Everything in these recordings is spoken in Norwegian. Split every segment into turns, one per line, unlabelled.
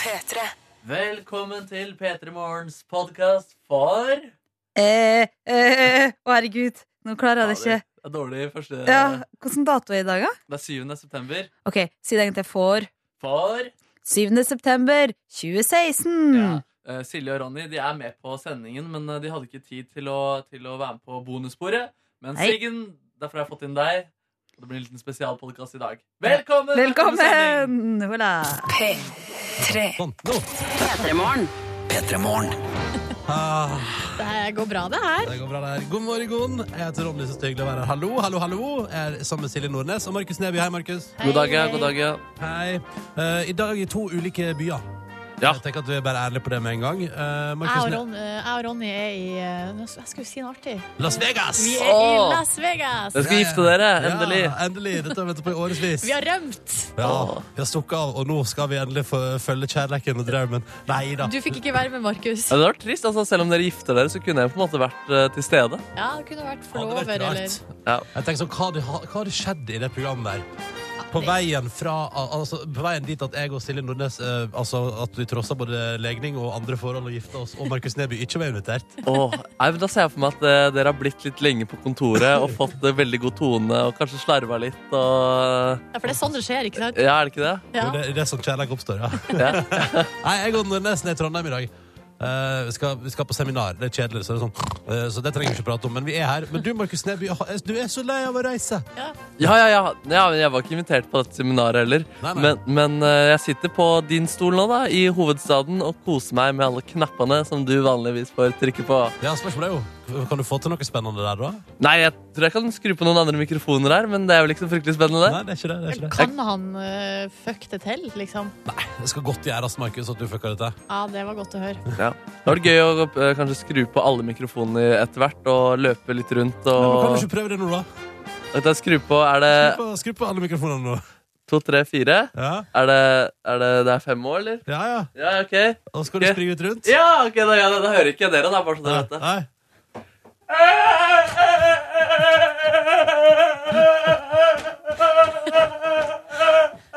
P3.
Velkommen til P3 Morgens podkast for
Eh, eh, å herregud, nå klarer jeg det
Ja,
ikke.
Det er dårlig første
Ja, Hvilken dato er det i dag, da?
Det er 7. september.
OK, si det en gang til. For
For
7. september 2016.
ja, eh, Silje og Ronny de er med på sendingen, men eh, de hadde ikke tid til å, til å være med på bonussporet. Men
Nei.
Siggen, derfor har jeg fått inn deg. Og det blir en liten spesialpodkast i dag. Velkommen! til sending!
Velkommen! Hola.
P3.
Sånn, nå. Ah,
Eh, Det går bra, det her.
det går bra der. God morgen. Jeg heter Ronny, så hyggelig å være her. Hallo, hallo, hallo. Jeg er sammen med Silje Nordnes og Markus Neby. Hei, Markus.
God dag, ja. God dag, ja.
Hei. Eh, I dag i to ulike byer.
Ja.
Jeg tenker at du er bare ærlig på det med en gang. Eh,
Jeg
Markus
og,
Ne-
Ron, eh, jeg og Ronny er i eh, nå s- Jeg skulle si noe artig.
Las Vegas!
Vi
Ja,
er i
Åh!
Las Vegas!
Dere skal gifte dere, endelig.
endelig. Dette har vi ventet på i årevis.
Vi har rømt!
Ja, vi har stukket av, og nå skal vi endelig få følge kjærleiken og drømmen. Nei da.
Du fikk ikke være med, Markus.
Ja, det hadde vært trist. altså Selv om dere gifter dere, så kunne jeg på en måte vært eh, til stede.
Ja, du kunne vært
Hadde vært
forlover, eller
rart.
Ja.
Jeg tenker sånn, hva hadde, hva hadde skjedd i det programmet der? På veien, fra, al- altså, på veien dit at jeg og Silje Nordnes eh, altså, At vi trossa både legning og andre forhold og gifta oss, og Markus Neby ikke var invitert.
Åh, nei, men Da ser jeg for meg at eh, dere har blitt litt lenge på kontoret og fått eh, veldig god tone og kanskje slarva litt. og...
Ja, For det er sånn det skjer, ikke sant?
Ja, er det ikke det?
Ja.
Jo, Det, det er sånn kjærlighet oppstår, ja.
Ja.
Nei, jeg og Nordnes er i Trondheim i dag. Eh, vi, skal, vi skal på seminar. Det er kjedelig, så det, er sånn, eh, så det trenger vi ikke prate om. Men vi er her. Men du, Markus Neby, ah, du er så lei av å reise.
Ja, ja, ja. ja men jeg var ikke invitert på dette seminaret heller.
Nei, nei.
Men, men eh, jeg sitter på din stol nå, da, i hovedstaden, og koser meg med alle knappene som du vanligvis får trykke på.
Ja, spørsmålet er jo Kan du få til noe spennende der, da?
Nei, jeg tror jeg kan skru på noen andre mikrofoner her, men det er vel ikke så fryktelig spennende.
Nei, det er ikke det. det, er ikke det.
Kan han eh, fuck det til, liksom?
det skal godt gjøres, Markus, at du fucka det til.
Ja, det var godt å høre.
Ja. Det var gøy å eh, kanskje skru på alle mikrofoner etter hvert og løpe litt rundt
Nei, men kan du
og Eh.
ikke prøve det nå, da?
Vet du, Skru på Er det
Skru på, skru på alle mikrofonene nå.
to, tre, fire?
Ja,
Er det, er det, det er fem år, eller?
ja. ja.
Ja, OK.
Og så skal du
Ok.
springe litt rundt.
Ja, ok, da, ja, da, da hører ikke jeg dere, da. Bare så dere vet det.
Nei.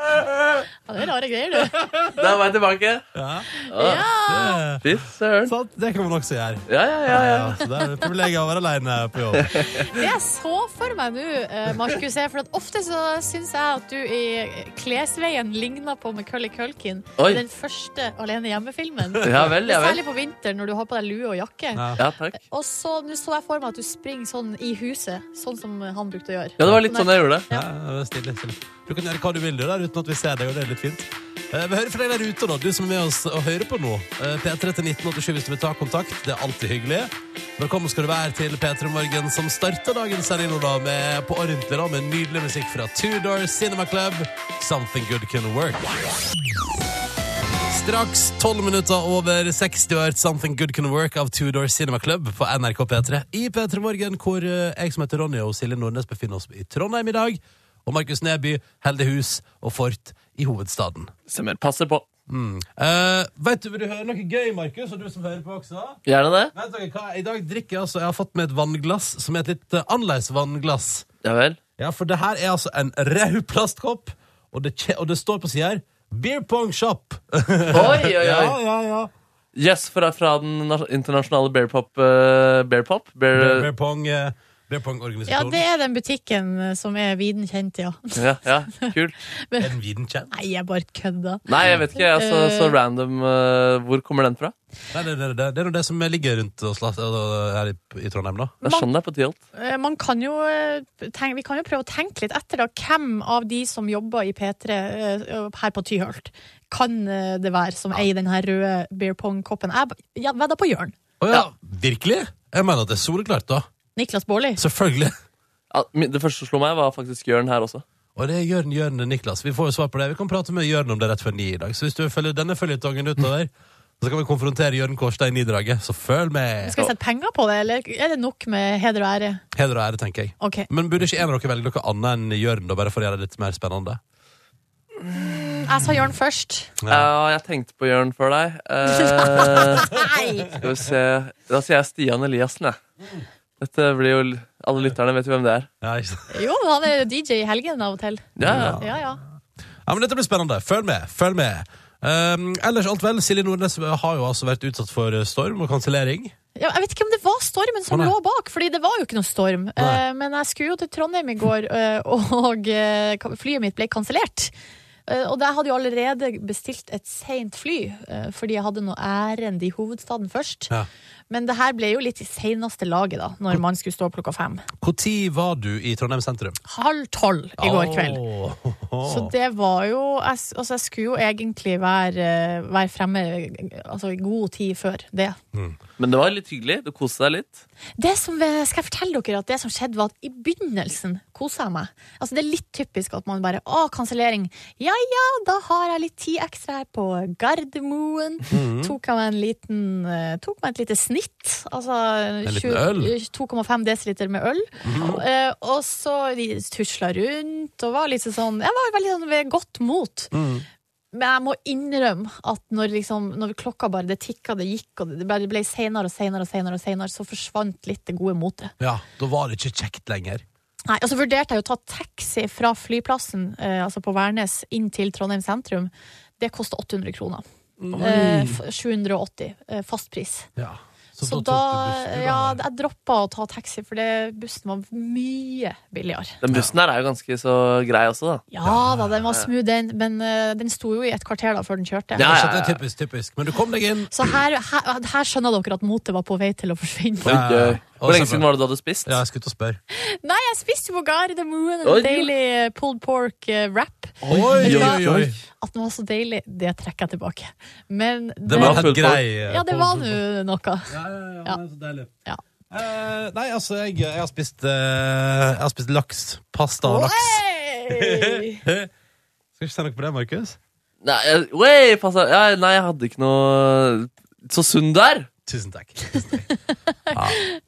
Ja, det er rare greier, du.
Da var jeg tilbake.
Ja.
Ja.
Ja.
Fy søren.
Sant, det kan man også gjøre.
Ja, ja, ja, ja.
Ja, så det er privilegiet å være aleine på jobb.
Det jeg så for meg nå, eh, Markus, er for at ofte så syns jeg at du i klesveien ligner på Macauley Culkin
Oi.
i den første Alene hjemme-filmen.
Ja vel, ja vel.
Særlig på vinteren når du har på deg lue og jakke.
Ja.
Ja, takk.
Og så nå så jeg for meg at du springer sånn i huset, sånn som han brukte å gjøre.
Ja, det var litt sånn jeg gjorde det.
Ja, det er stille, stille. Du kan gjøre hva du vil du, der, uten at vi ser deg, og det er litt fint. Eh, Vi hører fra deg der ute, da, du som er med oss og hører på nå. Eh, P3 til 1987 hvis du vil ta kontakt. Det er alltid hyggelig. Velkommen skal du være til P3 Morgen, som starter dagens sending nå, da, med, på ordentlig, da, med nydelig musikk fra Tudor Cinema Club. Something Good Can Work. Straks 12 minutter over 60 har hørt Something Good Can Work av Tudor Cinema Club på NRK P3 i P3 Morgen, hvor eh, jeg som heter Ronny og Silje Nordnes befinner oss i Trondheim i dag, og Markus Neby holder hus og fort i hovedstaden.
Se mer, passer på.
Eh, vet du, Vil du høre noe gøy, Markus, og du som hører på også?
Gjerne det.
Vet dere hva? I dag drikker jeg altså Jeg har fått med et vannglass som er et litt eh, annerledes vannglass.
Ja vel.
Ja, for det her er altså en rød plastkopp, og det, kje- og det står på sida her Beer Pong Shop.
Oi, oi,
ja,
oi.
ja, ja.
Yes, fra, fra den nas- internasjonale bear pop. eh, bear pop? Bear,
Beer,
eh,
beer pong, eh, beer pong
Ja,
sånn.
organisasjonen
det er den butikken eh, som er viden kjent, ja.
ja, ja, kult.
Er den viden kjent?
Nei, jeg bare kødda.
Nei, jeg vet ikke. Jeg er så, så random. eh, hvor kommer den fra?
Nei, det, det, det, det er nå det som ligger rundt oss la- og- her i, i Trondheim, da.
Jeg skjønner deg sånn på tilt.
Eh, Man kan jo eh, tenke, vi kan jo prøve å tenke litt etter, da. Hvem av de som jobber i P3 eh, her på Tyholt, kan eh, det være som eier den her røde beer pong-koppen? Jeg b- ja, vedder på Jørn.
Å ja, virkelig? Jeg mener at det er soleklart, da.
Niklas Baarli.
Selvfølgelig.
Ja, mi- Det første som slo meg, var faktisk Jørn her også.
Og det er Jørn, Jørn og Niklas. Vi får jo svar på det. Vi kan prate med Jørn om det rett før ni i dag. Så hvis du følger denne føljetongen utover, så kan vi konfrontere Jørn Kårstein i draget. Så følg med.
Skal vi sette penger på det, eller er det nok med heder og ære?
Heder og ære, tenker jeg.
Ok.
Men burde ikke en av dere velge noe annet enn Jørn, da, bare for å gjøre det litt mer spennende?
Jeg sa Jørn først.
Ja, jeg tenkte på Jørn før deg. Eh,
Nei!
skal vi se. Da sier jeg Stian Eliassen, jeg. Dette blir jo l- Alle lytterne vet jo hvem det er.
Ja, ikke sant?
Jo, han er DJ i helgen av og til.
Ja, ja.
Ja, ja.
Ja, men dette blir spennende. Følg med. Følg med. Ehm, ellers alt vel. Silje Nordnes har jo altså vært utsatt for storm og kansellering.
Ja, jeg vet ikke om det var stormen som
Å, nei.
lå bak, Fordi det var jo ikke noe storm.
Nei.
Eh, men jeg skulle jo til Trondheim i går, eh, og eh, ka- flyet mitt ble kansellert. Eh, og jeg hadde jo allerede bestilt et seint fly, eh, fordi jeg hadde noe ærend i hovedstaden først.
Ja.
Men det her ble jo litt i seneste laget, da, når man skulle stå opp klokka fem.
Når var du i Trondheim sentrum?
Halv tolv i går kveld.
Åh.
Så det var jo jeg, s- Altså, jeg skulle jo egentlig være, eh, være fremme eh, altså, i god tid før det.
Men det var litt hyggelig. Du koste deg litt.
Det som, skal jeg fortelle dere at det som skjedde var at i begynnelsen koset jeg meg. Altså Det er litt typisk at man bare Å, kansellering. Ja ja, da har jeg litt tid ekstra her på Gardermoen.
Mhm.
Tok jeg meg en liten eh, Tok meg et lite snitt. Altså eh,
En liten
20
øl? Mhm.
2,5 dl med øl. Eh, og så tusla rundt og var litt sånn Jeg var veldig sånn ved godt mot. Men jeg må innrømme at når, liksom, når klokka bare det tikka, det gikk, og det bare ble senere og senere, og senere, og senere så forsvant litt det gode motet.
Ja, da var det ikke kjekt lenger.
Nei, Og så vurderte jeg jo å ta taxi fra flyplassen, eh, altså på Værnes, inn til Trondheim sentrum. Det kosta 800 kroner. Eh, f- 780 eh, fastpris.
Ja.
Så,
tok
da,
du bussen, du
ja,
da.
jeg droppa å ta taxi, for det, bussen var mye billigere.
Den bussen her er jo ganske så grei også, da.
Ja da, den var smooth, den, men eh, den sto jo i et kvarter da før den kjørte.
Ja, ja,
Så det er
ja.
typisk, typisk. Men du kom deg inn.
Så her, her, her skjønner dere at motet var på vei til å forsvinne.
Oi,
Ja, ja, ja.
døy. Hvor
Og
lenge
så-
siden var det du hadde spist?
Ja, jeg skulle til å spørre.
Nei, jeg spiste jo på Gardermoen
Oi.
en deilig eh, pulled pork eh, wrap.
Oi, oi, oi, oi.
At den var så deilig, det trekker jeg tilbake. Men det,
Det var
Ja,
helt
fullt
grei. eh,
Ja, det var nå noe.
Ja, ja, ja,
Ja.
det er så deilig.
Ja.
Eh, nei, altså, jeg, jeg, har spist, eh, jeg har spist laks. Pasta og laks.
Oi!
Skal ikke si noe på det, Markus?
Nei, jeg, Oi, pass deg. ja, nei, jeg hadde ikke noe Så sunn du er!
Tusen takk.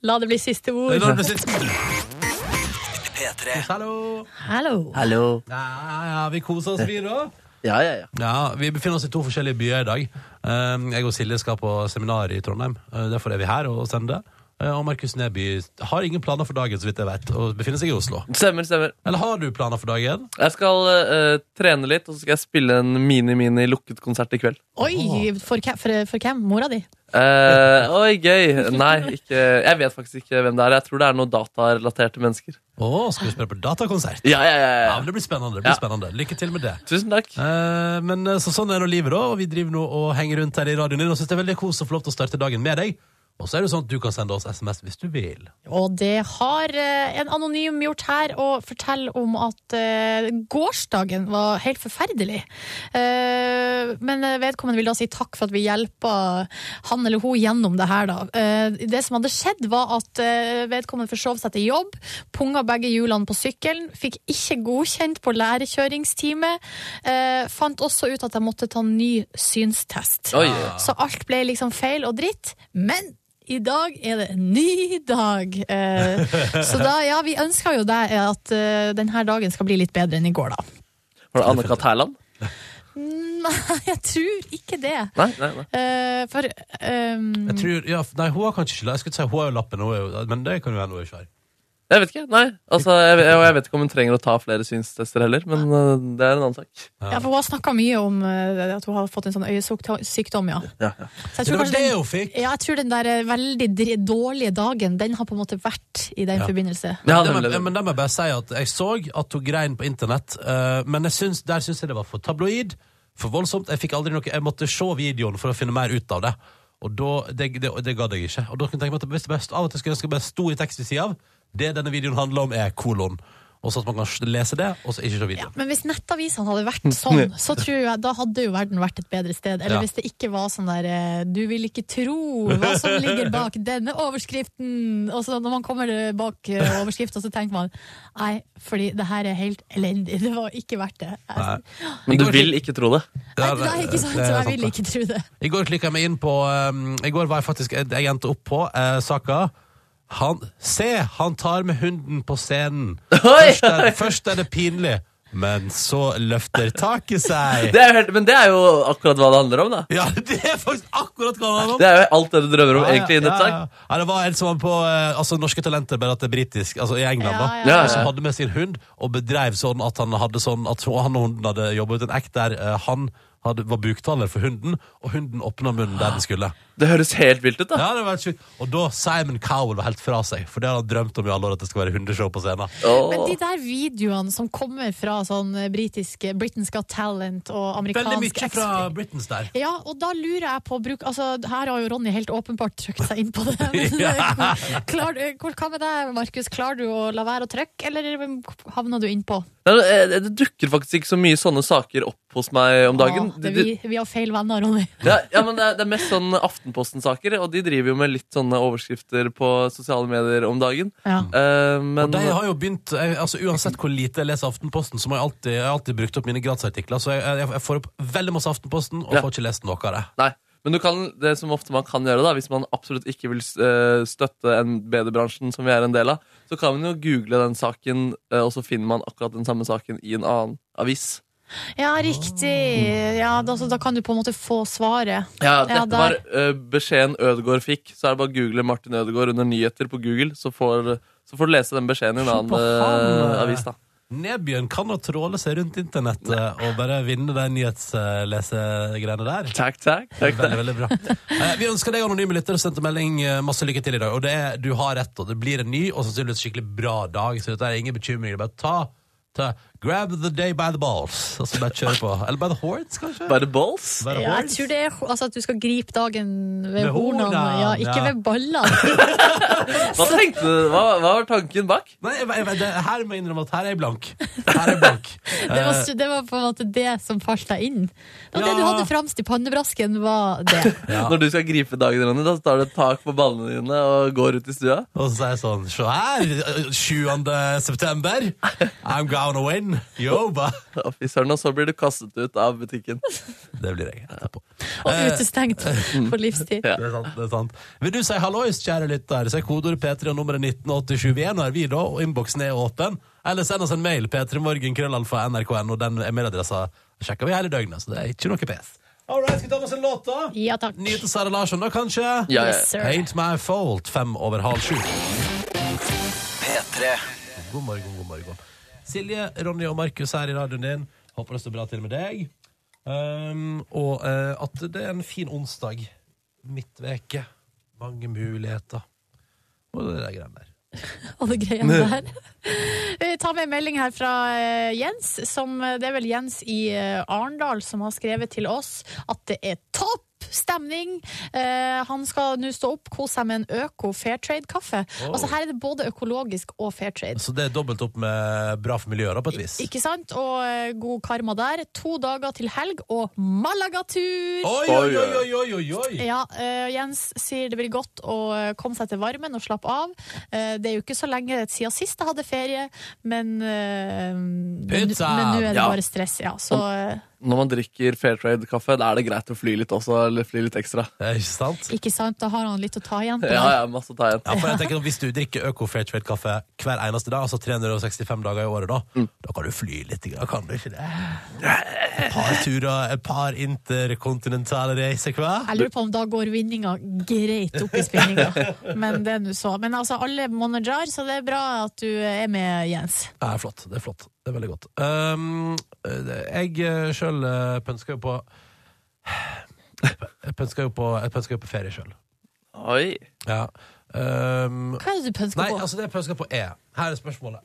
La det bli siste
Det
ord.
er når du sitter- Hallo.
Hallo.
Hallo.
Ja, ja, vi koser oss, vi, da.
Ja, ja, ja.
Ja, Vi befinner oss i to forskjellige byer i dag. Eh, Jeg og Silje skal på seminar i Trondheim. Eh, Derfor er vi her og sender. Eh, Og Markus Neby har ingen planer for dagen, så vidt jeg vet, og befinner seg i Oslo.
Stemmer, stemmer.
Eller har du planer for dagen?
Jeg skal eh, trene litt, og så skal jeg spille en mini-mini lukket konsert i kveld.
Oi, for, hvem- for, for hvem? Mora di?
Eh, oi, gøy! Nei, ikke Jeg vet faktisk ikke hvem det er. Jeg tror det er noen datarelaterte mennesker.
Å, skal vi spille på datakonsert?
Ja, ja, ja,
Ja, men
ja.
Det blir spennende. det blir
Ja.
spennende. Lykke til med det.
Tusen takk.
Eh, men eh, så sånn er nå livet, da. Og vi driver nå og henger rundt her i radioen din. Og synes det er veldig kos å få lov til å starte dagen med deg. Og så er det jo sånn at du kan sende oss SMS hvis du vil.
Og det har eh, en anonym gjort her, og forteller om at eh, gårsdagen var helt forferdelig. Eh, men eh, vedkommende vil da si takk for at vi hjelper han eller hun gjennom det her, da. Eh, det som hadde skjedd, var at eh, vedkommende forsov seg til jobb, punga begge hjulene på sykkelen, fikk ikke godkjent på lærekjøringstime, eh, fant også ut at jeg måtte ta ny synstest.
Oi.
Så alt ble liksom feil og dritt. Men i dag er det en ny dag. Eh, så da, ja, vi ønsker jo deg at eh, denne dagen skal bli litt bedre enn i går, da.
Var det Anne-Kat. Hærland?
Nei, jeg tror ikke det.
Nei, nei, nei.
Eh, for ehm,
Jeg tror, ja, f- Nei, hun har kanskje ikke la- Jeg skulle si hun har jo lappen, hun er jo, men det kan jo hende hun ikke har.
Jeg vet ikke. Nei. Altså, jeg, og jeg vet ikke om hun trenger å ta flere synstester heller, men eh, det er en annen sak.
ja, for Hun har snakka mye om eh, at hun har fått en sånn øyesykdom, ja.
Ja, ja.
Så jeg
Det
tror
var
kanskje
det
den,
hun fikk!
ja, jeg tror den der eh, veldig dri- dårlige dagen, den har på en måte vært i den
Ja.
forbindelse.
Ja,
det
nemlig.
må, men det må jeg bare si at jeg så at hun grein på internett, eh, men jeg syns, der syns jeg det var for tabloid, for voldsomt. Jeg fikk aldri noe Jeg måtte se videoen for å finne mer ut av det. Og da, det, det, det gadd jeg ikke. Og da kunne jeg tenke meg at det beste best, Av og til skulle jeg ønske det bare sto i tekst ved sida av. Det denne videoen handler om, er kolon. Og så at man kan lese det, og så ikke se videoen.
Men hvis nettavisene hadde vært sånn, så tror jeg da hadde jo verden vært et bedre sted. Eller
Mm. Ja.
hvis det ikke var sånn der eh, Du vil ikke tro hva som ligger bak denne overskriften. Og så når man kommer eh, bak eh, overskriften, så tenker man nei, fordi det her er helt elendig. Det var ikke verdt det.
Nei.
Jeg,
Men du vil ikke tro det.
nei, det er ikke sant,
det er
så
sant,
jeg vil
det.
ikke tro det.
I går klikka jeg meg inn på um, I går var jeg faktisk Jeg endte opp på eh, saka han, Se, han tar med hunden på scenen.
Oi!
Først er, først er det pinlig. Men så løfter taket seg.
Det er, jo helt- men det er jo akkurat hva det handler om, da.
Ja, det er faktisk akkurat hva det var.
Det er jo alt det du drømmer om,
Ja, ja,
egentlig, i en
ja,
nettsak.
ja. Ja, det var en som var på eh, altså, Norske Talenter, bare at det er britisk. Altså i England, da.
Ja, ja,
ja.
Som hadde med sin hund og bedrev sånn at han hadde sånn At han og hunden hadde jobbet ut en act der eh, han hadde, var buktaler for hunden, og hunden åpna munnen der den skulle.
Det høres helt vilt ut, da.
Ja, det var helt sjukt. Og da Simon Cowell var helt fra seg, for det har han drømt om i alle år, at det skal være hundeshow på scenen.
Men
Åh.
de der videoene som kommer fra sånn eh, britiske Britain's Got Talent og
Veldig
amerikansk
mye
X-
fra Britons der.
Ja, og da lurer jeg på bruk, altså, Her har jo Ronny helt åpenbart trykt seg inn på det. Men, eh, klar, hvor, hva med deg, Markus? Klarer du å la være å trykke, eller havna du innpå?
Nei, men, eh, Det dukker faktisk ikke så mye sånne saker opp hos meg om dagen.
Å, det, vi, vi har feil venner, Ronny.
Ja, ja, men det er, det er mest sånn Aftenposten-saker, og de driver jo med litt sånne overskrifter på sosiale medier om dagen.
Ja.
Eh, men
Og de har jo begynt, jeg, altså Uansett hvor lite jeg leser Aftenposten, så må jeg alltid, jeg har alltid brukt opp mine gratisartikler. Så jeg, jeg, jeg får opp veldig masse Aftenposten, og
Ja.
får ikke lest noe av det.
Nei. Men du kan, det som ofte man kan gjøre, da, hvis man absolutt ikke vil eh, støtte NBD-bransjen, som vi er en del av, så kan man jo google den saken, eh, og så finner man akkurat den samme saken i en annen avis.
ja, riktig. Ja, da, så, da kan du på en måte få svaret.
Ja,
Ja,
Dette
der.
var eh, beskjeden Ødegaard fikk. Så er det bare å google Martin Ødegaard under nyheter på Google, så får, så får du lese den beskjeden i en
Se
annen
på han,
eh,
eh.
avis. da
Nebyen kan da tråle seg rundt internettet og bare vinne de nyhetslesegreiene der.
Takk, takk, takk, takk.
Veldig, veldig bra. Eh, Vi ønsker deg anonyme lytter og sendte melding eh, masse lykke til i dag. Og det er, du har rett, og det blir en ny og sannsynligvis skikkelig bra dag. Så dette er ingen bekymring. Det er Bare ta, ta Grab the day by the balls, og så bare kjøre på. Eller by the horns, kanskje?
Bare balls?
By
Ja,
the
jeg
horns?
tror det er altså, at du skal gripe dagen ved
Ved
hornene,
hornene,
ja, ikke
ja.
ved ballene.
Hva tenkte du? Hva, hva var tanken bak?
Nei, jeg, jeg, det, her må jeg innrømme at her er jeg blank. Her er jeg blank.
Det var,
Eh,
stu- det var på en måte det som falt deg inn. Det var det
Ja.
du hadde fremst i pannebrasken, var det.
Ja.
Når du skal gripe dagen, Ronny, da tar du et tak på ballene dine og går ut i stua?
og så sier jeg sånn Se her! 7. september. I'm gonna win. Yo, ba.
Å, fy søren, og så blir du kastet ut av butikken.
Det blir jeg etterpå.
Og
Eh,
utestengt for livstid.
Ja.
Det er sant, det er sant. Vil du si hallois, kjære lytter, så er kodeordet P3 og nummeret 198721 er vi da, og innboksen er åpen. Eller send oss en mail, p3morgenkrøllalfa.nrk.no, den mailadressa sjekker vi hele døgnet, så det er ikke noe pes. All right, skal vi ta med oss en låt, da?
Ja takk.
Nye til Sara Larsson, da, kanskje?
Ja, ja.
Yes, sir.
Ain't my fault, fem over halv sju.
P3
God morgen, god morgen. Silje, Ronny og Markus her i radioen din. Håper det står bra til med deg. Um, og eh, at det er en fin onsdag. Midtveke. Mange muligheter. Og det der greiene der.
Og det greiene der. Vi tar med en melding her fra eh, Jens. Som, eh, det er vel Jens i eh, Arendal som har skrevet til oss at det er topp! Stemning. Eh, han skal nå stå opp, kose seg med en øko Fairtrade-kaffe. Altså Her er det både økologisk og Fairtrade.
Så det er dobbelt opp med bra for miljøet, da, på et vis.
Ikke sant? Og eh, god karma der. To dager til helg og Malaga-tur!
Oi, oi, oi, oi, oi, oi, oi!
Ja, eh, Jens sier det blir godt å eh, komme seg til varmen og slappe av. Eh, det er jo ikke så lenge siden sist jeg hadde ferie, men eh, Men
Pizza!
men nå er det
Ja.
bare stress, ja. Så eh,
Når man drikker Fair Trade-kaffe, da er det greit å fly litt også, eller fly litt ekstra.
Det er ikke sant?
ikke sant, da har han litt å ta igjen. på
Ja,
det.
ja, masse å ta igjen.
Ja, for jeg tenker at Hvis du drikker Øko Fair Trade-kaffe hver eneste dag, altså 365 dager i året, da da kan du fly litt. Da kan du ikke det? Et par turer, et par interkontinentale reiser hver.
Jeg lurer på om da går vinninga greit opp i spinninga. Men det er nå så. Men altså, alle manager, så det er bra at du eh, er med, Jens.
Det er flott. Det er flott. Det er veldig godt. Um, jeg sjøl pønsker jo på Jeg pønsker jo på, jeg pønsker jo på ferie sjøl.
Oi.
Ja. Um,
Hva er det du pønsker
nei,
på?
altså det jeg pønsker på er Her er spørsmålet.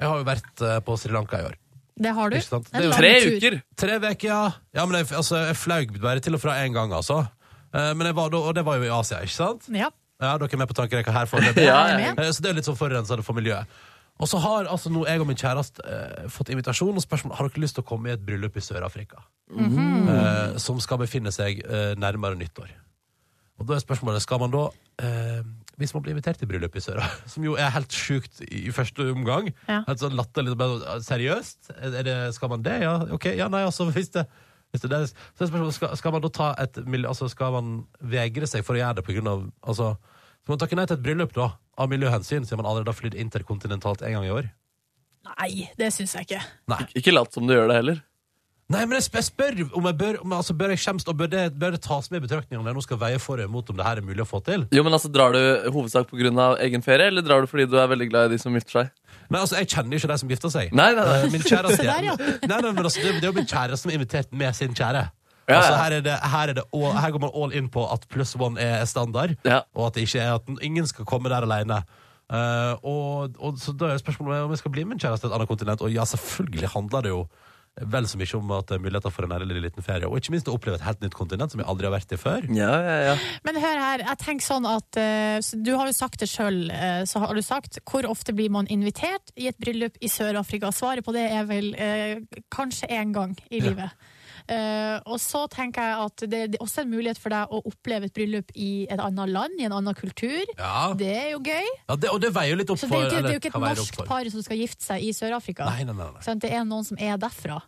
Jeg har jo vært eh, på Sri Lanka i år.
det har du.
Ikke sant?
En
Det er jo
lang
Tre
tur.
uker!
Tre uker, ja. ja men jeg, altså, jeg flaug bare til og fra én gang, altså. Eh, men jeg var da, og det var jo i Asia, ikke sant?
Ja.
Ja, Dere er med på tankerekka her foreløpig?
Ja,
Er du
ja.
med?
Eh, Så det er litt sånn forurensende for miljøet. Og så har altså nå jeg og min kjæreste eh, fått invitasjon og spørsmål Har dere lyst til å komme i et bryllup i Sør-Afrika. eh, som skal befinne seg eh, nærmere nyttår. Og da er spørsmålet skal man da eh, Hvis man blir invitert til bryllup i Søra, som jo er helt sjukt i, i første omgang
Ja.
Helt sånn latterlig men Seriøst? Er er det, skal man det? Ja, ok. Ja, nei, altså, hvis det, hvis det er det, Så er spørsmålet skal, skal man da ta et mil- Altså, skal man vegre seg for å gjøre det på grunn av Altså, skal man takke nei til et bryllup, da? Av miljøhensyn, siden man allerede har flydd interkontinentalt en gang i år?
Nei, det syns jeg ikke.
Ikke lat som du gjør det heller.
Nei, men jeg sp- jeg spør om jeg bør, om, altså, bør jeg skjemmes, og bør det, bør det tas med i betraktning om jeg nå skal veie for og imot om det her er mulig å få til?
Jo, men altså, Drar du hovedsak pga. egen ferie, eller drar du fordi du er veldig glad i de som gifter seg?
Nei, altså, jeg kjenner ikke de som gifter seg.
Nei, nei,
Eh,
nei.
Min kjæreste
Se der, ja.
Nei, nei, men altså, det, det er jo min kjæreste som er invitert med sin kjære.
Ja,
altså,
ja.
her, er det, her, er det all, her går man all in på at pluss one er standard,
Ja.
og at, det ikke er, at ingen skal komme der alene. Eh, og, og, så da er spørsmålet om jeg skal bli med min kjæreste til et annet kontinent. Og ja, selvfølgelig handler det jo vel så mye om at det er muligheter for en ærlig liten ferie. Og ikke minst å oppleve et helt nytt kontinent som jeg aldri har vært i før.
Ja, ja, ja.
Men hør her, jeg tenker sånn at eh, så Du har jo sagt det sjøl, så har du sagt. Hvor ofte blir man invitert i et bryllup i Sør-Afrika? Svaret på det er vel eh, kanskje én gang i livet. Eh, og så tenker jeg at det, det er også en mulighet for deg å oppleve et bryllup i et annet land, i en annen kultur.
Ja,
Det er jo gøy.
ja det, Og det veier jo litt opp
Så det er jo ikke, det er jo
eller
ikke
kan
et
veie opp
norsk
for.
par som skal gifte seg i Sør-Afrika.
Nei, nei, nei, nei.
Sant? Det er noen som er derfra.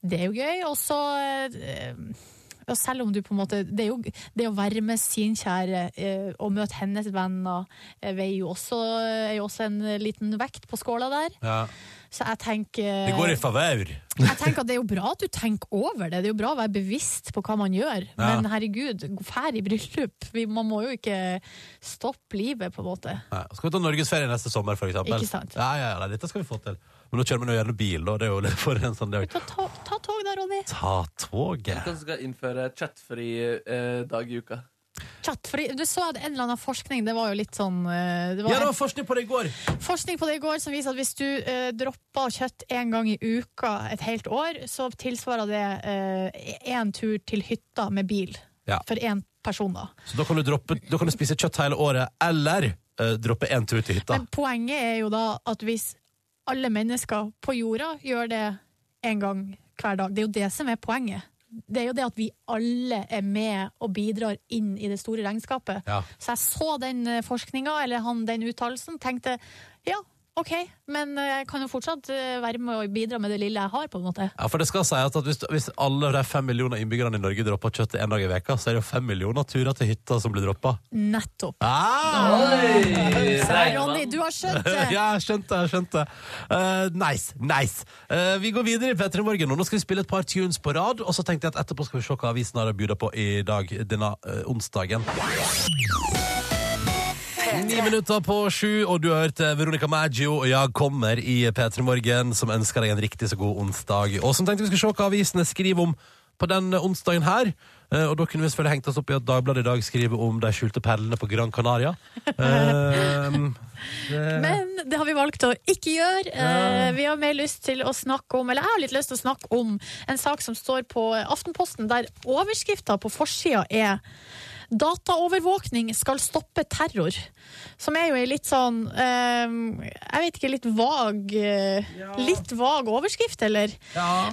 Det er jo gøy. Og så eh, og selv om du på en måte Det, er jo, det å være med sin kjære eh, og møte hennes venner eh, veier jo også, er jo også en liten vekt på skåla der.
Ja.
Så jeg tenker
Det går i favør.
jeg tenker at det er jo bra at du tenker over det. Det er jo bra å være bevisst på hva man gjør. Men herregud, fær i bryllup. Vi, man må jo ikke stoppe livet, på en måte.
Ja, skal vi ta norgesferie neste sommer, for eksempel?
Ikke sant.
Ja, ja, ja, dette skal vi få til. Men nå kjører vi nå gjerne bil, og det er jo litt for en sånn dag.
Ta, ta, ta tog da, Ronny.
Ta toget.
Kanskje skal innføre chatfri eh, dag i uka.
Chat, fordi du så at en eller annen forskning Det var jo litt sånn eh, det var
Ja, det var forskning på det i går!
en forskning på det i går som viser at hvis du eh, dropper kjøtt én gang i uka et helt år, så tilsvarer det én tur til hytta med bil.
Ja.
For én person, da.
Så da kan du, droppe, da kan du spise kjøtt hele året, eller eh, droppe én tur til hytta.
Men poenget er jo da at hvis alle mennesker på jorda gjør det én gang hver dag Det er jo det som er poenget. Det er jo det at vi alle er med og bidrar inn i det store regnskapet.
Ja.
Så jeg så den forskninga, eller han, den uttalelsen, tenkte ja, OK, men eh, jeg kan jo fortsatt eh, være med og bidra med det lille jeg har, på en måte.
Ja, for det skal si at, at hvis, hvis alle de fem millioner innbyggerne i Norge dropper kjøtt en dag i veka, så er det jo fem millioner turer til hytta som blir droppa.
Nettopp.
Ah!
Så Ronny, du har skjønt eh, det!
ja, jeg skjønte det. skjønte det. Eh, nice. nice. Eh, vi går videre i P3 Morgen. og Nå skal vi spille et par tunes på rad. Og så tenkte jeg at etterpå skal vi se hva avisen har å bjuda på i dag, denne eh, onsdagen. Ni minutter på sju, og du har hørt eh, Veronica Maggio og Jeg kommer i P3 Morgen, som ønsker deg en riktig så god onsdag. Og som tenkte vi skulle se hva avisene skriver om på den eh, onsdagen her. Eh, Og da kunne vi selvfølgelig hengt oss opp i at Dagbladet i dag skriver om de skjulte perlene på Gran Canaria. Eh,
Men det har vi valgt å ikke gjøre. Eh, Vi har mer lyst til å snakke om, eller jeg har litt lyst til å snakke om, en sak som står på Aftenposten, der overskrifta på forsida er Dataovervåkning skal stoppe terror. Som er jo ei litt sånn eh, Jeg vet ikke, litt vag eh, Litt vag overskrift, eller?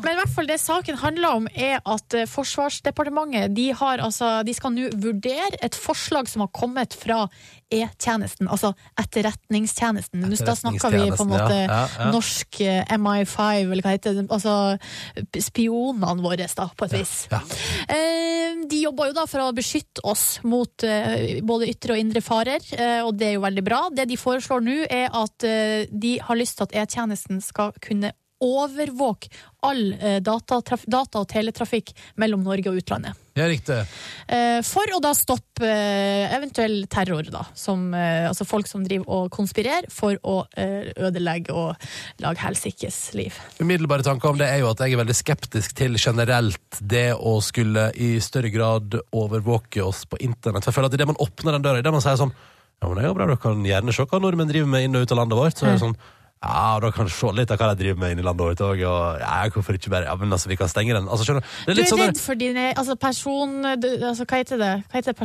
Men i hvert fall det saken handler om, er at eh, Forsvarsdepartementet de, har, altså, de skal nå vurdere et forslag som har kommet fra E-tjenesten, altså Etterretningstjenesten. Nå da snakker vi på en
Etterretningstjenesten,
måte
ja. Ja, ja.
norsk eh, MI5, eller hva heter det, altså spionene våre, da, på et vis.
ja.
Eh, De jobber jo da for å beskytte oss mot eh, både ytre og indre farer, eh, og det er jo veldig bra. Det de foreslår nå, er at eh, de har lyst til at E-tjenesten skal kunne overvåke all eh, datatraf- data- og teletrafikk mellom Norge og utlandet.
Ja, riktig.
Eh, For å da stoppe eh, eventuell terror, da. Som, eh, altså folk som driver og konspirerer for å eh, ødelegge og lage helsikes liv.
Umiddelbare tanker om det er jo at jeg er veldig skeptisk til generelt det å skulle i større grad overvåke oss på internett. For jeg føler at idet man åpner den døra, idet man sier sånn Ja, men det er jo bra, dere kan gjerne se hva nordmenn driver med inn og ut av landet vårt. Så er det sånn ja, da kan du se litt av hva de driver med inn i landet vårt òg. Og ja, hvorfor ikke bare Ja, men altså, vi kan stenge den. Altså, skjønner du? Det er
Du
litt
er
sånn der-
redd for dine altså person... Du, altså, hva heter det? Hva heter det?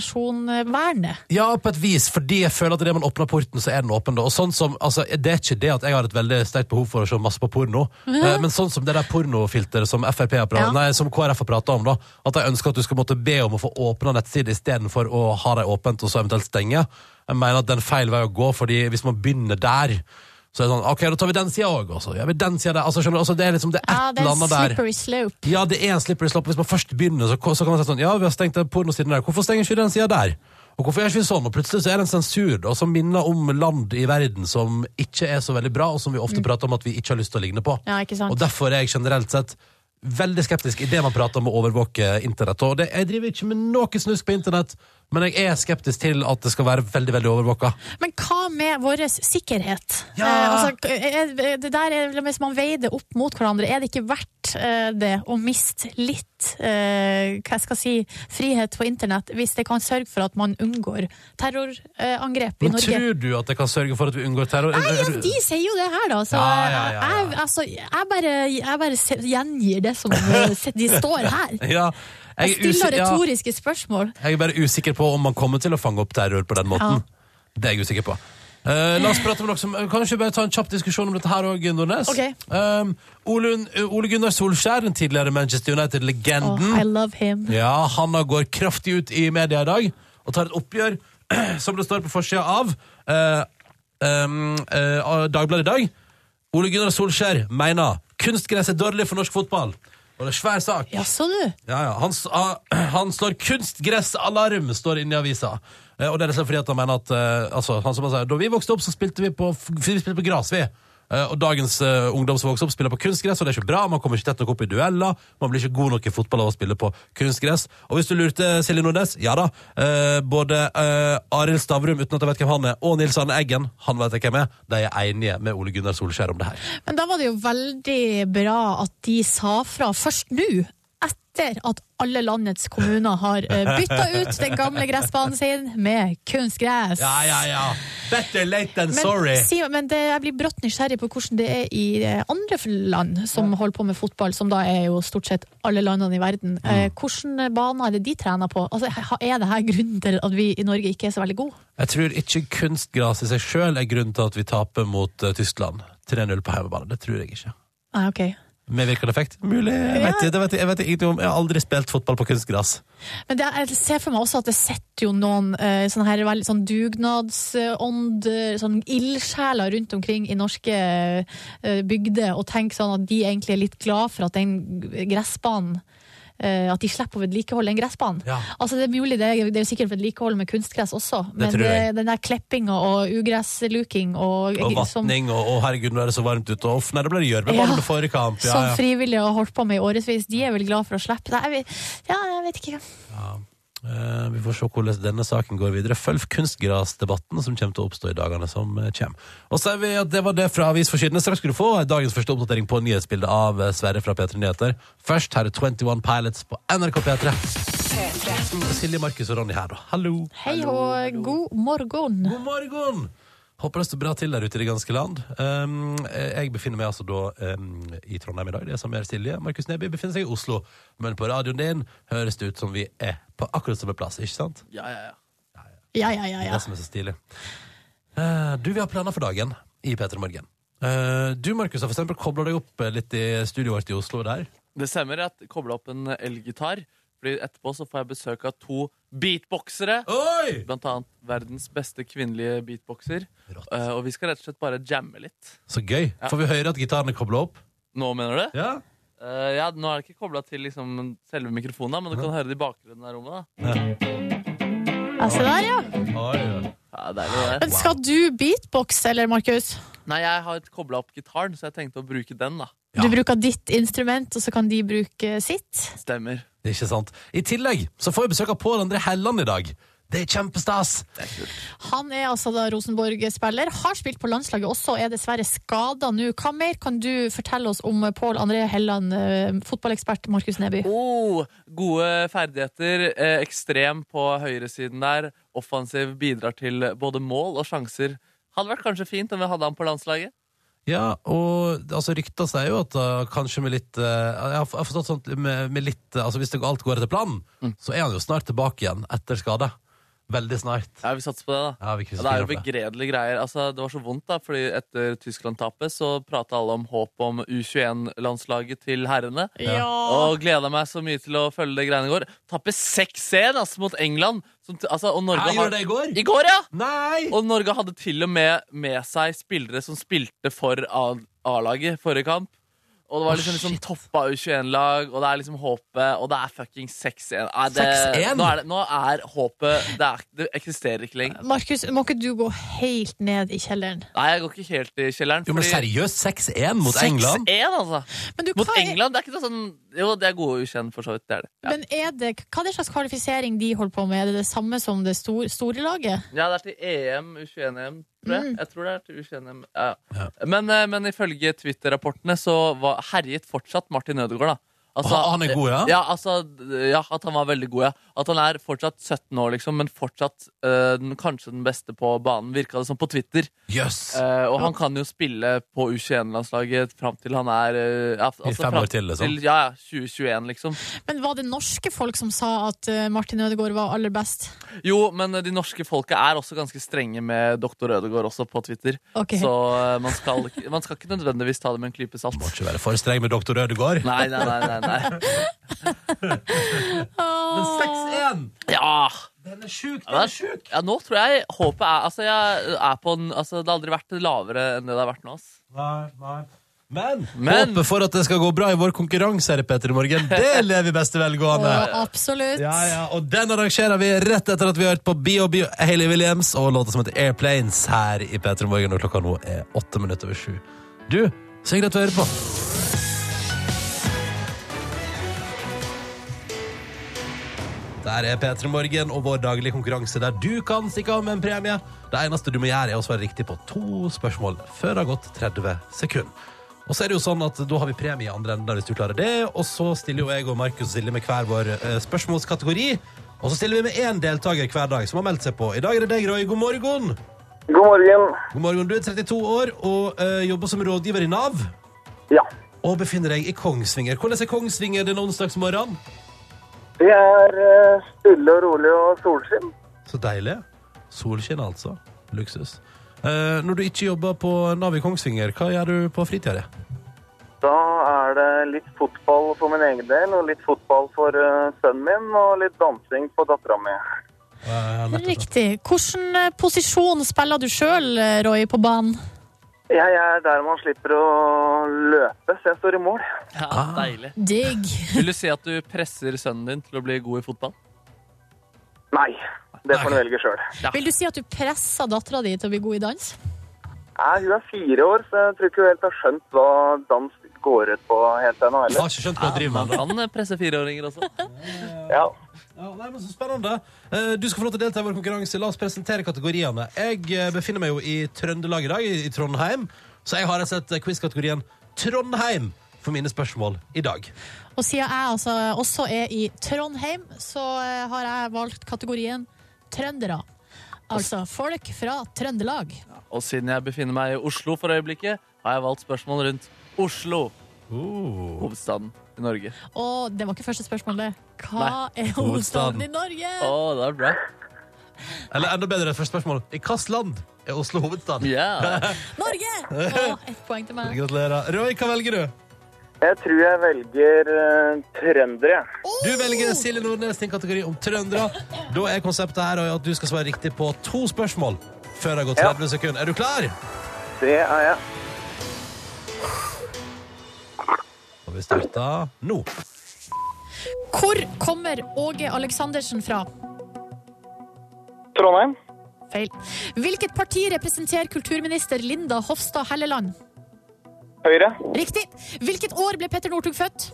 Personvernet?
Ja, på et vis, fordi jeg føler at det man åpner porten, så er den åpen. da. Og sånn som, altså, Det er ikke det at jeg har et veldig sterkt behov for å se masse på porno, eh, men sånn som det der pornofilteret som, FRP har pratet-
Ja.
nei, som KrF har prata om, da, at jeg ønsker at du skal måtte be om å få åpna nettsider istedenfor å ha dem åpent og så eventuelt stenge. Jeg mener at det er en feil vei å gå, fordi hvis man begynner der så er det sånn, ok, da tar vi den sida òg, og så gjør vi den sida der. Altså, skjønner du, altså, det er liksom det er et
Ja, det
eller
er en
annet der.
slippery slope.
Ja, det er en slippery slope. Hvis man først begynner, så, så kan man si sånn Ja, vi har stengt den pornosiden der. Hvorfor stenger ikke vi den sida der? Og hvorfor gjør ikke vi sånn? Og plutselig så er det en sensur da, som minner om land i verden som ikke er så veldig bra, og som vi ofte prater om at vi ikke har lyst til å ligne på.
Mm. Ja, ikke sant?
Og derfor er jeg generelt sett veldig skeptisk i det man prater om å overvåke internett. Og det, jeg driver ikke med noe snusk på internett, men jeg er skeptisk til at det skal være veldig, veldig overvåka.
Men hva med vår sikkerhet?
Ja.
Eh, altså, er, det der er, hvis man veier det opp mot hverandre, er det ikke verdt eh, det å miste litt eh, hva jeg skal si, frihet på internett, hvis det kan sørge for at man unngår terrorangrep i
Men
Norge?
tror du at det kan sørge for at vi unngår terror?
Nei, ja, de sier jo det her, da. Så
Ja, ja, ja, ja.
Jeg, altså, jeg bare, jeg bare se- gjengir det som eh, de står her.
Ja,
Jeg
jeg, er
stiller
usi- ja,
retoriske spørsmål.
jeg er bare usikker på om man kommer til å fange opp terror på den måten. Det er jeg usikker på. Eh, la oss prate om noe som Kan vi ikke bare ta en kjapp diskusjon om dette her òg, Nordnes?
Ok.
Um, Ole, Ole Gunnar Solskjær, den tidligere Manchester
Åh,
United-legenden.
I love him.
Mhm. Ja, Hanna går kraftig ut i media i dag og tar et oppgjør, som det står på forsida av eh, em, eh, av Dagbladet i dag. Ole Gunnar Solskjær mener kunstgress er dårlig for norsk fotball. Og det er svær sak.
Jaså, du.
Ja, ja. Han, s- ah, han slår 'kunstgressalarm', står det inne i avisa. Eh, Og det er liksom fordi at han mener at eh, altså, han som han sier, Da vi vokste opp, så spilte vi på, f- vi spilte på gras, vi. Eh, og dagens eh, ungdom som vokser opp, spiller på kunstgress, og det er ikke bra. Man kommer ikke tett nok opp i dueller. Man blir ikke god nok i fotball av å spille på kunstgress. Og hvis du lurte Silje Nordnes, ja da. eh, både eh, Arild Stavrum, uten at jeg vet hvem han er, og Nils Arne Eggen, han vet jeg hvem er, de er enige med Ole Gunnar Solskjær om det her.
Men da var det jo veldig bra at de sa fra først nå, etter at alle landets kommuner har bytta ut den gamle gressbanen sin med kunstgress.
Ja, ja, ja. Better late than
Men,
sorry.
si, men det, jeg blir brått nysgjerrig på hvordan det er i eh, andre land som holder på med fotball, som da er jo stort sett alle landene i verden.
Mm.
Eh, Hvilke baner er det de trener på? Altså, ha- er det her grunnen til at vi i Norge ikke er så veldig gode?
Jeg tror ikke kunstgras i seg sjøl er grunnen til at vi taper mot eh, Tyskland. 3-0 på hjemmebane. Det tror jeg ikke.
Nei, ok.
Med virkende effekt? Mulig. Jeg vet, det vet, jeg- jeg vet ingenting om. Jeg har aldri spilt fotball på kunstgras.
Men det, jeg ser for meg også at det sitter jo noen eh, sånne her veldig sånn dugnadsånd, eh, sånn ildsjeler rundt omkring i norske eh, bygder, og tenker sånn at de egentlig er litt glad for at den gressbanen eh, at de slipper å vedlikeholde den gressbanen.
Ja.
Altså Det er mulig, det er, det er jo sikkert vedlikehold med kunstgress også, men
tror
det,
jeg.
den der kleppinga og ugressluking og,
Og
som,
vatning og å herregud, nå er det så varmt ute. Og Uff, nei, det ble det gjørmebane
Ja.
under forrige kamp.
som
Ja, ja.
frivillige har holdt på med i årevis, de er vel glad for å slippe det? Jeg vet, ja, jeg vet ikke.
Eh, vi får se hvordan denne saken går videre. Følg kunstgrasdebatten som kommer til å oppstå i dagene som eh, kommer. Og så er vi at det var det fra Avisforsiden. Straks skal du få dagens første oppdatering på nyhetsbildet av eh, Sverre fra P3 Nyheter. Først her er 21 Pilots på NRK P3.
P3.
Silje, Markus og Ronny her, da. Hallo.
Hei og god morgen.
God morgen! Håper det står bra til der ute i det ganske land. Um, jeg befinner meg altså da um, i Trondheim i dag. Det er sammen med Silje. Markus Neby befinner seg i Oslo. Men på radioen din høres det ut som vi er på akkurat samme plass, ikke sant?
Ja, ja, ja.
Ja, ja, ja.
Det er
ja.
Det som er så stilig. Eh, du, vi har planer for dagen i P3 Morgen. Eh, du, Markus, har for eksempel kobla deg opp eh, litt i studioet vårt i Oslo der.
Det stemmer at jeg koblet opp en elgitar Fordi etterpå så får jeg besøk av to beatboxere
Oi!
Blant annet verdens beste kvinnelige beatboxer
Rått.
Eh, Og vi skal rett og slett bare jamme litt
Så gøy.
Ja.
Får vi høre at gitarene kobler opp?
Nå mener du?
Ja.
Eh, ja, nå er det ikke koblet til liksom, selve mikrofonen da, Men du kan høre det i bakgrunnen av rommet da
Ja, se der, ja.
Oi, oi.
Ja, det er jo det
Men skal du beatboxe, eller, Markus?
Nei, jeg har kobla opp gitaren, så jeg tenkte å bruke den, da.
Ja.
Du bruker ditt instrument, og så kan de bruke sitt.
Stemmer.
Det er ikke sant. I tillegg så får vi besøk av Pål André Helland i dag. Det er kjempestas!
Han er altså da Rosenborg-spiller, har spilt på landslaget også, er dessverre skada nå. Hva mer kan du fortelle oss om Pål André Helland, eh, fotballekspert Markus Neby?
Oh, gode ferdigheter. Eh, ekstrem på høyresiden der. Offensiv bidrar til både mål og sjanser. Hadde vært kanskje fint om vi hadde han på landslaget.
Ja, og altså, rykta sier jo at uh, kanskje med litt uh, Jeg har jeg har forstått sånn at med, med litt uh, Altså hvis det går- alt går etter planen, så er han jo snart tilbake igjen etter skade. Veldig snart.
Ja, Vi satser på det, da.
Ja, vi krysser
Ja, det er jo
fingrene for det.
begredelige greier. Altså, det var så vondt, da, fordi etter Tyskland-tapet så prata alle om håp om U21-landslaget til herrene. Og gleda meg så mye til å følge det greiene i går. Tappe 6-1 altså, mot England. Som, t- altså, og Norge
Jeg gjorde det i går!
I går, ja!
Nei!
Og Norge hadde til og med med seg spillere som spilte for A- A-laget forrige kamp. Og det var liksom, liksom toppa U21-lag, og det er liksom håpet, og det er fucking 6-1. Nei, det-
6-1?
Nå, er det- nå er håpet Det, er, det eksisterer ikke lenger.
Markus, må ikke du gå helt ned i kjelleren?
Nei, jeg går ikke helt i kjelleren.
Jo, men
fordi-
seriøst, 6-1 mot
6-1,
England?
altså.
Men, du,
Mot
hva, er,
England? Det er ikke noe sånn Jo, det er gode ukjent, for så vidt. Det er det. Ja.
men er det, hva er det slags kvalifisering de holder på med? Er det det samme som det stor, store laget?
Ja, det er til E EM, U21-EM, tror jeg. Jeg tror det er til U21-EM. Ja. Men, eh, men ifølge Twitter-rapportene så var, herjet fortsatt Martin Ødegaard, da.
Ah, han er god, ja?
Ja, altså, d- ja, at han var veldig god, ja. At han er fortsatt 17 år, liksom, men fortsatt eh, den, kanskje den beste på banen, virka det som på Twitter.
Jøss!
Eh, og han kan jo spille på U21-landslaget fram til han er eh, ja, altså,
fem
fram
år til, liksom.
Ja, ja. 2021, liksom.
Men var det norske folk som sa at eh, Martin Ødegaard var aller best?
Jo, men eh, de norske folka er også ganske strenge med doktor Ødegaard også på Twitter.
Ok.
Så eh, man skal, ikke- man skal ikke nødvendigvis ta det med en klype salt.
Må ikke være for streng med doktor Ødegaard.
Nei, nei, nei. nei, nei.
Men 6-1!
Ja.
Den er sjuk!
Ja, det er ja, nå tror jeg håpet er Altså, jeg er på en altså, Det har aldri vært lavere enn det det har vært nå. altså. ass.
Nei, nei. Men,
Men-
håpet for at det skal gå bra i vår konkurranse, her i Peter i morgen, det lever i beste velgående.
Å, absolutt.
Ja, ja, og den arrangerer vi rett etter at vi har hørt på Bio Bio Hayley Williams og låta som heter Airplanes her i P3 Morgen, og klokka nå er åtte minutter over sju. Du, så hyggelig at du hører på. Der er P3 Morgen og vår daglige konkurranse der du kan stikke av med en premie. Det eneste du må gjøre, er å svare riktig på to spørsmål før det har gått 30 sekunder. Og så er det jo sånn at da har vi premie i andre enden hvis du klarer det. Og så stiller jo jeg og Markus og Silje med hver vår eh, spørsmålskategori. Og så stiller vi med én deltaker hver dag som har meldt seg på. I dag er det deg, Roy. God morgen.
God morgen.
God morgen. Du er 32 år og eh, jobber som rådgiver i Nav.
Ja.
Og befinner deg i Kongsvinger. Hvordan er Kongsvinger denne onsdagsmorgenen?
Det er eh, stille og rolig og solskinn.
Så deilig. Solskinn, altså. Luksus. Eh, når du ikke jobber på Nav i Kongsvinger, hva gjør du på fritida di?
Da er det litt fotball for min egen del, og litt fotball for eh, sønnen min, og litt dansing på dattera mi.
Riktig. Hvilken eh, posisjon spiller du sjøl, Roy, på banen?
Jeg er der man slipper å løpe, så jeg står i mål.
Ja, Deilig.
Digg.
Vil du si at du presser sønnen din til å bli god i fotball?
Nei, det får han velge sjøl.
Vil du si at du presser dattera di til å bli god i dans?
Hun er fire år, så jeg tror ikke hun helt har skjønt hva dans går ut på helt ennå
Jeg
heller.
har ikke skjønt hva jeg driver med.
Man kan eh, presse fireåringer også.
Ja.
Ja, nei, men Så spennende. Eh, Du skal få lov til å delta i vår konkurranse. La oss presentere kategoriene. Jeg eh, befinner meg jo i Trøndelag i dag, i i Trondheim. Så jeg har rett og slett eh, quiz-kategorien Trondheim for mine spørsmål i dag.
Og siden jeg altså også er i Trondheim, så eh, har jeg valgt kategorien trøndere. Altså folk fra Trøndelag.
Og siden jeg befinner meg i Oslo for øyeblikket, har jeg valgt spørsmål rundt Oslo, Oh. hovedstaden i Norge.
Og det var ikke første spørsmål, det. Hva er
hovedstaden.
hovedstaden i Norge?
Å, det er bra.
Eller enda bedre, første spørsmål. I hvilket land er Oslo hovedstad?
Ja.
Norge! Og ett poeng til meg.
Gratulerer. Roy, hva velger du?
Jeg tror jeg velger uh, trøndere.
Du velger Silje Nordnes sin kategori om trøndere. Da er konseptet her Roy, at du skal svare riktig på to spørsmål før det har gått 30 sekunder. Er du klar?
Det er jeg.
Og vi starter nå.
Hvor kommer Åge Aleksandersen fra?
Trondheim.
Feil. Hvilket parti representerer kulturminister Linda Hofstad Helleland?
Høyre.
Riktig. Hvilket år ble Petter Northug født?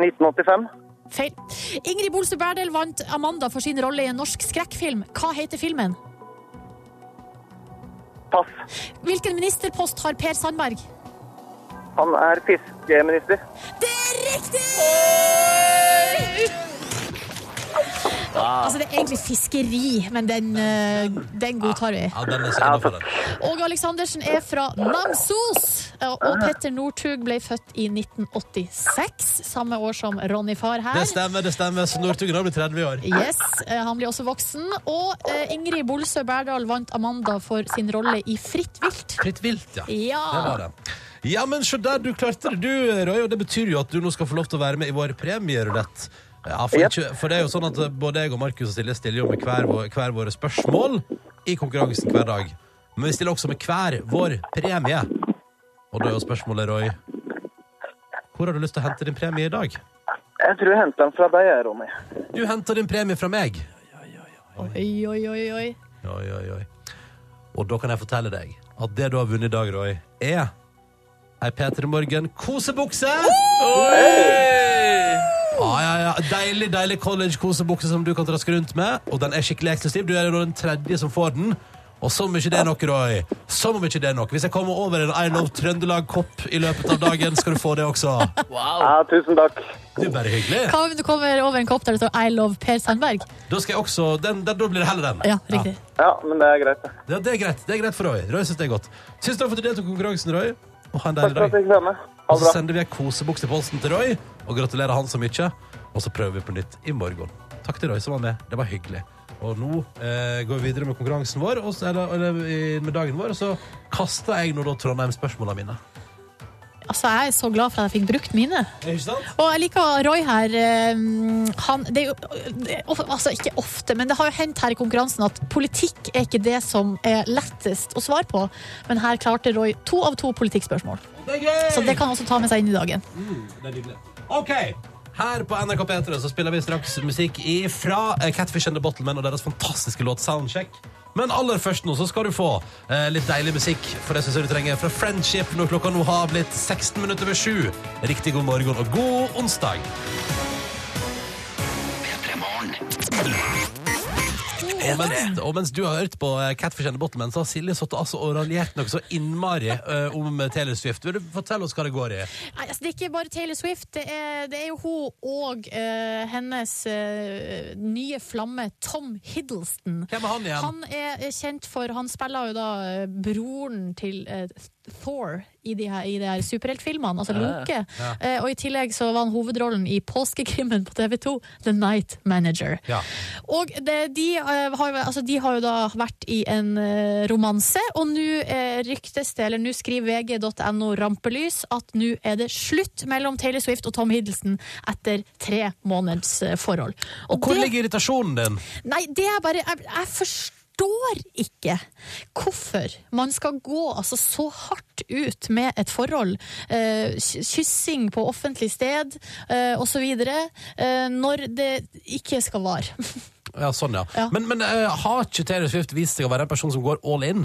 1985.
Feil. Ingrid Bolse Berdel vant Amanda for sin rolle i en norsk skrekkfilm. Hva heter filmen?
Pass.
Hvilken ministerpost har Per Sandberg?
Han er fiskeminister.
Det er riktig! Altså, det er egentlig fiskeri, men den, eh, den godtar vi.
Ja, den er så innenfor den.
Åge Aleksandersen er fra Namsos, Eh, og Petter Northug ble født i 1986, samme år som Ronny Farr her.
Det stemmer, det stemmer. Så Northugen har blitt 30 i år.
Yes, eh, Han blir også voksen. Og eh, Ingrid Bolsø Berdal vant Amanda for sin rolle i Fritt vilt.
Fritt vilt, ja. Det
Ja!
var det. Ja, men se der, du klarte det, du, Roy. Og det betyr jo at du nå skal få lov til å være med i vår premierulett. Ja, for,
Yep.
ikke, for det er jo sånn at både jeg og Markus og Silje stiller jo med hver, vår- hver våre spørsmål i konkurransen hver dag. Men vi stiller også med hver vår premie. Og da er jo spørsmålet, Roy Hvor har du lyst til å hente din premie i dag?
Jeg tror jeg henter den fra deg, jeg, Ronny.
Du henter din premie fra meg.
Oi, oi, oi, oi.
Oi, oi, oi. Og da kan jeg fortelle deg at det du har vunnet i dag, Roy, er ei P3 Morgen kosebukse! Ja, ja, ja. Deilig deilig college-kosebukse som du kan traske rundt med. Og den er skikkelig eksklusiv. Du er jo den tredje som får den. Og som om ikke det er nok, Roy. Som om ikke det er nok. Hvis jeg kommer over en I Love Trøndelag-kopp i løpet av dagen, skal du få det også.
Wow.
Ja, tusen takk.
Det er bare hyggelig.
Hva om du kommer over en kopp der det står 'I love Per Sandberg'?
Da skal jeg også den, den, Da blir det heller den.
Ja, riktig.
Ja, men det er greit. det.
Ja, det er greit. Det er greit for Roy. Roy synes det er godt. Tusen takk for at du deltok i konkurransen, Roy. Og ha en
Takk
deilig
for
dag.
at jeg fikk være med.
Og
Ha
så
det bra.
sender vi en kosebukse i posten til Roy, og gratulerer han så mye. Og så prøver vi på nytt i morgen. Takk til Roy som var med. Det var hyggelig. Og nå eh, går vi videre med konkurransen vår, og så, eller, eller i- med dagen vår, og så kaster jeg nå da Trondheim-spørsmålene mine.
Altså, jeg er så glad for at jeg fikk brukt mine.
Ikke sant?
Og jeg liker Roy her. eh, Han, det er jo det er of, altså Ikke ofte, men det har jo hendt her i konkurransen at politikk er ikke det som er lettest å svare på. Men her klarte Roy to av to politikkspørsmål.
Det er gøy!
Så det kan han også ta med seg inn i dagen.
Det er nydelig. OK. Her på NRK P3 så spiller vi straks musikk fra eh, Catfish and the Bottlemen og deres fantastiske låt Soundcheck. Men aller først nå så skal du få eh, litt deilig musikk for det synes jeg du trenger fra Friendship når klokka nå har blitt 16 minutter over sju. Riktig god morgen og god onsdag. Og mens, og mens du har hørt på eh, Catfish and the Bottlemen, så har Silje satt altså og raljert noe så innmari eh, om Taylor Swift. Vil du fortelle oss hva det går i?
Nei, altså, det er ikke bare Taylor Swift. Det er, det er jo hun og eh, hennes eh, nye flamme Tom Hiddleston.
Hvem er han igjen?
Han er er kjent for Han spiller jo da eh, broren til eh, Thor i de her, i de her superheltfilmene, altså Loke. Eh, og i tillegg så var han hovedrollen i påskekrimmen på TV2, The Night Manager.
Ja.
Og det, de, eh, har, jo- altså, de har jo da vært i en eh, romanse, og nå eh, ryktes det, eller nå skriver vg.no rampelys, at nå er det slutt mellom Taylor Swift og Tom Hiddleston etter tre måneders eh, forhold. Og
Hvor
det-
ligger irritasjonen din?
Nei, det er bare Jeg, jeg forstår ikke hvorfor man skal gå altså, så hardt ut med et forhold. Eh, ky- kyssing på offentlig sted eh, osv. Eh, når det ikke skal vare.
Ja, sånn, ja.
Ja.
Men, men eh, har ikke Taylor Swift vist seg å være en person som går all in?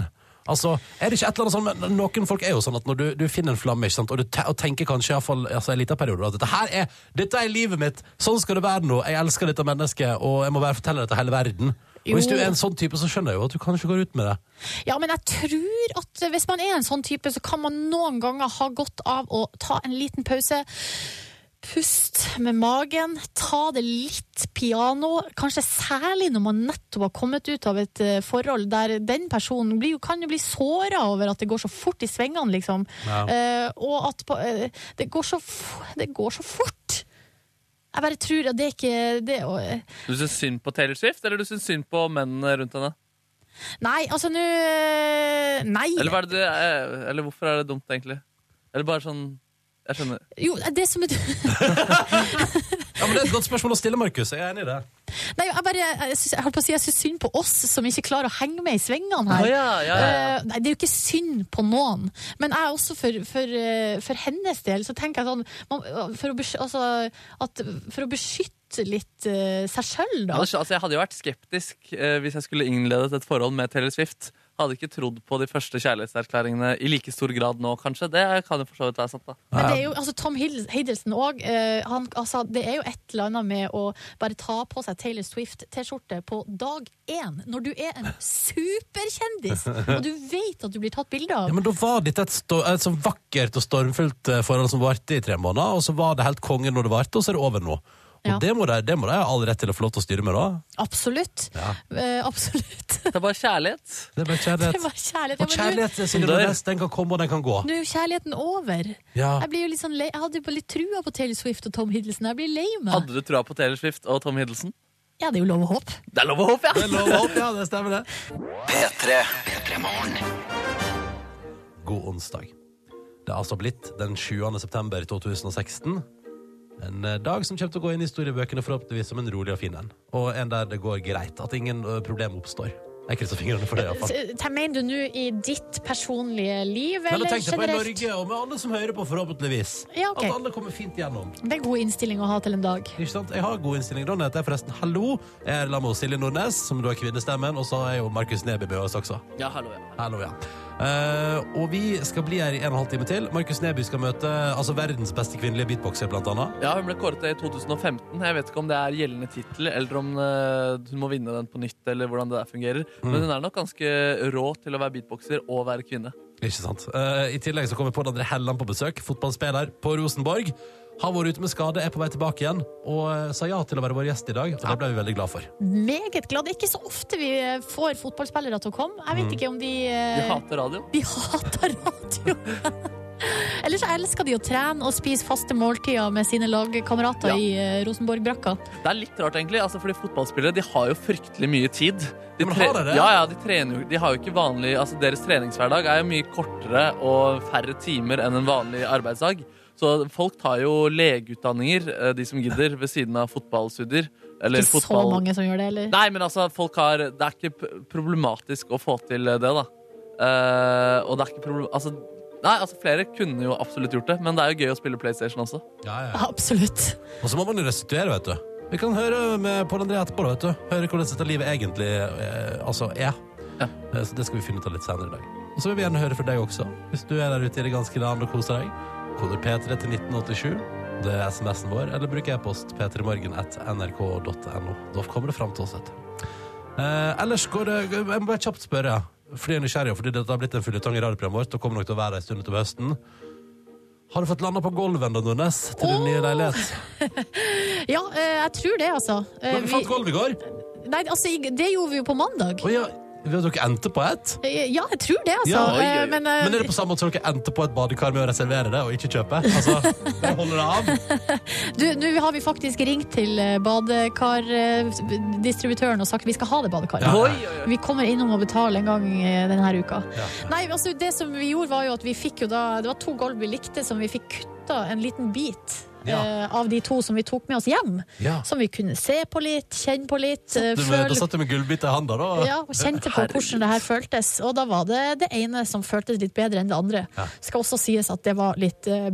Altså, er det ikke et eller annet sånn, men Noen folk er jo sånn at når du, du finner en flamme, ikke sant? Og, du te og tenker kanskje i hvert fall, altså, en liten periode at dette, her er, dette er livet mitt, sånn skal det være nå, jeg elsker dette mennesket, og jeg må bare fortelle det til hele verden. Og Hvis
Jo.
du er en sånn type, så skjønner jeg jo at du kanskje går ut med det.
Ja, men jeg tror at hvis man er en sånn type, så kan man noen ganger ha godt av å ta en liten pause. Pust med magen, ta det litt piano, kanskje særlig når man nettopp har kommet ut av et eh, forhold der den personen blir, jo- kan jo bli såra over at det går så fort i svingene, liksom.
Ja.
Eh, og at på, eh, det, går så, f- det går så fort. Jeg bare tror at det er ikke det, er å- eh,
Du syns synd på Taylor Swift, eller du syns synd på mennene rundt henne?
Nei, altså nå eh, Nei.
Eller, hva er det, du- eh, eller hvorfor er det dumt, egentlig? Eller bare sånn Jeg skjønner.
Jo, det som er
Ja, men Det er et godt spørsmål å stille, Markus. Jeg er enig i det.
Nei, jeg bare, jeg, synes, jeg holdt på å si jeg syns synd på oss som ikke klarer å henge med i svingene
Å
her.
ja, ja, ja.
Eh, nei, det er jo ikke synd på noen. Men jeg også for, for, eh, for hennes del så tenker jeg sånn man, for, å besky, altså, at, for å beskytte litt eh, seg sjøl,
Jeg
da.
hadde, skj- altså, jeg hadde jo vært skeptisk eh, hvis jeg skulle innledet et forhold med Taylor Swift. Hadde ikke trodd på de første kjærlighetserklæringene i like stor grad nå, kanskje. Det kan jo for så vidt være sant, da.
Men det er jo, altså, Tom Hiddles- Hiddleston òg. altså, det er jo et eller annet med å bare ta på seg Taylor Swift-T-skjorte på dag én, når du er en superkjendis og du vet at du blir tatt bilde av.
Ja, men Da var dette et, sto- et så vakkert og stormfullt eh, forhold som varte i tre måneder, og så var det helt konge når det varte, og så er det over nå. Og
Ja.
det må de det må de ha all rett til å få lov til å styre med, da.
Absolutt. Eh, absolutt.
Det er bare kjærlighet.
Det er bare
Det
kjærlighet.
var kjærlighet. Ja,
Og
men
kjærlighet Silje
Dør.
Nordnes, den kan komme, og den kan gå.
nå- nå er jo kjærligheten over.
Ja.
Jeg, blir jo litt sånn lei. jeg hadde jo bare litt trua på Taylor Swift og Tom Hiddleston. Jeg blir lei meg.
Hadde du trua på Taylor Swift og Tom Hiddleston?
Ja, det er jo lov å håpe.
Det er lov å håpe, ja!
Det lover opp, ja, det stemmer det. God onsdag. Det er altså blitt den 7. september 2016. En eh, dag som kommer til å gå inn i historiebøkene forhåpentligvis som en rolig og fin en. Og en der det går greit, at ingen eh, problem oppstår. Jeg krysser fingrene for det, iallfall.
S- te- Mener du nå i ditt personlige liv,
Men
eller
tenk deg på i
generelt?
Norge, og med alle som hører på, forhåpentligvis.
Ja, ok.
At alle kommer fint gjennom.
Det er en god innstilling å ha til en dag.
Ikke sant? Jeg har god innstilling. Da heter jeg forresten Hallo. Jeg er sammen med Silje Nordnes, som da er kvinnestemmen, og så er jo Markus Neby med oss også.
Ja, hallo, ja.
Hallo, ja. Eh, og vi skal bli her i en og en halv time til. Markus Neby skal møte altså verdens beste kvinnelige beatboxer, blant annet.
Ja, Hun ble kåret til i 2015. Jeg vet ikke om det er gjeldende tittel, eller om eh, hun må vinne den på nytt. eller hvordan det der fungerer. Men hun er nok ganske rå til å være beatboxer og være kvinne.
Ikke sant? Eh, I tillegg så kommer Pål André Helland på besøk, fotballspiller på Rosenborg. Har vært ute med skade, er på vei tilbake igjen, og eh, sa ja til å være vår gjest i dag. Og det ble vi veldig glad for.
Meget glad. Det er ikke så ofte vi eh, får fotballspillere til å komme. Jeg vet ikke om de eh,
De hater radio.
De hater radio. Ellers elsker de å trene og spise faste måltider med sine lagkamerater
Ja.
i eh, Rosenborg-brakka.
Det er litt rart, egentlig. Altså, fordi Fotballspillere de har jo fryktelig mye tid.
Ja,
De
men
tre-
har de det?
Ja, ja, de trener jo De har jo ikke vanlig Altså, deres treningshverdag er jo mye kortere og færre timer enn en vanlig arbeidsdag. Så folk tar jo legeutdanninger, eh, de som gidder, ved siden av fotballstudier. Eller
Ikke så
fotball...
mange som gjør det, eller?
Nei, men altså, folk har Det er ikke p- problematisk å få til det, da. Eh, og det er ikke problem... Altså, nei, altså, flere kunne jo absolutt gjort det, men det er jo gøy å spille PlayStation også.
Ja, ja.
Absolutt.
Og så må man jo restituere, vet du. Vi kan høre med Pål André etterpå, da, vet du. Høre hvordan dette livet egentlig eh, altså er.
Ja.
Eh, Så det skal vi finne ut av litt senere i dag. Og så vil vi gjerne høre fra deg også, hvis du er der ute i det ganske land og koser deg. Koder P3 til 1987. Det er SMS-en vår. Eller bruk e-post p3morgen at nrk.no. Da kommer det fram til oss, vet du. Eh, ellers går det Jeg må bare kjapt spørre, fordi jeg er nysgjerrig, og fordi dette har blitt en fulletong i radioprogrammet vårt og kommer nok til å være en stund utover høsten. Har du fått landa på gulvet, da, Nordnes, til din nye
Åh!
leilighet?
Ja, eh, jeg tror det, altså. Eh,
Men vi fant gulv i går.
nei, altså, i- det gjorde vi jo på mandag.
Å ja, vi har dere endte på ett.
Eh, Ja, jeg tror det, altså.
Ja, oi,
oi, oi.
Eh, Men, eh,
Men er det på samme måte som dere endte på et badekar med å reservere det og ikke kjøpe? Altså, det holder det av.
du, nå har vi faktisk ringt til eh, badekardistributøren og sagt vi skal ha det badekaret.
Ja.
Oi, oi, oi.
Vi kommer innom og betaler en gang eh, denne uka.
Ja.
Nei, altså det som vi gjorde var jo at vi fikk jo da Det var to gulv vi likte som vi fikk kutta en liten bit
Ja.
eh, av de to som vi tok med oss hjem.
Ja.
Som vi kunne se på litt, kjenne på litt. eh,
Du, men, da
føle-
satt du med gullbit i handa, da.
ja, og kjente på hvordan det her føltes. Og da var det det ene som føltes litt bedre enn det andre.
Ja.
Skal også sies at det var litt eh,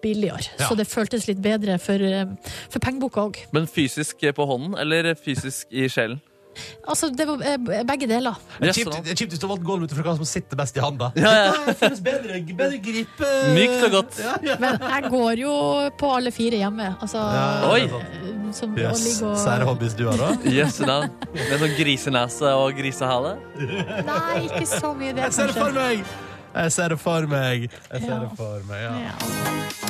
billigere,
Ja.
så det føltes litt bedre for, eh, for pengeboka òg.
Men fysisk på hånden, eller fysisk i sjelen?
Altså, det var eh, begge deler.
Det er kjipt- det er kjipt hvis du har valgt gulv ut fra hva som sitter best i handa.
Ja, ja.
Det føles bedre, bedre gripe.
Mykt og godt.
Ja, ja.
Men jeg går jo på alle fire hjemme. Altså,
Ja,
Oi.
eh, Som, å
Yes.
ligge og
Sære hobbys du har, da.
Jøsse navn. Med sånn grisenese og grisehale.
Nei, ikke så mye det,
Jeg ser det for
kanskje.
meg! Jeg ser det for meg. Jeg ser
Ja.
det for meg, ja.
Ja.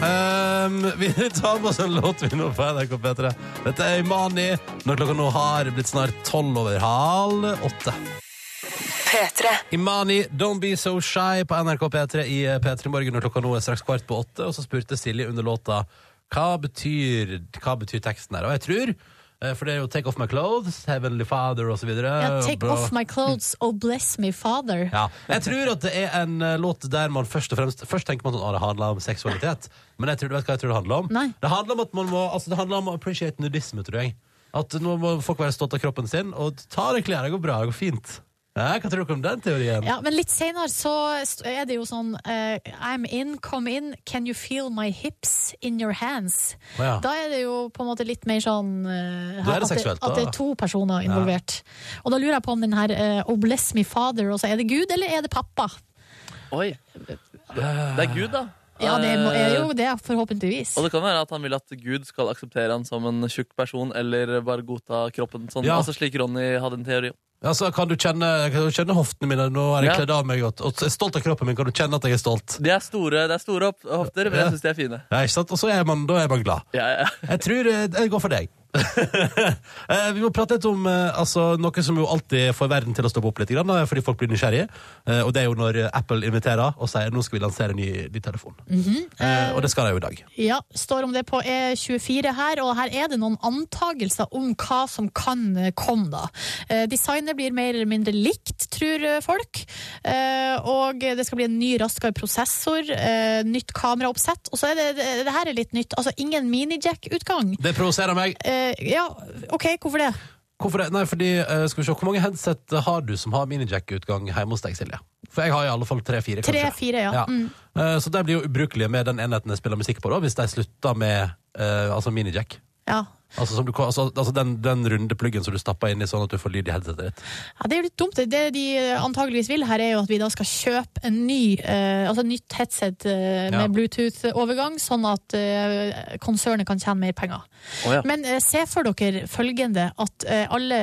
Um, vi tar med oss en låt vi nå på NRK P3. Dette er Imani når klokka nå har blitt snart tolv over halv åtte.
P3.
Imani, Don't Be So Shy på NRK P3 i P3 Morgen når klokka nå er straks kvart på åtte. Og så spurte Silje under låta hva betyr, hva betyr teksten her. Og jeg tror, eh, for det er jo Take Off My Clothes, Heavenly Father osv.
Ja, take off my clothes, oh bless me father.
Ja. Jeg tror at det er en eh, låt der man først og fremst Først tenker man sånn at det handler om seksualitet. Men jeg tror, du vet hva jeg tror det handler om?
Nei.
Det handler om at man må Altså det handler om å appreciate nudisme, tror jeg. At nå må folk være stolt av kroppen sin og ta av deg klærne. Det går bra, det går fint. Ja, hva tror dere om den teorien?
Ja, men litt senere så st- er det jo sånn eh, I'm in, come in, can you feel my hips in your hands?
Å, ja.
Da er det jo på en måte litt mer sånn eh,
Da er det
at,
seksuelt,
at det
da.
er to personer involvert. Og da lurer jeg på om den her eh, Oh bless me father, og så er det Gud eller er det pappa?
Oi. Det er Gud, da.
Ja, det må- er
Eh,
jo det, forhåpentligvis.
Og det kan være at han vil at Gud skal akseptere han som en tjukk person, eller bare godta kroppen sånn.
Ja.
Altså slik Ronny hadde en teori om.
Altså, kan du kjenne, kan du kjenne hoftene mine? Nå er jeg
Ja.
kledd av meg godt. Og jeg er stolt av kroppen min. Kan du kjenne at jeg er stolt?
De er store, det er store hopp- hofter, men jeg syns de er fine.
Ja, ikke sant? Og så er man, da er man glad.
Ja, ja.
Jeg tror eh, jeg går for deg. Eh, vi må prate litt om eh, altså, noe som jo alltid får verden til å stoppe opp litt, grann, da, fordi folk blir nysgjerrige. Eh, og det er jo når eh, Apple inviterer og sier nå skal vi lansere en ny, ny telefon.
Mhm.
Eh, og det skal de jo i dag.
Ja, står om det på E24 her, og her er det noen antagelser om hva som kan eh, komme da. Eh, Designet blir mer eller mindre likt, tror eh, folk, Eh, og det skal bli en ny, raskere prosessor, eh, nytt kameraoppsett, og så er det, det- det her er litt nytt, altså ingen mini-jack-utgang.
Det provoserer meg.
Eh, Ja, ok, hvorfor det?
Hvorfor det? Nei, fordi, eh, skal vi se, Hvor mange headset har du som har minijack-utgang hjemme hos deg, Silje? For jeg har i alle fall tre-fire. kanskje.
Tre-fire, ja.
Ja.
Mm.
Eh, Så de blir jo ubrukelige med den enheten jeg spiller musikk på, da, hvis de slutter med eh, altså minijack.
ja.
Altså, som du, altså, altså den, den runde pluggen som du stapper inn i sånn at du får lyd i headsetet ditt.
Ja, det er jo litt dumt. Det de antageligvis vil her, er jo at vi da skal kjøpe en ny, eh, altså et nytt headset eh,
Ja.
med Bluetooth-overgang, sånn at eh, konsernet kan tjene mer penger.
Å, ja.
Men eh, se for dere følgende at eh, alle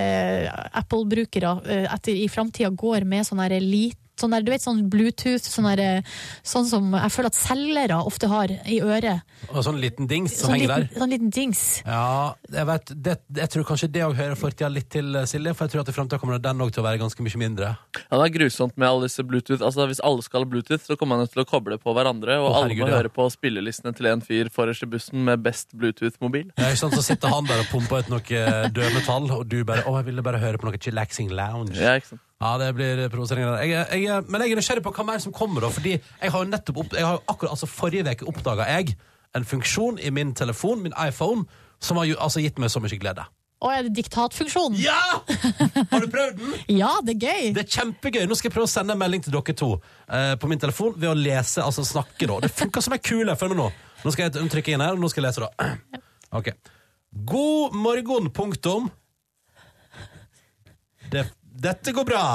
Apple-brukere eh, etter i framtida går med sånn her lite Sånn der, du vet sånn Bluetooth, sånn, der, eh, sånn som jeg føler at selgere ofte har i øret.
Og sånn liten dings som
Sånn
henger
liten,
der.
sånn liten dings.
Ja, jeg, vet, det, jeg tror kanskje det òg hører fortida litt til, eh, Silje. For jeg tror at i fremtiden kommer den òg til å være ganske mye mindre.
Ja, det er grusomt med alle disse Bluetooth. Altså, hvis alle skal ha Bluetooth, så kommer man jo til å koble på hverandre, og
Å,
alle
herregud,
må
ja.
høre på spillelistene til en fyr forrest i bussen med best Bluetooth-mobil.
Ja, ikke sant? Så sitter han der og pumper ut noe dødmetall, og du bare 'Å, jeg ville bare høre på noe chillaxing lounge'.
Ja, ikke sant?
Ja, det blir provoseringer der. Jeg, er- jeg, er- men jeg er nysgjerrig på hva mer som kommer, da. Fordi jeg har jo nettopp opp, jeg har jo akkurat, altså Forrige uke oppdaga jeg en funksjon i min telefon, min iPhone, som har jo, altså, gitt meg så mye glede.
Å, er det diktatfunksjon?
Ja! Har du prøvd den?
Ja, det er gøy!
Det er kjempegøy. Nå skal jeg prøve å sende en melding til dere to eh, på min telefon ved å lese, altså snakke, da. Det funker som ei kule. Følg med nå. Nå skal jeg trykke inn her, og nå skal jeg lese, da. Ok. God morgen, punktum. Det, dette går bra.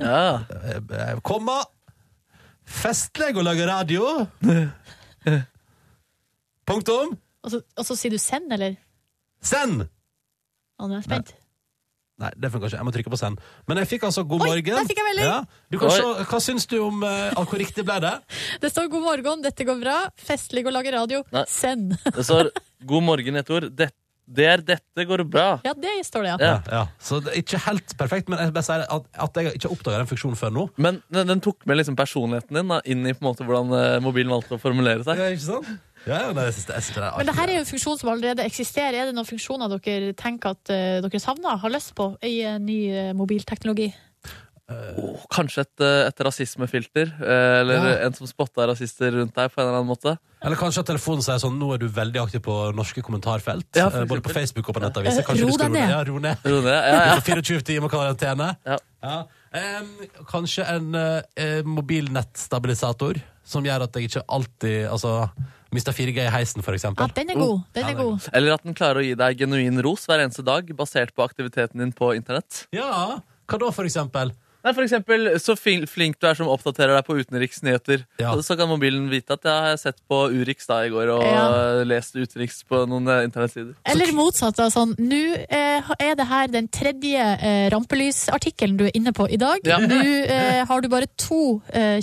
Ja.
Eh, Komma. Festlig å lage radio. Punktum.
Og så, og så sier du send, eller?
Send!
Å, nå er jeg spent.
Nei, det funker ikke. Jeg må trykke på send. Men jeg fikk altså god
Oi,
morgen.
der fikk jeg melding.
Ja. Du kan
Oi.
se, hva syns du om eh, hvor riktig ble det?
Det står 'God morgen, dette går bra'. Festlig å lage radio.
Nei.
Send.
Det står 'God morgen' i ett ord. Det, det er dette går bra.
Ja, det står det, ja.
Ja.
Ja. Ja. Så det er ikke helt perfekt, men jeg bare sier at, at jeg ikke oppdaga den funksjonen før nå.
Men den, den tok med liksom personligheten din da, inn i på en måte hvordan eh, mobilen valgte å formulere seg.
ikke sant? Ja, ja, nei, jeg synes det, jeg synes det er
Men det
artig.
her er jo en funksjon som allerede eksisterer. Er det noen funksjoner dere tenker at eh, dere savner, har lyst på, i eh, ny eh, mobilteknologi?
Åh, kanskje et, eh, et rasismefilter, eh, eller
Ja.
en som spotta rasister rundt deg på en eller annen måte.
Eller kanskje at telefonen sier sånn Nå er du veldig aktiv på norske kommentarfelt.
Ja,
eh,
for
både på
eksempel.
Facebook og på nettaviser.
Eh,
Kanskje
ro
du skal
deg ned.
Ja, ro ned.
Tror du det? Ja,
Du
ja.
får 24 timer karantene.
Ja.
Ja. Em, kanskje en eh, eh, mobilnettstabilisator som gjør at jeg ikke alltid altså, mister 4G i heisen, for
Ja,
eksempel.
den er god. Den er god.
Eller at den klarer å gi deg genuin ros hver eneste dag, basert på aktiviteten din på internett.
Ja, hva da, for eksempel?
Nei, for eksempel, så fil- flink du er som oppdaterer deg på utenriksnyheter.
Ja.
Så kan mobilen vite at jeg har sett på Urix da i går og
Ja.
lest utenriks på noen eh, internettsider.
Eller motsatt. da, Sånn, Nå eh, er det her den tredje eh, rampelysartikkelen du er inne på i dag.
Ja.
Nå eh, har du bare to eh,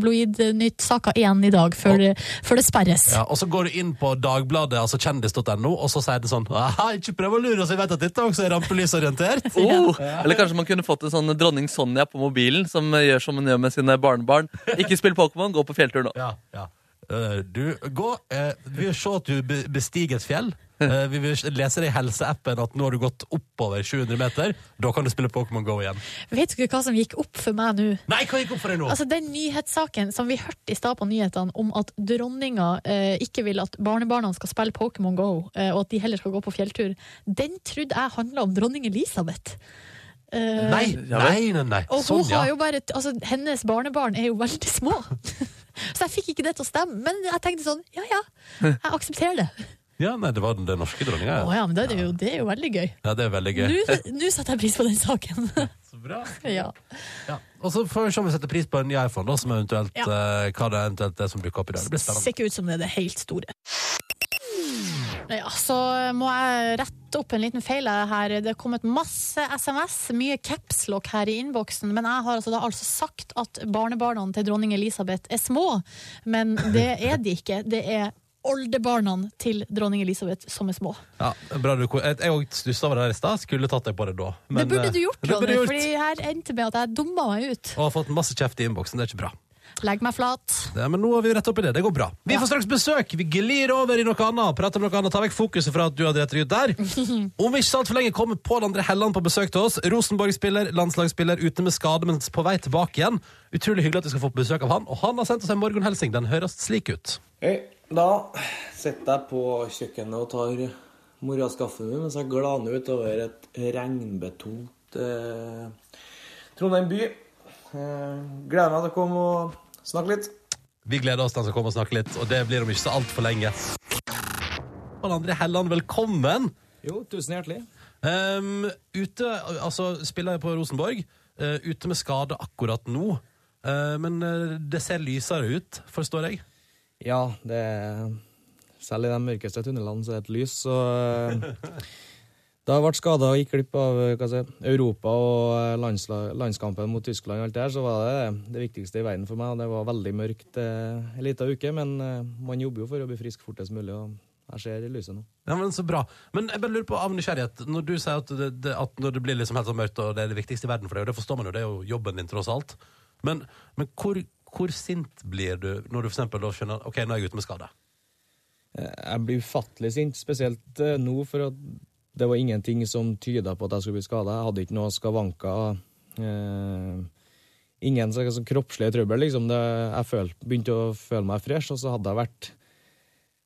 kjendis-tabloid-nyttsaker igjen i dag, før, eh, før det sperres.
Ja, og så går du inn på Dagbladet, altså kjendis.no, og så sier det sånn «Aha, Ikke prøv å lure oss, jeg vet at dette også er rampelysorientert.
Oh, eller kanskje man kunne fått en sånn dronning Sonja på mobilen, som eh, gjør som hun gjør med sine barnebarn. Ikke spill Pokémon, gå på fjelltur nå.
Ja, ja. Eh, Du, gå eh, Vi vil se at du be- bestiger et fjell. Eh, Vi vil lese det i helseappen at nå har du gått oppover 700 meter. Da kan du spille Pokémon GO igjen.
Vet dere hva som gikk opp for meg nå?
Nei, hva gikk opp for deg nå?
Altså Den nyhetssaken som vi hørte i stad på nyhetene, om at dronninga eh, ikke vil at barnebarna skal spille Pokémon GO, eh, og at de heller skal gå på fjelltur, den trodde jeg handla om dronning Elisabeth. Eh,
nei, nei, nei, nei.
Og hun
Sånn, ja.
har jo bare t- altså, Hennes barnebarn er jo veldig små. Så jeg fikk ikke det til å stemme, men jeg tenkte sånn ja ja, jeg aksepterer det.
ja. Nei, det var den, den norske dronninga.
Å
Ja.
ja, men det er jo, det er jo veldig gøy.
Ja, det er veldig gøy.
Nå nå setter jeg pris på den saken.
Så bra.
ja.
Ja. Og så får vi se om vi setter pris på en ny iPhone, da, som eventuelt,
Ja.
eh, hva det eventuelt er som dukker opp i dag. Det blir spennende.
Ser ikke ut som det er det helt store. Ja, så må jeg rette opp en liten feil her. Det er kommet masse SMS, mye capslock her i innboksen, men jeg har altså, da altså sagt at barnebarna til dronning Elisabeth er små, men det er de ikke. Det er oldebarna til dronning Elisabeth som er små.
Ja, bra du Jeg jeg òg stussa over det her i stad. Skulle tatt deg på det da. Men,
det burde
eh,
du gjort,
det burde
Ronny,
jeg gjort.
fordi her endte med at jeg dumma meg ut.
Og har fått masse kjeft i innboksen. Det er ikke bra.
Legg meg flat.
Det, men nå har vi rett opp i det. Det går bra. Vi får straks besøk. Vi glir over i noe annet. Prater om noe annet. Ta vekk fokuset fra at du har drept deg ut der. Om ikke så altfor lenge kommer Pål André Helland på besøk til oss. Rosenborg-spiller, landslagsspiller, ute med skade, men på vei tilbake igjen. Utrolig hyggelig at vi skal få besøk av han. Og han har sendt oss en morgenhilsing. Den høres slik ut.
Ok, Da setter jeg på kjøkkenet og tar Mora skaffet meg mens jeg glaner utover et regnbetont eh, Trondheim by. Eh, gleder meg til å komme og snakke litt.
Vi gleder oss til han skal komme og snakke litt, og det blir om ikke så altfor lenge. Pål André Helland, velkommen!
Jo, tusen hjertelig.
Ehm, ute, altså spiller jeg på Rosenborg, eh, ute med skade akkurat nå. Eh, men eh, det ser lysere ut, forstår jeg.
Ja, det er- Selv i de mørkeste tunnelene så er det et lys, så eh, Da jeg ble skada og gikk glipp av eh, hva skal jeg si, Europa og eh, landslag, landskampen mot Tyskland og alt det her, så var det det viktigste i verden for meg. og Det var veldig mørkt eh, en liten uke, men eh, man jobber jo for å bli frisk fortest mulig, og jeg ser lyset nå.
Ja, men Så bra. Men jeg bare lurer på av nysgjerrighet. Når du sier at det, det, at når det blir liksom helt sånn mørkt, og det er det viktigste i verden for deg, og det forstår man jo, det er jo jobben din, tross alt. Men, men hvor, hvor sint blir du når du for eksempel da skjønner ok, nå er jeg ute med skade?
Eh, Jeg blir ufattelig sint, spesielt eh, nå, for at det var ingenting som tyda på at jeg skulle bli skada. Jeg hadde ikke noe skavanker. Eh, ingen sånn sånn kroppslige trøbbel, liksom. Det, jeg føl, begynte å føle meg fresh, og så hadde jeg vært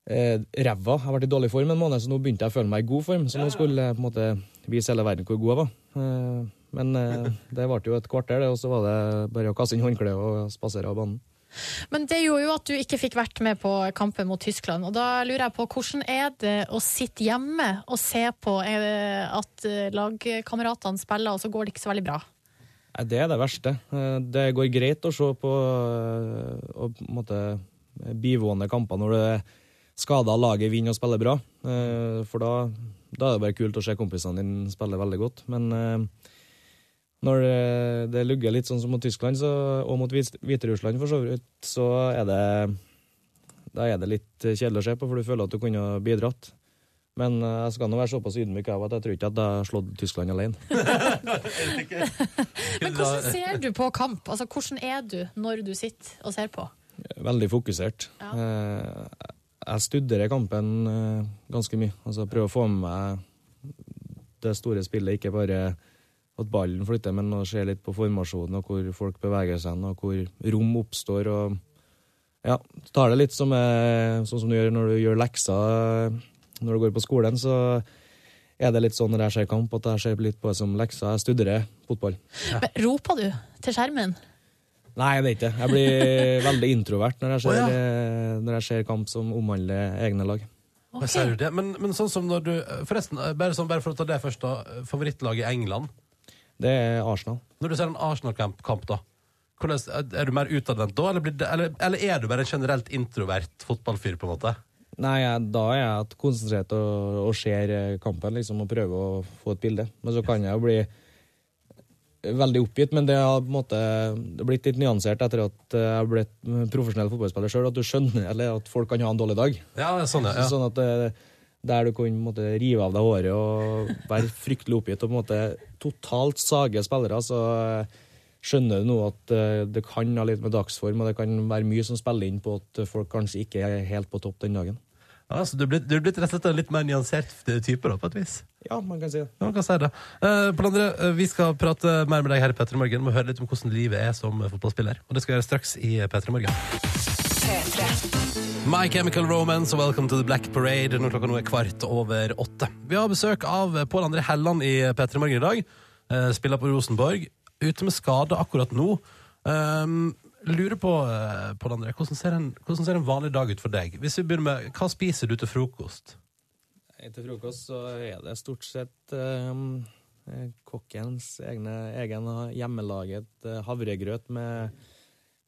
eh, ræva. Jeg har vært i dårlig form en måned, så nå begynte jeg å føle meg i god form. Så nå skulle jeg på en måte vise hele verden hvor god jeg var. Eh, men eh, det varte jo et kvarter, det, og så var det bare å kaste inn håndkleet og spasere av banen.
Men det gjorde jo at du ikke fikk vært med på kampen mot Tyskland. Og da lurer jeg på, hvordan er det å sitte hjemme og se på eh, at eh, lagkameratene spiller, og så går det ikke så veldig bra?
Nei, det er det verste. Eh, Det går greit å se på eh, og på en måte eh, bivående kamper når det skader laget vinner og spiller bra. Eh, For da, da er det bare kult å se kompisene dine spille veldig godt. Men eh, når eh, det lugger litt sånn som mot Tyskland, så, og mot Hvit- Hviterussland for så vidt, så er det da er det litt kjedelig å se på, for du føler at du kunne ha bidratt. Men eh, jeg skal nå være såpass ydmyk av at jeg tror ikke at jeg har slått Tyskland alene.
Men hvordan ser du på kamp? Altså, hvordan er du når du sitter og ser på?
Veldig fokusert.
Ja.
Eh, Jeg studerer kampen eh, ganske mye. Altså Prøver å få med meg det store spillet, ikke bare at ballen flytter, men å se litt på formasjonen og hvor folk beveger seg, hen, og hvor rom oppstår. og ja, du tar det litt som, eh, sånn som du gjør når du gjør lekser eh, når du går på skolen. så er det litt sånn når jeg ser kamp, at jeg ser litt på det som lekser. Jeg studerer fotball.
Men, roper du til skjermen?
Nei, jeg vet ikke. Jeg blir veldig introvert når jeg ser,
Å, ja.
eh, når jeg ser kamp som omhandler egne lag.
Men Sier du det? Men, men sånn som når du Forresten, bare, sånn, bare for å ta det først, da. Favorittlaget i England.
Det er Arsenal.
Når du ser en Arsenal-kamp, kamp da hvordan, Er du mer utadvendt da, eller, blir det, eller, eller er du bare en generelt introvert fotballfyr, på en måte?
Nei, jeg, da er jeg at konsentrert og, og ser eh, kampen liksom, og prøver å få et bilde. Men så kan jeg jo bli veldig oppgitt, men det har på en måte det har blitt litt nyansert etter at eh, jeg ble et profesjonell fotballspiller sjøl, at du skjønner eller at folk kan ha en dårlig dag.
Ja, sånn, ja. ja.
Sånn at eh, der du kan på en måte, rive av deg håret og være fryktelig oppgitt og på en måte totalt sage spillere, så eh, skjønner du nå at eh, det kan ha litt med dagsform, og det kan være mye som spiller inn på at folk kanskje ikke er helt på topp den dagen.
ja så du er blitt, du er blitt rett og slett en litt mer nyansert type, da, på et vis?
Ja, man kan si det.
Ja, man kan si det. Eh, Pål André, eh, vi skal prate mer med deg her i Petter i morgen. Vi må høre litt om hvordan livet er som fotballspiller. Og det skal vi gjøre straks i Petter i morgen.
P3.
My Chemical Romance og Welcome to the Black Parade når klokka nå er kvart over åtte. Vi har besøk av Pål André Helland i P3 Morgen i dag. Eh, Spiller på Rosenborg. Ute med skade akkurat nå. Um, lurer på, eh, Pål André, hvordan ser, en, hvordan ser en vanlig dag ut for deg? Hvis vi begynner med, Hva spiser du til frokost?
Etter frokost så er det stort sett eh, kokkens egne, egen hjemmelaget eh, havregrøt med,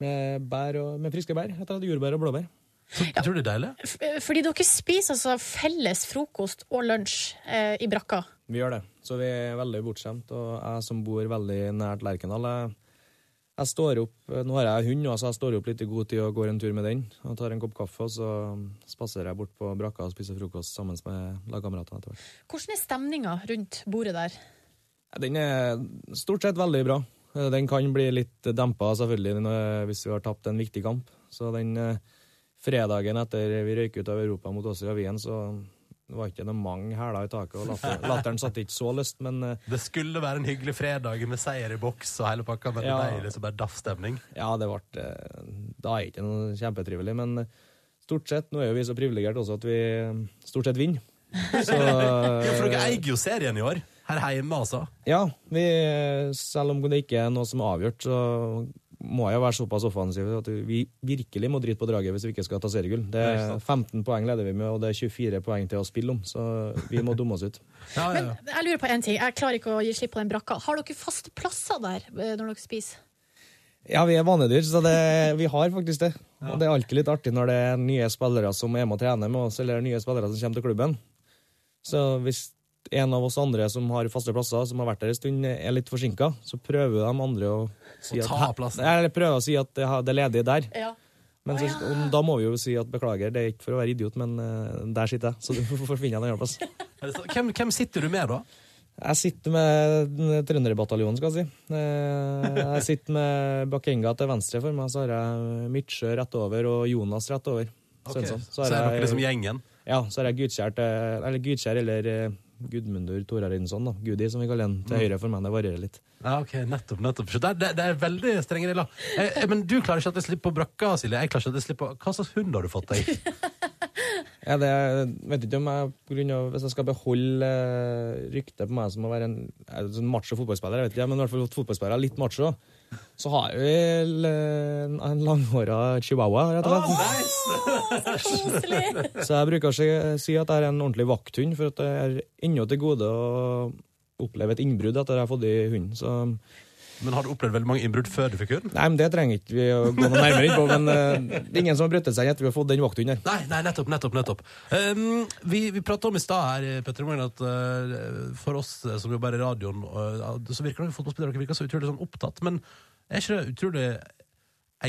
med, bær og, med friske bær. Etter at jordbær og blåbær.
Tror du det er deilig?
F- Fordi dere spiser altså felles frokost og lunsj eh, i brakka.
Vi gjør det. Så vi er veldig bortskjemt. Og jeg som bor veldig nært Lerkendal, jeg, jeg står opp Nå har jeg hund, nå, så jeg står opp litt i god tid og går en tur med den. Og tar en kopp kaffe, og så spaserer jeg bort på brakka og spiser frokost sammen med lagkameratene etter hvert.
Hvordan er stemninga rundt bordet der?
Ja, Den er stort sett veldig bra. Eh, Den kan bli litt dempa selvfølgelig når- hvis vi har tapt en viktig kamp. Så den eh, fredagen etter vi røyk ut av Europa mot Åsøya Wien, så var ikke det mange hæler i taket, og latter, latteren satte ikke så lyst, men eh,
Det skulle være en hyggelig fredag med seier i boks og hele pakka, men
Ja.
det er deilig så bare daff-stemning.
Ja, det ble eh, Da er ikke noe kjempetrivelig, men stort sett Nå er jo vi så privilegert også at vi stort sett vinner. Så
Ja, for dere eier jo serien i år. Her hjemme, altså.
ja, vi, selv om det ikke er noe som er avgjort, så må jeg jo være såpass offensiv at vi virkelig må drite på draget hvis vi ikke skal ta seriegull. Det
Ja, ikke
er
sant.
15 poeng leder vi med, og det er 24 poeng til å spille om, så vi må dumme oss ut.
Ja, ja, ja.
Jeg lurer på en ting. Jeg klarer ikke å gi slipp på den brakka. Har dere faste plasser der eh, når dere spiser?
Ja, vi er vanedyr, så det, vi har faktisk det. Og det er alltid litt artig når det er nye spillere som er med og trener med oss, eller nye spillere som kommer til klubben. Så hvis en av oss andre som har faste plasser, som har vært der en stund, er litt forsinka, så prøver de andre å si
Å
at,
ta plassen.
Eller prøver å si at det har- det er ledig der.
Ja.
Men så, om- da må vi jo si at beklager, det er ikke for å være idiot, men eh, der sitter jeg, så du får finne deg en annen plass.
Er det sant? Hvem, hvem sitter du med, da?
Jeg sitter med den trønderbataljonen, skal jeg si. Eh, Jeg sitter med Bakenga til venstre for meg, så har jeg Midtsjø rett over og Jonas rett over. Svensson.
Så er dere liksom
jeg,
gjengen.
ja, så har jeg Gudskjær til- eller, Gudskjær eller eh, Gudmundur Torarinsson, da. Gudi, som vi kaller han.
Mm.
Til høyre for meg, det varierer litt.
Ja, ok, nettopp, nettopp. Så Det, er- det, det er veldig strenge regler. Eh, eh, men du klarer ikke at jeg slipper på brakka, Silje. Jeg klarer ikke at jeg slipper Hva slags hund har du fått deg?
Ja, det, jeg vet ikke om jeg, på grunn av, Hvis jeg skal beholde eh, ryktet på meg som å være en, en sånn macho fotballspiller, jeg vet ikke, men i hvert fall fotballspiller er litt macho, så har jeg vel eh, en, en langhåra chihuahua, rett og slett.
Koselig!
Så jeg bruker å si- si at jeg er en ordentlig vakthund, for at jeg er ennå til gode å oppleve et innbrudd etter jeg har fått i hunden. Så nei,
Men har du opplevd veldig mange innbrudd før du fikk hund?
men det trenger ikke vi å gå noe nærmere inn på, men eh, det er ingen som har brøttet seg etter vi har fått den vakthunden her.
Nei, nei, nettopp, nettopp, nettopp. Um, vi, vi pratet om i stad her, Petter Morgen, at eh, for oss eh, som jobber i radioen, eh, så virker det fotballspillere dere virker så utrolig sånn opptatt, men er ikke det utrolig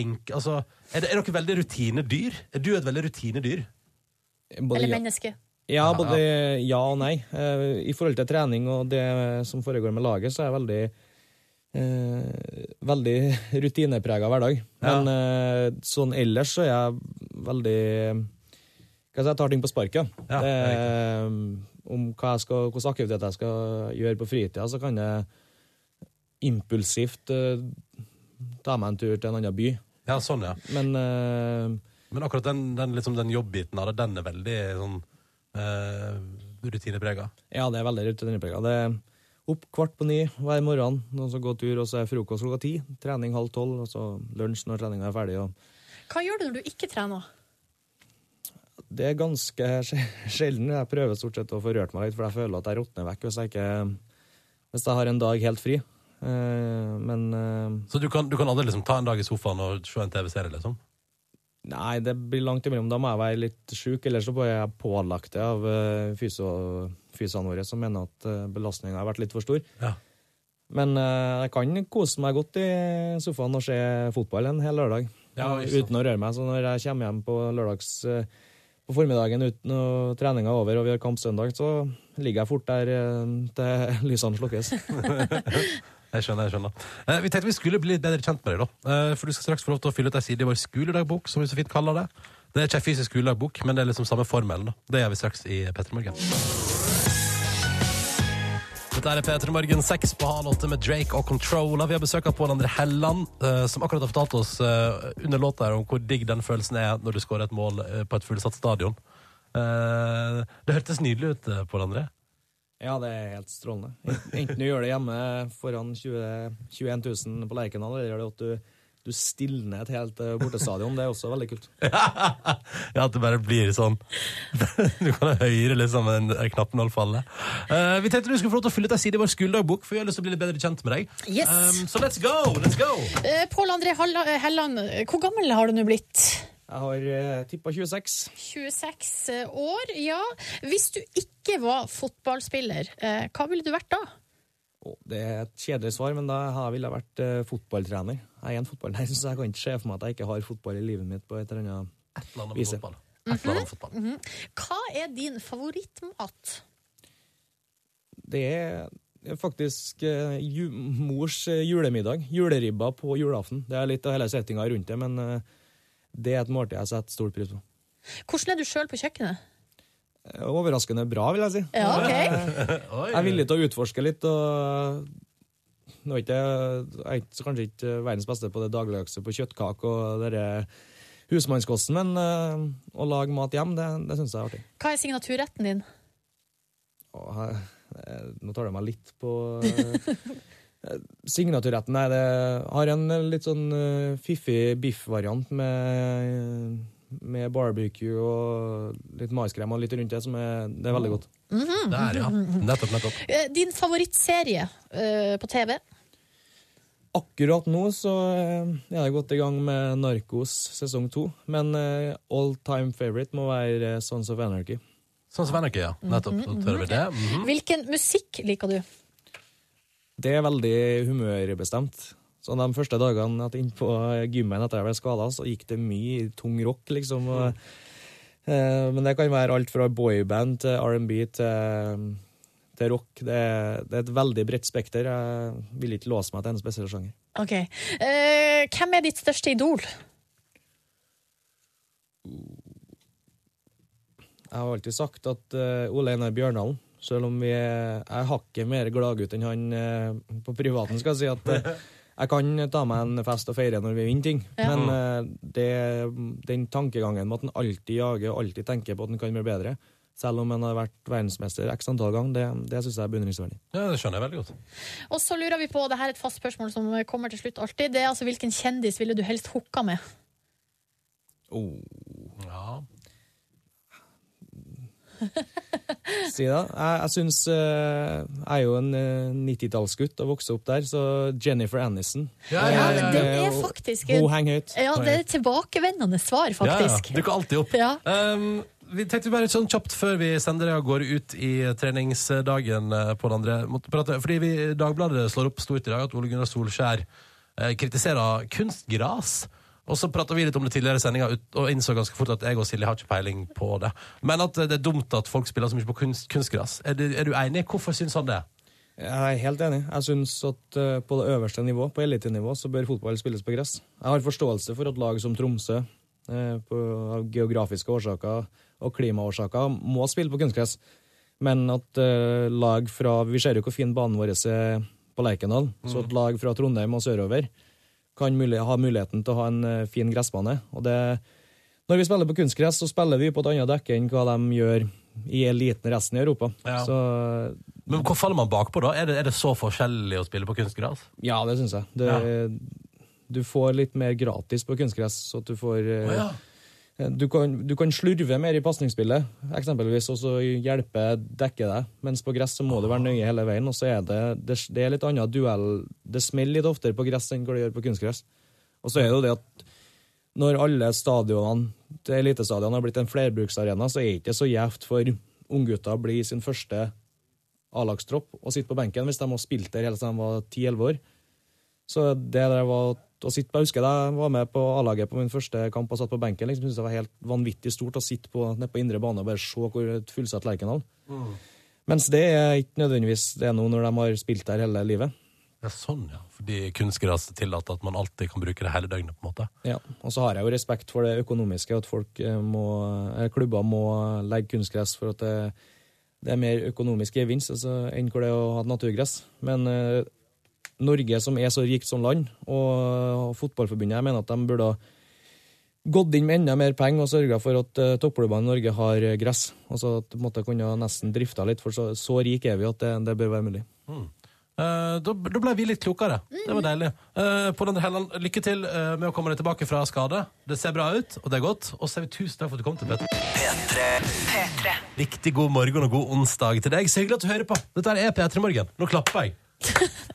enk... Altså, er, det, er dere veldig rutinedyr? Er du et veldig rutinedyr?
Både
Eller
ja-
menneske.
Ja, både ja og nei. Eh, I forhold til trening og det som foregår med laget, så er jeg veldig eh, veldig rutineprega hverdag. Men eh, sånn ellers så er jeg veldig Hva skal jeg si, jeg tar ting på sparket. det,
Ja, det er
er, eh, om hva jeg skal, hvordan aktivitet jeg skal gjøre på fritida, så kan jeg impulsivt eh, ta meg en tur til en annen by.
Ja, sånn, ja.
Men eh,
Men akkurat den, den, liksom, den jobbbiten av det, den er veldig sånn eh, rutineprega.
Ja, det er veldig rutineprega. Det er opp kvart på ni hver morgen, og så gå tur, og så er frokost klokka ti. Trening halv tolv, og så lunsj når treninga er ferdig. Og
Hva gjør du når du ikke trener?
det er ganske sj- sjelden. Jeg prøver stort sett å få rørt meg litt, for jeg føler at jeg råtner vekk hvis jeg ikke Hvis jeg har en dag helt fri. Eh, Men eh,
Så du kan, du kan aldri liksom ta en dag i sofaen og se en TV-serie, liksom?
nei, det blir langt imellom. Da må jeg være litt sjuk, eller så blir jeg pålagt det av eh, fysio- fysiene våre, som mener at belastninga har vært litt for stor.
Ja.
Men eh, jeg kan kose meg godt i sofaen og se fotball en hel lørdag.
Ja,
Eh,
ikke sant.
uten å røre meg. Så når jeg kommer hjem på lørdags eh, på formiddagen uten å treninga er over og vi har kamp søndag, så ligger jeg fort der eh, til lysene slukkes.
Jeg skjønner, jeg skjønner. Eh, vi tenkte vi skulle bli litt bedre kjent med deg, da. Eh, for du skal straks få lov til å fylle ut ei side i vår skoledagbok, som vi så fint kaller det. Det er ikke ei fysisk skoledagbok, men det er liksom samme formelen, da. Det gjør vi straks i P3 Morgen. Dette er P3 Morgen 6 på halv åtte med Drake og Controller. Vi har besøk av Pål André Helland, eh, som akkurat har fortalt oss eh, under låta her om hvor digg den følelsen er når du skårer et mål eh, på et fullsatt stadion. Eh, det hørtes nydelig ut, eh, Pål André.
Ja, det er helt strålende. Enten du gjør det hjemme foran 20, 21 000 på Lerkendal, eller at du, du stilner et helt eh, bortestadion. Det er også veldig kult.
ja, at det bare blir sånn. Du kan høyre liksom en en knappenål falle. Eh, vi tenkte du skulle få lov til å fylle ut ei side i vår skoledagbok, for vi har lyst til å bli litt bedre kjent med deg.
Yes.
Um, så let's go! let's go
Eh, Pål André Halla- eh, Helland, eh, hvor gammel har du nå blitt?
Jeg har eh, tippa 26.
26 eh, år, ja. Hvis du ikke var fotballspiller, eh, hva ville du vært da?
Å, Det er et kjedelig svar, men da har- ville jeg vært eh, fotballtrener. Jeg er en fotballtrener, så jeg kan ikke se for meg at jeg ikke har fotball i livet mitt på et eller annet
Et eller annet med
Vise.
fotball. Et eller annet med fotball.
Hva er din favorittmat?
Det er faktisk eh, ju mors eh, julemiddag. Juleribba på julaften. Det er litt av hele settinga rundt det, men eh, det er et måltid jeg setter stor pris på.
Hvordan er du sjøl på kjøkkenet?
Eh, Overraskende bra, vil jeg si.
Ja, ok.
Oi.
Jeg er villig til å utforske litt. og... Nå er ikke, jeg- jeg er ikke- kanskje ikke verdens beste på det dagligdagse på kjøttkake og denne eh, husmannskosten, men eh, å lage mat hjem, det, det syns jeg er artig.
Hva er signaturretten din?
Å, he- eh, Nå tar det meg litt på eh, eh, Signaturretten er det Har en litt sånn eh, fiffig biff-variant med, med barbecue og litt maiskrem og litt rundt det, som er, det er veldig godt.
Der, ja. Nettopp, nettopp.
Eh, Din favorittserie eh, på TV?
Akkurat nå så eh, er jeg godt i gang med Narkos sesong to. Men eh, all time favorite må være eh, Sons of Anarchy.
Sånn som Anarchy, ja. Nettopp. Da hører vi det. Mhm.
Hvilken musikk liker du?
Det er veldig humørbestemt. Så de første dagene at inn på eh, gymmen etter jeg ble skada, så gikk det mye i tung rock, liksom. Og, eh, men det kan være alt fra boyband til R&B til, til rock. Det er, det er et veldig bredt spekter. Jeg vil ikke låse meg til en spesiell sjanger.
Ok. Eh, hvem er ditt største idol?
Jeg har alltid sagt at eh, Ole Einar Bjørndalen Selv om vi er, jeg er hakket mer gladgutt enn han eh, på privaten, skal jeg si. at eh, Jeg kan ta meg en fest og feire når vi vinner ting,
Ja.
men eh, det, den tankegangen med at en alltid jager og alltid tenker på at en kan bli bedre, selv om en har vært verdensmester x antall ganger, det, det syns jeg er beundringsverdig.
Ja, det skjønner jeg veldig godt.
Og så lurer vi på, det her er et fast spørsmål som kommer til slutt alltid, det er altså hvilken kjendis ville du helst hooka med?
Ja.
Si det. Jeg, jeg syns Jeg er jo en eh, 90-tallsgutt og vokste opp der, så Jennifer Aniston
Ja,
Ja,
ja,
men
ja.
det
Eh,
er
og-
faktisk
Hun henger høyt.
Ja, det er et tilbakevendende svar, faktisk.
Ja, ja. Dukker alltid opp.
Ja.
Um, vi tenkte bare sånn kjapt før vi sender deg og går ut i eh, treningsdagen eh, på den andre måtte prate, fordi vi, Dagbladet slår opp stort i dag at Ole Gunnar Solskjær eh, kritiserer kunstgras. Og så prata vi litt om det tidligere i sendinga og innså ganske fort at jeg og Silje har ikke peiling på det. Men at eh, det er dumt at folk spiller så mye på kunst, kunstgras. Er du, er du enig? Hvorfor syns han det?
Jeg er helt enig. Jeg syns at eh, på det øverste nivå, på elitenivå, så bør fotball spilles på gress. Jeg har forståelse for at lag som Tromsø, eh, på, av geografiske årsaker og klimaårsaker, må spille på kunstgress. Men at eh, lag fra Vi ser jo hvor fin banen vår er på Lerkendal, så at lag fra Trondheim og sørover kan muli- ha muligheten til å ha en eh, fin gressbane. Og det, når vi spiller på kunstgress, så spiller vi på et annet dekke enn hva de gjør i eliten resten i Europa.
Ja.
Så
Men hvor faller man bakpå, da? Er det, er det så forskjellig å spille på kunstgras?
ja, det syns jeg. Det, Du får litt mer gratis på kunstgress. Så at du, får, eh,
Å, ja.
du, kan, du kan slurve mer i pasningsspillet, eksempelvis, og så hjelpe dekke deg. Mens på gress så må du være nøye hele veien, og så er det, det, det er litt annet duell. Det smeller litt oftere på gress enn hva det gjør på kunstgress. Og så er det jo det at når alle stadionene til elitestadionene har blitt en flerbruksarena, så er det ikke så gjevt for unggutter å bli sin første A-lagstropp og sitte på benken hvis de har spilt der helt siden de var 10-11 år. Så det der var å sitte på, jeg husker jeg var med på A-laget på min første kamp og satt på benken. liksom, synes Det var helt vanvittig stort å sitte på, nede på indre bane og bare se hvor et fullsatt Lerkendal. Mens det er ikke nødvendigvis det nå når de har spilt der hele livet.
Ja, sånn, ja. Fordi kunstgras tillater at man alltid kan bruke det hele døgnet, på en måte.
Ja, Og så har jeg jo respekt for det økonomiske, at folk eh, må, eh, klubber må legge kunstgress for at det, det er mer økonomisk gevinst altså, enn hvor det er å ha naturgress. Men eh, Norge, som er så rikt som land, og fotballforbundet, jeg mener at de burde ha gått inn med enda mer penger og sørga for at eh, toppklubbene i Norge har eh, gress. Altså at de måtte kunne nesten drifta litt, for så, så rike er vi at det, det bør være mulig.
Eh, da, da ble vi litt klokere. Det
Mhm.
var deilig. Eh, på den andre Helland, lykke til eh, med å komme deg tilbake fra skade. Det ser bra ut, og det er godt. Og så er vi tusen takk for at du kom til Petter.
P3.
Riktig god morgen og god onsdag til deg. Så hyggelig at du hører på. Dette her er P3 Morgen. Nå klapper jeg.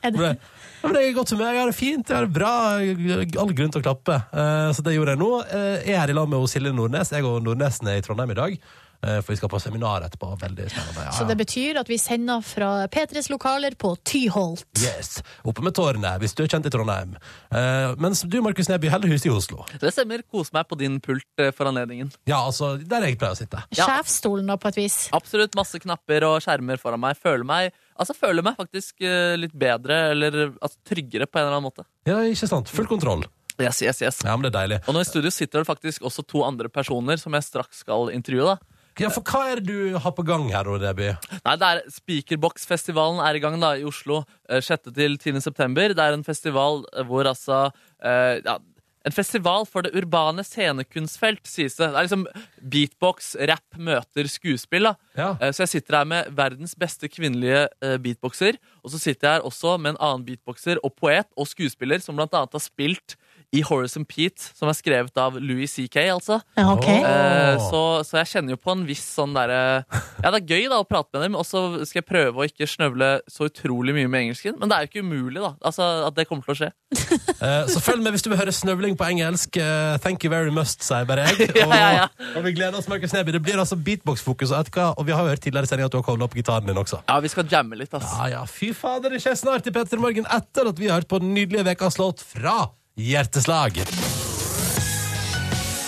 Er det-
For det- Ja, men Jeg er i godt humør, jeg har det fint, jeg har det bra. jeg har All grunn til å klappe. Eh, så det gjorde jeg nå. Eh, jeg er her i lag med Silje Nordnes. Jeg og Nordnesen er i Trondheim i dag. eh, for vi skal på seminar etterpå. Veldig spennende. Ja,
Så
ja.
det betyr at vi sender fra P3s lokaler på Tyholt.
Yes, Oppe med tårene, hvis du er kjent i Trondheim. Eh, mens du, Markus Neby, holder hus i Oslo.
Det stemmer. Kos meg på din pult eh, for anledningen.
Ja, altså, der jeg pleier å sitte.
Ja.
Sjefsstolen, da, på et vis.
Absolutt masse knapper og skjermer foran meg. Føler meg, altså, føler meg faktisk eh, litt bedre, eller altså, tryggere på en eller annen måte.
Ja, ikke sant? Full kontroll.
Yes, yes, yes.
Ja, men det er deilig.
Og nå i studio sitter det faktisk også to andre personer som jeg straks skal intervjue. da.
Ja, for hva er det du har på gang her, Neby?
Nei, det er Speakerbox-festivalen er i gang da, i Oslo eh, 6. til 10. september. Det er en festival eh, hvor altså eh, ja, En festival for det urbane scenekunstfelt, sies det. Det er liksom beatbox, rap møter skuespill. da.
Ja.
Eh, Så jeg sitter her med verdens beste kvinnelige eh, beatboxer. Og så sitter jeg her også med en annen beatboxer og poet og skuespiller som blant annet har spilt i Horace and Pete, som er skrevet av Louis CK, altså.
Ja, ok.
Eh,
Åh.
Så, så jeg kjenner jo på en viss sånn derre Ja, det er gøy da å prate med dem, og så skal jeg prøve å ikke snøvle så utrolig mye med engelsken. Men det er jo ikke umulig, da. Altså, At det kommer til å skje.
Eh, Så følg med hvis du vil høre snøvling på engelsk. Eh, Thank you very much, sier bare jeg. Og,
Ja, ja,
og vi gleder oss, Markus Neby. Det blir altså beatbox-fokus. Og, vet du hva? og vi har jo hørt tidligere i sendingen at du har koblet opp gitaren din også.
Ja, vi skal jamme litt, ass.
Ah, Ja, ja, fy fader, det skjer snart i Petter Morgen etter at vi har hørt på den nydelige ukas låt fra Hjerteslag.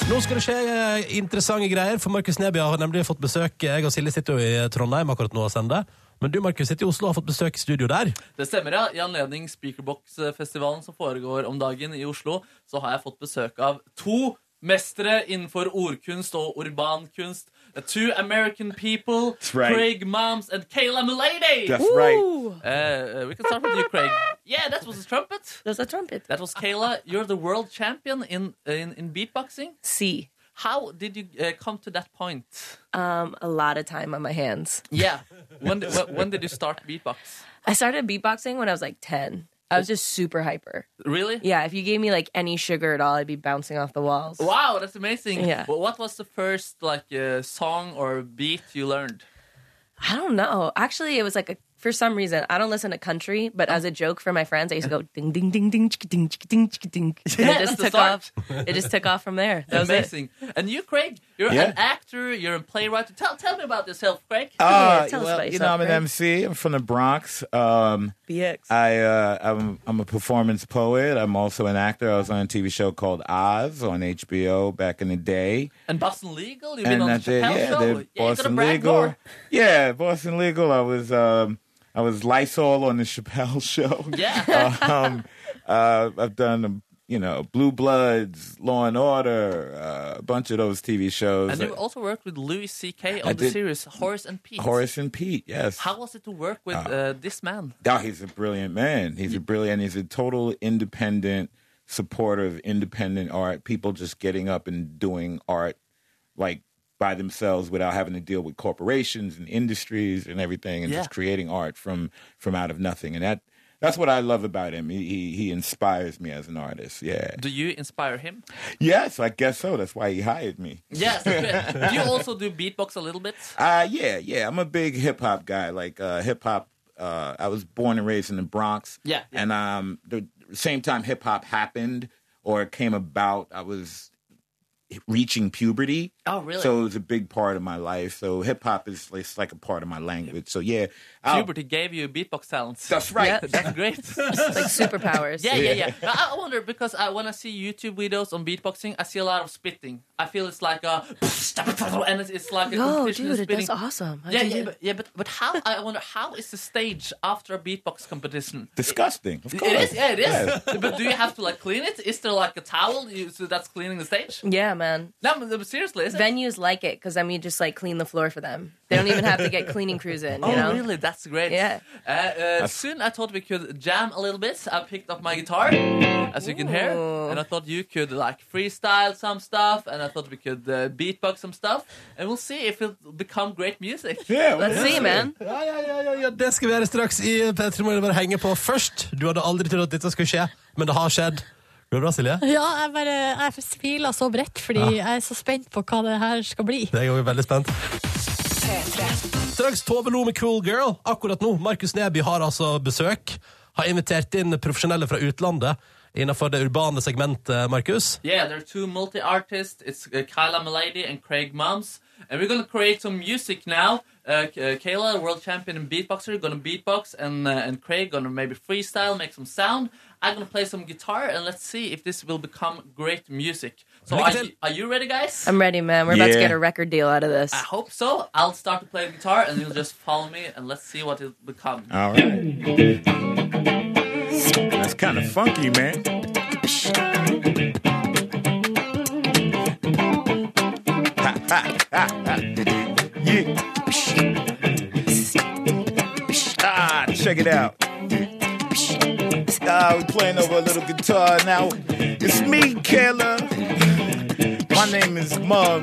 Nå skal det skje eh, interessante greier, for Markus Neby har nemlig fått besøk. eh, Jeg og Silje sitter jo i Trondheim akkurat nå og sender. Men du, Markus, sitter i Oslo og har fått besøk i studio der.
Det stemmer, ja. I anledning Speakerbox-festivalen som foregår om dagen i Oslo, så har jeg fått besøk av to mestere innenfor ordkunst og urbankunst. The Two American people,
right.
Craig Moms and Kayla Mulady.
That's right.
Uh, we can start with you, Craig. Yeah, that was a trumpet.
There's a trumpet.
That was Kayla. You're the world champion in in, in beatboxing.
See,
How did you uh, come to that point?
um, a lot of time on my hands.
Yeah. When, di- when when did you start beatbox?
I started beatboxing when I was like 10. I was just super hyper.
Really?
Yeah, if you gave me like any sugar at all, I'd be bouncing off the walls.
Wow, that's amazing.
Yeah.
Wh- What was the first like uh, song or beat you learned?
I don't know. Actually, it was like a for some reason I don't listen to country, but as a joke for my friends, I used to go ding ding ding ding chicka, ding chicka, ding chicka, ding. And
Yeah,
it just
that's
took
the
off. It just took off from there. That was it.
amazing. And you, Craig, you're
Yeah.
an actor, you're a playwright. Tell tell me about yourself, Craig.
Uh,
tell us
well,
about
you know, I'm
yourself,
an
Greg.
MC. I'm from the Bronx. Um,
BX.
I, uh, I'm, I'm a performance poet. I'm also an actor. I was on a TV show called Oz on HBO back in the day.
and Boston Legal, you've been
and
on the
that's it.
Chappelle
Yeah,
show.
the
Yeah, you gotta
Boston
brag
Legal.
more.
Yeah, Boston Legal. I was um, I was Lysol on the Chappelle show.
Yeah.
um, uh, I've done you know Blue Bloods, Law and Order, uh, a bunch of those TV shows.
and you also worked with Louis C.K.
I
on the
did-
series Horace and Pete.
Horace and Pete. Yes.
How was it to work with
Ah.
uh, this man?
Oh, he's a brilliant man. He's a brilliant. He's a total independent supporter of independent art. People just getting up and doing art like by themselves without having to deal with corporations and industries and everything, and
Yeah.
just creating art from from out of nothing. And that that's what I love about him. He he, he inspires me as an artist. Yeah.
Do you inspire him?
Yes, I guess so. That's why he hired me.
Yes. do you also do beatbox a little bit?
Uh yeah, yeah. I'm a big hip hop guy. Like uh hip hop uh I was born and raised in the Bronx.
Yeah, yeah.
And um the same time hip hop happened or it came about, I was reaching puberty.
Oh, really?
So it was a big part of my life. So hip hop is it's like a part of my language. So yeah. I'll-
Puberty gave you beatbox talents.
Oh. That's right.
Yeah.
That's great.
It's like superpowers.
Yeah, yeah, yeah. I, I wonder because I, when I see YouTube videos on beatboxing, I see a lot of spitting. I feel it's like a and it's, it's like a
Yo,
competition of
dude,
spitting.
that's awesome. How'd
yeah,
you
yeah,
do
but, yeah, but but how? I wonder how is the stage after a beatbox competition?
Disgusting. Of
It
course.
is, yeah, it is.
Yes.
But do you have to like clean it? Is there like a towel you, so that's cleaning the stage?
it? Yeah, man.
No, but- but seriously, is it?
Venues like it because then you just like clean the floor for them. They don't even have to get cleaning crews in. You
Oh,
know.
really? That's great.
Yeah.
Uh, uh, soon I thought we could jam a little bit. I picked up my guitar, as you can hear,
Ooh.
and I thought you could like freestyle some stuff, and I thought we could uh, beatbox some stuff, and we'll see if it'll become great music.
Yeah. well,
Let's see, man.
Ja, ja, ja, ja, ja, det skal vi gjøre straks i P3 Morgen. Bare henge på først. Du hadde aldri trodd at dette skulle skje, men det har skjedd. Går det bra, Silje?
Ja, jeg bare jeg smiler så bredt fordi jeg er så spent på hva det her skal bli.
Det er jeg også veldig spent. Straks Tove Lo med Cool Girl. Akkurat nå, Markus Neby har altså besøk. Har invitert inn profesjonelle fra utlandet innenfor det urbane segmentet, Markus.
Yeah, there are two multi artists. It's uh, Kyla Milady and Craig Mums. And we're gonna create some music now. Uh, K- uh, Kayla, world champion and beatboxer, gonna beatbox, and uh, and Craig gonna maybe freestyle, make some sound. I'm gonna play some guitar, and let's see if this will become great music. So
Look
are
at
you, are you ready, guys?
I'm ready, man. We're about to
Yeah.
get a record deal out of this.
I hope so. I'll start to play the guitar, and you'll just follow me, and let's see what it'll become.
Uh,
All right. That's kind of funky, man. yeah. Ah, check it out.
I was playing over a little guitar. Now it's me, Kayla. My name is Mum.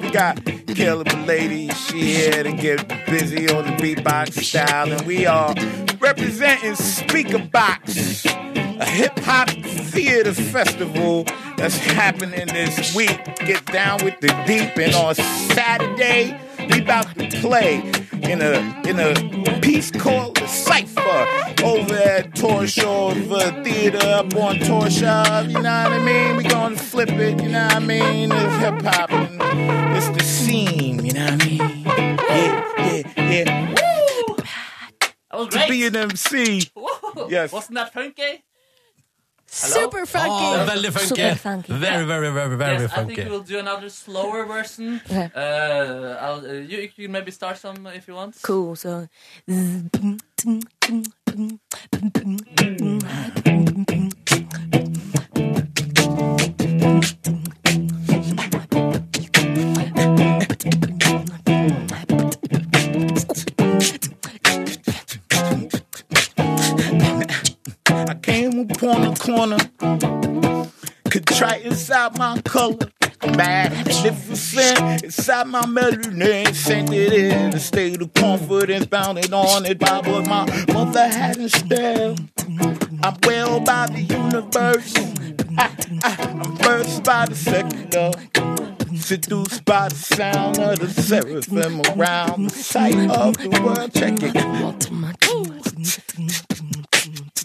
We got Kayla Milady. She here to get busy on the beatbox style, and we are representing Speaker Box, a hip hop theater festival that's happening this week. Get down with the deep, and on Saturday we about to play in a in a piece called the Cipher over at Torshova Theater up on Torshov. You know what I mean? We gonna flip it. You know what I mean? It's hip hop and it's the scene. You know what I mean? Yeah, yeah, yeah.
That was
To be an MC, yes.
that funky?
Super
Oh,
funky!
veldig funky.
Super funky.
Very, very, very, very
Yes, I think
funky.
we'll do another slower version. Uh,
Okay.
I'll, uh, you, you can maybe start some if you want.
Cool. So.
I came upon a corner, could try inside my color. Magnificent, inside my melanin, sent it in a state of confidence, bounded on it by what my mother had instilled. I'm well by the universe, I, I, I'm birthed by the secular, seduced by the sound of the seraphim around the sight of the world. Check it.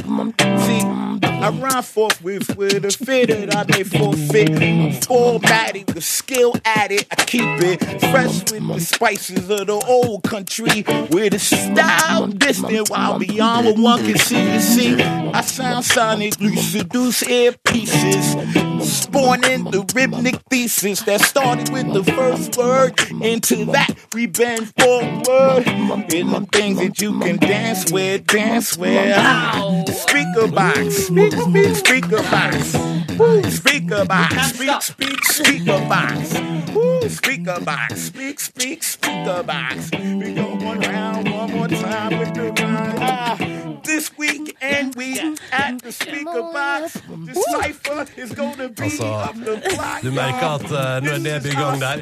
See, I rhyme forthwith with a fear that I may forfeit. Formatted with skill at it, I keep it fresh with the spices of the old country. With a style distant, while beyond what one can see. You see, I sound sonically seduce earpieces, spawning the rhythmic thesis that started with the first word. Into that, we bend forward. In the things that you can dance with, dance with. Ow. Speaker box, speak, speak, speaker box. Woo. Speaker box, speak, speak, speaker box. Woo. Speaker box, speak, speak, speaker box. We go one round, one more time with the rhyme. Ah, This week and we at the speaker box. The cipher is gonna be
Altså,
up the block.
Du merker
y'all.
at eh, nå er det bygget i gang der.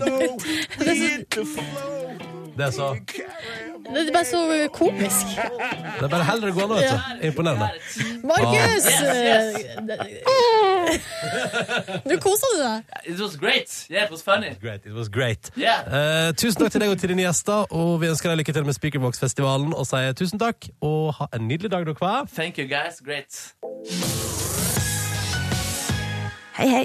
Det er så
Det er bare så komisk.
Det er bare heller det går nå, vet du. Imponerende.
Markus!
Ah. Yes,
eh, Du koser du deg?
It was great. Yeah, it was funny.
Great, it was great.
Yeah.
Eh, tusen takk til deg og til dine gjester, og vi ønsker deg lykke til med Speakerbox-festivalen og sier tusen takk, og ha en nydelig dag dere hver.
Thank you, guys. Great.
Hei, hei.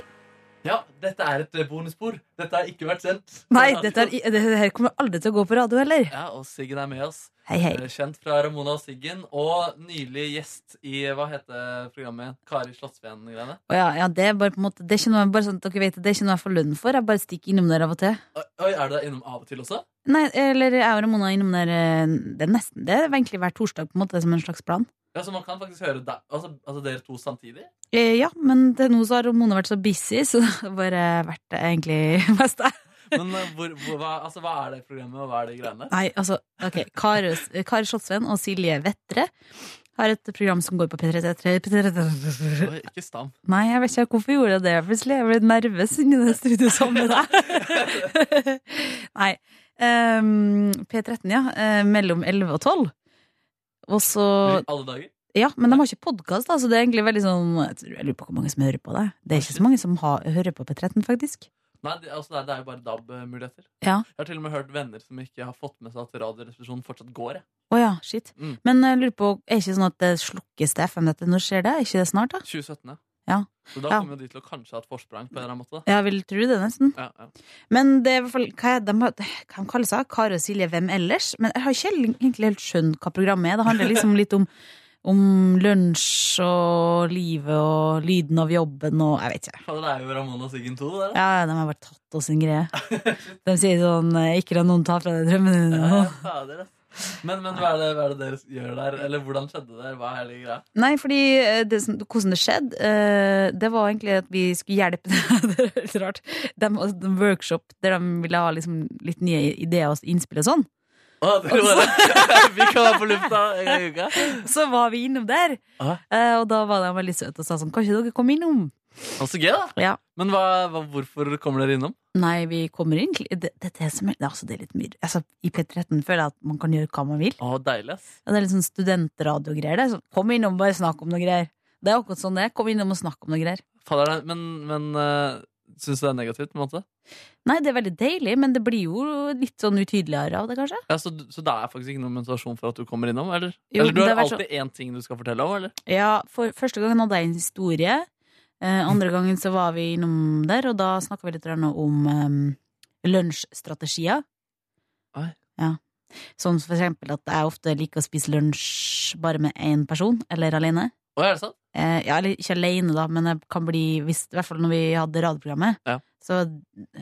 Ja, dette er et eh, bonusspor. Dette har ikke vært sendt.
Nei, dette, er, i- det her kommer aldri til å gå på radio heller.
Ja, og Siggen er med oss.
Hei, hei.
Eh, Kjent fra Ramona og Siggen, og nylig gjest i hva heter programmet? Kari Slottsveen-greiene.
Å ja, ja, det er bare på en måte Det er ikke noe, bare sånn at dere vet det, det er ikke noe jeg får lønn for. Jeg bare stikker innom der av og til.
Oi, oi, er du der innom av og til også?
Nei, eller jeg og Ramona er innom der eh, Det er nesten Det er egentlig hver torsdag, på en måte, som en slags plan.
Ja, så man kan faktisk høre deg, altså, altså dere to samtidig?
Eh, ja, men til nå så har Ramona vært så busy, så det har bare vært eh, egentlig mest jeg.
Men eh, hvor, hvor, hva, altså, hva er det programmet, og hva er de greiene?
Nei, altså, ok. Kari, Kari Slottsveen og Silje Vettre har et program som går på P3 P3
Oi, ikke stam.
Nei, jeg vet ikke hvorfor jeg gjorde det plutselig. Jeg ble nervøs inni det studioet sammen med deg. Nei. ehm, P13, ja. eh, mellom 11 og 12. Og så
Alle dager?
Ja, men de har ikke podkast, så det er egentlig veldig sånn Jeg tror- jeg lurer på hvor mange som hører på det. Det er ikke så mange som har, hører på P13, faktisk.
Nei, det, altså, det er- det er jo bare DAB-muligheter.
Ja.
Jeg har til og med hørt venner som ikke har fått med seg at Radioresepsjonen fortsatt går. Jeg.
Å ja, shit.
Mm.
Men jeg lurer på, er det ikke sånn at det slukkes til FM-nettet? Når skjer det? Er ikke det snart, da?
2017,
Ja.
Så da
Ja.
kommer jo de til å kanskje ha et forsprang på en eller annen måte. Da.
Ja, Jeg vil tro det, nesten.
Ja, ja.
Men det er i hvert fall hva er, de, har- hva de kaller seg? Kari og Silje, hvem ellers? Men jeg har ikke helt- egentlig helt skjønt hva programmet er. Det handler liksom litt om, om lunsj og livet og lyden av jobben og Jeg vet ikke.
Fader, det er jo Ramona Siggen 2, det der. da.
Ja, ja, de har bare tatt oss sin greie. De sier sånn eh, Ikke la noen ta fra deg drømmene dine.
fader, ass. Men, men hva, er det, hva er det dere gjør der? Eller hvordan skjedde det? Hva er hele greia?
Nei, fordi eh, det, som- hvordan det skjedde, eh, det var egentlig at vi skulle hjelpe Det er litt rart. De hadde en workshop der de ville ha liksom litt nye ideer og innspill og sånn.
Å, dere bare, vi kan være på lufta en gang i uka.
Så var vi innom der,
Aha.
eh, og da var de veldig søte og sa sånn Kan ikke dere komme innom?
Og Så gøy, da.
Ja.
Men hva, hva, hvorfor kommer dere innom?
Nei, vi kommer inn kli- det, det, er det, som er, det, er altså, det er litt mye altså, I P13 føler jeg at man kan gjøre hva man vil.
Å, deilig, ass.
Ja, Det er litt sånn studentradiogreier. det er sånn, Kom innom og bare snakk om noe greier. Det er akkurat sånn det er. Kom innom og snakk om noe greier.
Fader, det- men men eh, syns du det er negativt? på en måte?
Nei, det er veldig deilig, men det blir jo litt sånn utydeligere av det, kanskje.
Ja, så, du- så det er faktisk ikke noen motivasjon for at du kommer innom? Eller,
Jo,
eller du
det
har
har vært
alltid én ting du skal fortelle om? eller?
Ja, for første gangen hadde jeg en historie. Eh, andre gangen så var vi innom der, og da snakka vi litt grann om eh, lunsjstrategier.
Oi.
Ja. Som for eksempel at jeg ofte liker å spise lunsj bare med én person, eller alene.
Å, er det sant?
Eh, ja, eller ikke alene, da, men jeg kan bli hvis, I hvert fall når vi hadde radioprogrammet.
Ja.
Så eh,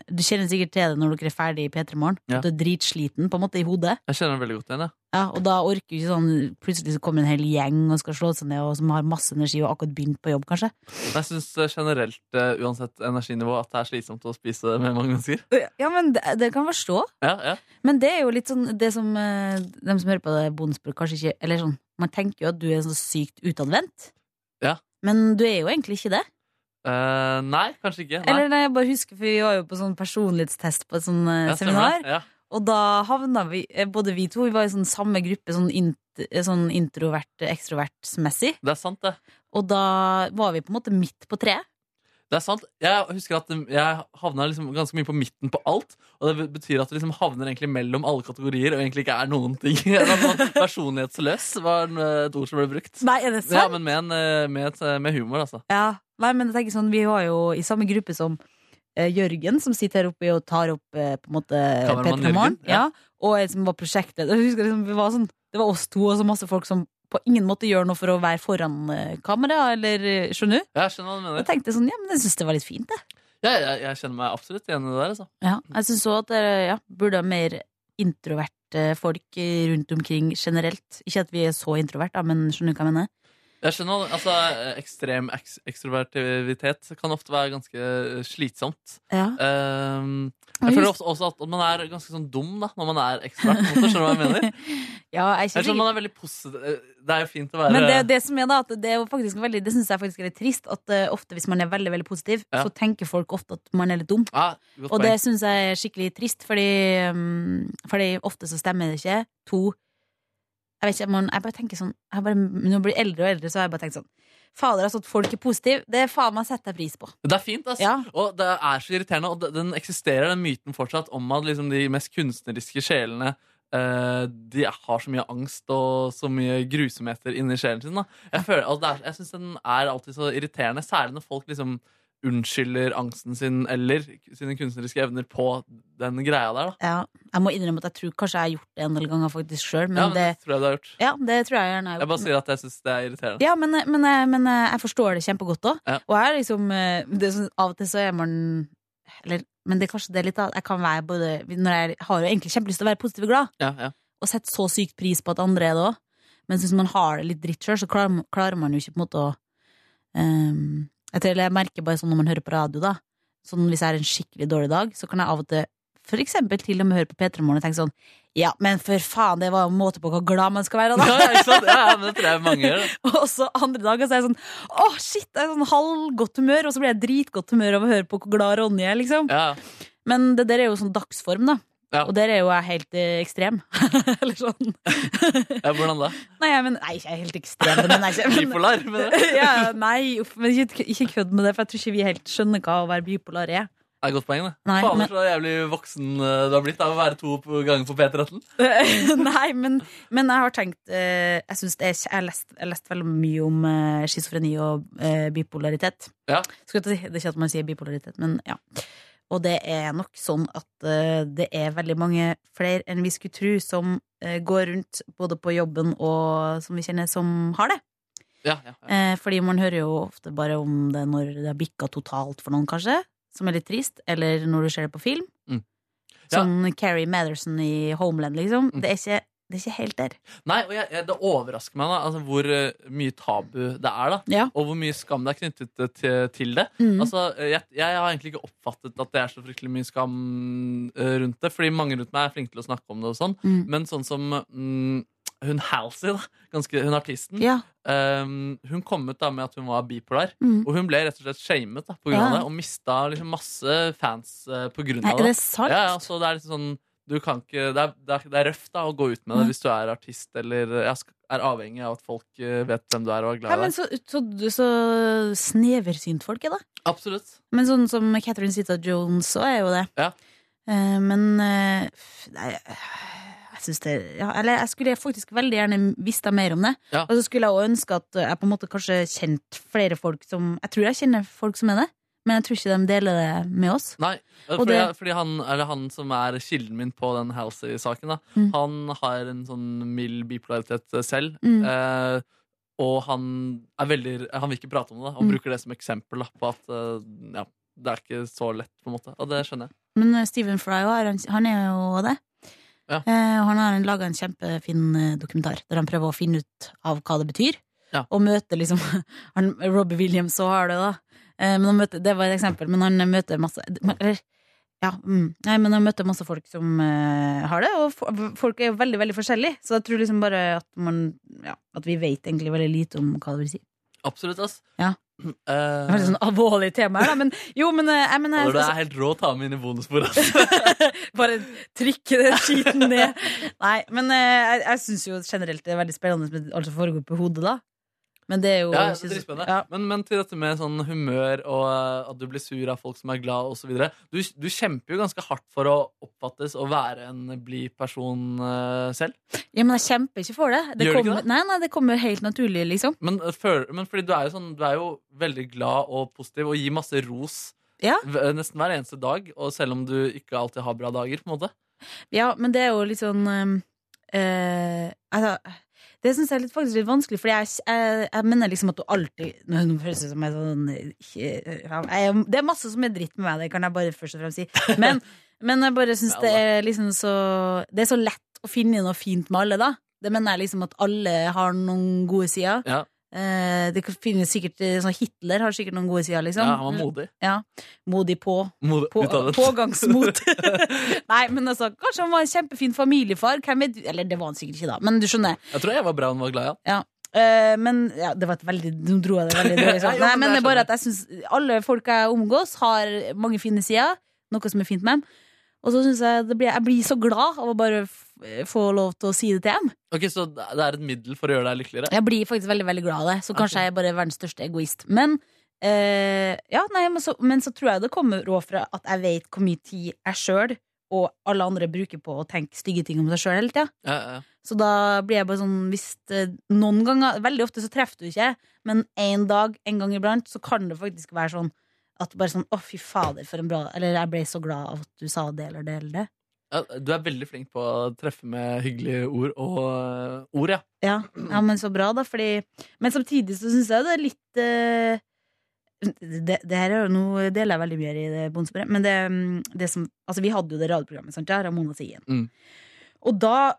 du kjenner sikkert til det når dere er ferdig i P3 Morgen.
Ja.
At du er dritsliten på en måte i hodet.
Jeg kjenner det veldig godt igjen. Ja.
Ja, og da orker jo ikke sånn Plutselig så kommer en hel gjeng og skal slå seg ned, og som har masse energi og akkurat begynt på jobb, kanskje.
Men Jeg syns generelt, eh, uansett energinivå, at det er slitsomt å spise med mange mennesker.
Ja, men det, det kan jeg forstå.
Ja, ja.
Men det er jo litt sånn det som eh, De som hører på det bondespråk, kanskje ikke Eller sånn, man tenker jo at du er så sykt utadvendt.
Ja.
Men du er jo egentlig ikke det.
Eh, nei, kanskje ikke. Nei.
Eller nei, jeg bare husker, for vi var jo på sånn personlighetstest på et sånn eh,
Ja, stemmer
seminar.
det. Ja.
Og da havna vi, eh, både vi to, vi var i sånn samme gruppe, sånn, int, eh, sånn introvert-ekstrovertsmessig.
Det er sant, det.
Og da var vi på en måte midt på treet.
Det er sant. Jeg husker at um, jeg havna liksom ganske mye på midten på alt. Og det be- betyr at du liksom havner egentlig mellom alle kategorier og egentlig ikke er noen ting. Det er sånn Personlighetsløs var en, uh, et ord som ble brukt.
Nei, er det
Ja, men med, en, uh, med, et, uh, med humor, altså.
Ja, nei, men jeg tenker sånn, vi var jo i samme gruppe som eh, Jørgen, som sitter her oppe og tar opp eh, på en måte
Kameramann
Petra Morgen.
Jørgen, ja.
Ja. Og en som var prosjektet. Jeg husker liksom, vi var sånn, det var oss to og så masse folk som på ingen måte gjør noe for å være foran eh, kamera, eller eh, skjønner du?
Jeg skjønner hva
Og
du
jeg
mener.
tenkte sånn, ja, men jeg synes det var litt fint, det.
Jeg, jeg, jeg kjenner meg absolutt igjen i det der. Altså.
Ja, jeg synes også at det ja, burde ha mer introverte folk eh, rundt omkring generelt. Ikke at vi er så introvert, da, men skjønner du hva jeg mener?
Jeg skjønner, altså eh, Ekstrem eks ekstrovertivitet kan ofte være ganske eh, slitsomt.
Ja.
Ehm, jeg føler ofte også at man er ganske sånn dum da når man er ekstrovert. på en måte, Skjønner du hva jeg mener?
ja, jeg
Jeg
synes
skjønner man er veldig positiv. Det er jo fint å være
Men det, det som er da, at det er jo faktisk veldig Det synes jeg faktisk er litt trist At eh, ofte hvis man er veldig, veldig positiv
Ja.
Så tenker folk ofte at man er litt dum
Ja, godt
Og
poeng.
det synes jeg er skikkelig trist Fordi, mm, fordi ofte så stemmer det ikke To Jeg vet ikke, man, jeg bare tenker sånn jeg bare, Når jeg blir eldre og eldre så har jeg bare tenkt sånn Fader, altså at folk er positive Det er faen meg setter jeg pris på
Det er fint, ass.
Ja.
Og det er så irriterende. Og det- den eksisterer, den myten fortsatt, om at liksom, de mest kunstneriske sjelene eh, de har så mye angst og så mye grusomheter inni sjelen sin. Da. Jeg, føler, altså, det er- jeg syns den er alltid så irriterende, særlig når folk liksom unnskylder angsten sin eller sine kunstneriske evner på den greia der. Da.
ja, Jeg må innrømme at jeg tror kanskje jeg har gjort det en del ganger faktisk selv Men
ja, men
det,
det, tror jeg du har gjort.
ja, det tror jeg gjerne jeg har
Jeg
gjort
bare sier at jeg syns det er irriterende.
Ja, men, men, men jeg forstår det kjempegodt òg.
Ja.
Og jeg er liksom eh, det er sånn, Av og til så er man eller, Men det er kanskje det er litt av Jeg kan være både når Jeg har jo egentlig kjempelyst til å være positiv og glad,
Ja, ja.
og setter så sykt pris på at andre er det òg. Men hvis man har det litt dritt sjøl, så klarer, man- klarer man jo ikke på en måte å ehm, jeg, tror, eller jeg merker bare sånn når man hører på radio, da. Sånn Hvis jeg har en skikkelig dårlig dag, så kan jeg av og til for eksempel til og med høre på P3 Morgen og tenke sånn Ja, men for faen, det var jo en måte på hvor glad man skal være, da!
Ja, ja, ikke sant? ja, ja, men det tror jeg mange gjør. da.
Og så andre dager så er jeg sånn Å, shit! Jeg er sånn halvgodt humør, og så blir jeg dritgodt humør av å høre på hvor glad Ronny er, liksom.
Ja.
Men det der er jo sånn dagsform, da.
Ja.
Og der er jo jeg helt eh, ekstrem. Eller sånn.
Ja, hvordan da?
Nei, jeg, men, nei, ikke jeg er helt ekstrem, men jeg er ikke men,
Bipolar? mener du?
ja, Nei, uff, men ikke, ikke kødd med det, for jeg tror ikke vi helt skjønner hva å være bipolar er.
Det er et godt poeng, det.
Nei,
Fader,
men-
så jævlig voksen eh, du har blitt av å være to på- ganger på P13.
nei, men, men jeg har tenkt eh, Jeg synes det er, jeg, har lest, jeg har lest veldig mye om eh, schizofreni og eh, bipolaritet.
Ja.
Skulle til å si- det er ikke at man sier bipolaritet, men ja. Og det er nok sånn at eh, det er veldig mange flere enn vi skulle tro som eh, går rundt både på jobben og som vi kjenner, som har det.
Ja, ja, ja.
Eh, fordi man hører jo ofte bare om det når det har bikka totalt for noen, kanskje. Som er litt trist. Eller når du ser det på film.
Mm. Ja.
Sånn Carrie Matherson i Homeland, liksom.
Mm.
Det er ikke det er ikke helt der.
Nei, og jeg, jeg, Det overrasker meg da, altså, hvor eh, mye tabu det er, da.
Ja.
Og hvor mye skam det er knyttet eh, til, til det.
Mhm.
Altså, eh, jeg, jeg har egentlig ikke oppfattet at det er så fryktelig mye skam eh, rundt det, fordi mange rundt meg er flinke til å snakke om det og sånn.
Mhm.
Men sånn som mm, hun Halsey, da, ganske, hun artisten,
Ja.
ehm, hun kom ut da med at hun var bipolar.
Mhm.
Og hun ble rett og slett shamet da, på grunn
Ja.
av det, og mista liksom masse fans eh, på grunn
Nei,
av
er
det.
det sant?
Ja, ja, så det er liksom sånn du kan ikke, det, er, det, er, det er røft da å gå ut med det
Ja.
hvis du er artist eller eh, ja, sk- er avhengig av at folk eh, vet hvem du er og
Nei,
er glad i
men
deg.
så, så, så sneversynt folk er, da.
Absolutt.
Men sånn som Catherine Zita Jones så er jo det.
Ja.
Eh, men eh, f- nei, eh, jeg syns det ja, Eller jeg skulle faktisk veldig gjerne visst da mer om det.
Ja.
Og så skulle jeg òg ønske at jeg på en måte kanskje kjent flere folk som Jeg tror jeg kjenner folk som er det, men jeg tror ikke de deler det med oss.
Nei, eh,
Og
fordi,
det-
fordi han, eller han som er kilden min på den Halsey-saken, da,
Mm.
han har en sånn mild bipolaritet eh, selv.
Mm.
Eh, og han, er veldig, han vil ikke prate om det, og
Mm.
bruker det som eksempel da, på at eh, ja, det er ikke så lett, på en måte. Og det skjønner jeg.
Men eh, Stephen Fry også, er han, han er jo det.
Ja.
Eh, og han har laga en kjempefin eh, dokumentar der han prøver å finne ut av hva det betyr.
Ja.
Og møter liksom han, Robbie Williams så har det, da. Eh, men han møter, det var et eksempel, men han møter masse eller, ja, mm, nei, men han møter masse folk som eh, har det, og fo- folk er jo veldig veldig forskjellige. Så jeg tror liksom bare at, man, ja, at vi vet egentlig veldig lite om hva det vil si.
Absolutt, ass.
Ja.
Eh,
Det er veldig sånn alvorlig tema her, da, men jo, men, eh, jeg, men jeg,
Oliver, det er helt rå å ta med inn i bonusbordet. ass.
Bare trykke den skiten ned. Nei, men eh, jeg, jeg syns jo generelt det er veldig spennende med alt som foregår på hodet, da. Men det er jo
Ja,
ikke
det er
så-
dritspennende.
Ja.
men, men til dette med sånn humør og eh, at du blir sur av folk som er glad osv. Du, du kjemper jo ganske hardt for å oppfattes og være en blid person eh, selv.
ja, men jeg kjemper ikke for det. det
Gjør du ikke
kommer-
det?
Nei, nei, det kommer helt naturlig, liksom.
Men, eh, føl- men fordi du er, jo sånn, du er jo veldig glad og positiv og gir masse ros
Ja.
v- eh, nesten hver eneste dag, og selv om du ikke alltid har bra dager. på en måte
Ja, men det er jo litt sånn eh, eh, altså, Det syns jeg er litt, faktisk litt vanskelig, Fordi jeg, jeg, jeg mener liksom at du alltid Nå nå føles det som jeg er sånn ikke- ja, jeg, Det er masse som er dritt med meg, det kan jeg bare først og fremst si. Men, men jeg bare syns det er liksom så Det er så lett å finne noe fint med alle, da. Det mener jeg liksom at alle har noen gode sider.
Ja.
Eh, det kan finnes sikkert eh, sånn Hitler har sikkert noen gode sider, liksom.
Ja, Han var modig.
Modig på.
modig
På,
utadvendt.
pågangsmot. Nei, men altså, kanskje han var en kjempefin familiefar. Hvem vet? Eller det var han sikkert ikke, da, men du skjønner.
Jeg tror Eva Braun var glad i han.
Eh, men ja, det var et veldig Nå dro jeg det veldig dårlig
Ja,
sammen.
jo,
Nei, men
men
det
det
er bare
skjønner
at jeg syns alle folk jeg omgås, har mange fine sider. Noe som er fint med dem. Og så syns jeg det blir, jeg blir så glad av å bare f få lov til å si det til dem.
Ok, Så det er et middel for å gjøre deg lykkeligere?
Jeg blir faktisk veldig veldig glad av det, så kanskje
Ok.
jeg er bare verdens største egoist. Men, eh, ja, nei, men, så, men så tror jeg det kommer rå fra at jeg vet hvor mye tid jeg sjøl og alle andre bruker på å tenke stygge ting om seg sjøl hele tida.
Ja, ja, ja.
Så da blir jeg bare sånn hvis det, Noen ganger, veldig ofte så treffer du ikke, men en dag, en gang iblant, så kan det faktisk være sånn at bare sånn Å, fy fader, for en bra Eller jeg ble så glad av at du sa det eller det eller det.
Ja, du er veldig flink på å treffe med hyggelige ord og eh, ord, ja.
Ja, ja men så bra, da. Fordi, men samtidig så syns jeg det er litt eh, det, det her er jo noe deler jeg veldig mye i det bondesporet. Men det, mm, det som Altså, vi hadde jo det radioprogrammet, sant, ja, Ramona Sien.
Mm.
Og da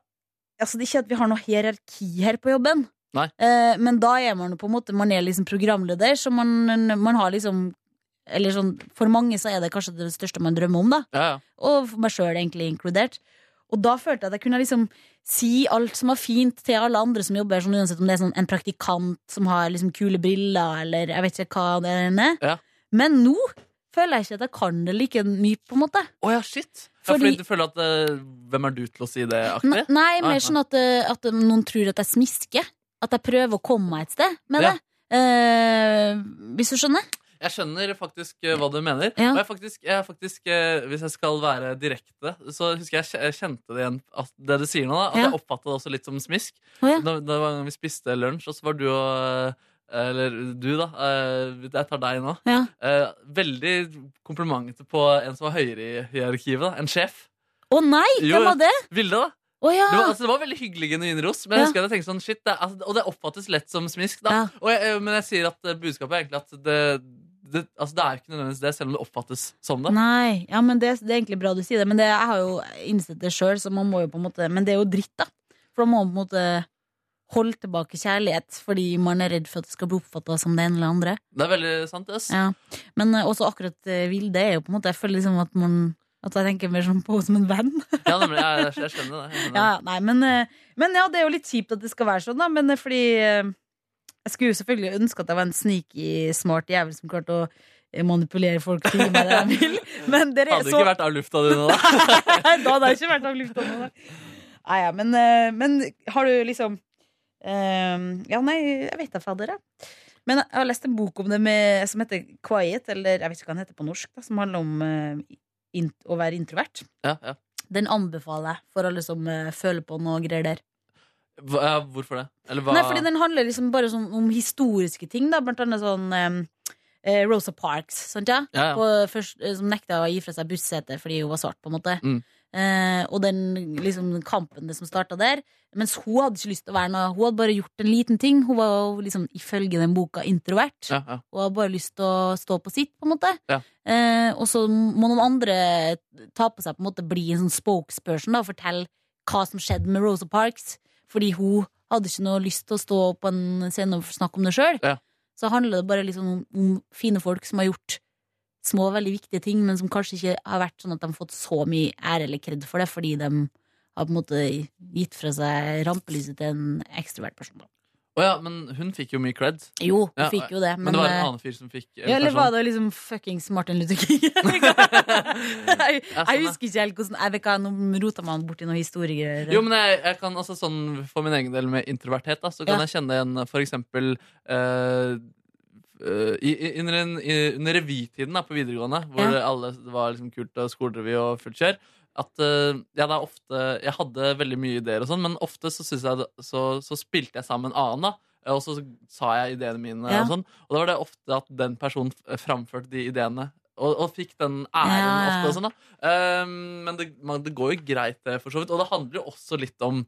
Altså, det er ikke at vi har noe hierarki her på jobben.
Nei.
Eh, men da er man jo på en måte Man er liksom programleder, så man, man har liksom Eller sånn For mange så er det kanskje det største man drømmer om, da
ja, ja.
og for meg sjøl egentlig inkludert. Og da følte jeg at jeg kunne liksom si alt som var fint til alle andre som jobber, sånn, uansett om det er sånn en praktikant som har liksom kule briller, eller jeg vet ikke hva det er.
Ja.
Men nå føler jeg ikke at jeg kan det like mye, på en måte.
Å ja, shit! Ja,
Fordi-
fordi du føler at eh, Hvem er du til å si det-aktig?
Nei, nei,
Nei,
mer sånn at, eh, at noen tror at jeg smisker. At jeg prøver å komme meg et sted med
Ja.
det. Eh, hvis du skjønner?
Jeg skjønner faktisk eh, hva du mener.
Ja.
Og jeg faktisk, jeg faktisk, eh, hvis jeg skal være direkte, så husker jeg kje- jeg kjente det igjen at det du sier nå. da, At
Ja.
jeg oppfattet det også litt som smisk.
Å ja.
Da, da var en gang vi spiste lunsj, og så var du og eh, Eller du, da. eh, Jeg tar deg nå.
ja.
eh, Veldig komplimentete på en som var høyere i hierarkivet. da, En sjef.
Å nei,
Jo,
hvem
ja.
var det?
Vilde, da.
Å ja.
Det var, altså, det var veldig hyggelig genuin ros,
Ah. Ja.
men jeg husker at jeg tenkte sånn, shit, det, er- altså, og det oppfattes lett som smisk. Da.
Ja.
Og jeg, eh, men jeg sier at eh, budskapet er egentlig at det, det, altså, det er jo ikke nødvendigvis det, selv om det oppfattes som det.
Nei, ja, men det, det er egentlig bra du sier det, men det, jeg har jo innsett det sjøl, så man må jo på en måte Men det er jo dritt, da. For da må man på en måte holde tilbake kjærlighet fordi man er redd for at det skal bli oppfatta som det ene eller andre.
Det er veldig sant, ass.
Ja. Men eh, også akkurat eh, Vilde er jo på en måte Jeg føler liksom at man At jeg tenker mer sånn på henne som en venn.
Ja, nemlig, jeg, jeg, jeg skjønner det. Jeg skjønner det.
Ja, nei, men, eh, men ja, det er jo litt kjipt at det skal være sånn, da. Men eh, fordi eh, Jeg skulle jo selvfølgelig ønske at jeg var en sneaky, smart jævel som klarte å eh, manipulere folk til å gi meg det de vil. Men dere er
Hadde du
så
ikke vært av lufta di nå, da?
da hadde jeg ikke vært av lufta nå, da. Nei, ja, men, eh, men har du liksom eh, Ja, nei, jeg vet da fader, jeg. Men jeg har lest en bok om det med, som heter Quiet, eller jeg vet ikke hva den heter på norsk, da, som handler om eh, in å være introvert.
Ja, ja.
Den anbefaler jeg for alle som eh, føler på noe greier der.
Hva, ja, hvorfor det? Eller hva?
Nei, fordi den handler liksom bare sånn om historiske ting, da. Blant annet sånn eh, Rosa Parks, sant ja?
Ja, ja.
På, først, eh, som nekta å gi fra seg bussetet fordi hun var svart, på en måte.
Mm.
Eh, og den liksom, den kampen det som starta der. Mens hun hadde ikke lyst til å være noe Hun hadde bare gjort en liten ting. Hun var jo liksom ifølge den boka introvert.
Ja, ja.
Hun hadde bare lyst til å stå på sitt, på en måte.
Ja.
Eh, og så må noen andre ta på seg på en måte bli en sånn spokesperson da, og fortelle hva som skjedde med Rosa Parks. Fordi hun hadde ikke noe lyst til å stå på en scene og snakke om det sjøl.
Ja.
Så handler det bare liksom om, om fine folk som har gjort små, veldig viktige ting, men som kanskje ikke har vært sånn at de har fått så mye ære eller kred for det, fordi de har på en måte gitt fra seg rampelyset til en ekstrovert person. da.
Å ja, men hun fikk jo mye cred.
Jo, hun
Ja,
fikk jo det,
Men,
men,
det var
eh,
en annen fyr som fikk eh,
ja, eller
person.
var det liksom fuckings Martin Luther King? jeg,
sånn,
jeg husker ikke helt hvordan Jeg vet ikke, Nå rota man borti noen historiegreier.
Jo, men jeg, jeg kan altså sånn For min egen del med introverthet da, Så kan
Ja.
jeg kjenne igjen for eksempel eh, eh, i, i, under, en, i, under revytiden da, på videregående Hvor
Ja.
alle det var liksom kult og skolerevy og fullt kjør At eh, ja, det er ofte Jeg hadde veldig mye ideer og sånn Men ofte så synes jeg det- Så, så spilte jeg sammen en annen da Eh, og så sa jeg ideene mine
Ja.
og sånn Og da var det ofte at den personen f- eh, framførte de ideene Og, og fikk den æren
Ja.
ofte og sånn da Um, men det, man, det går jo greit, det, for så vidt. Og det handler jo også litt om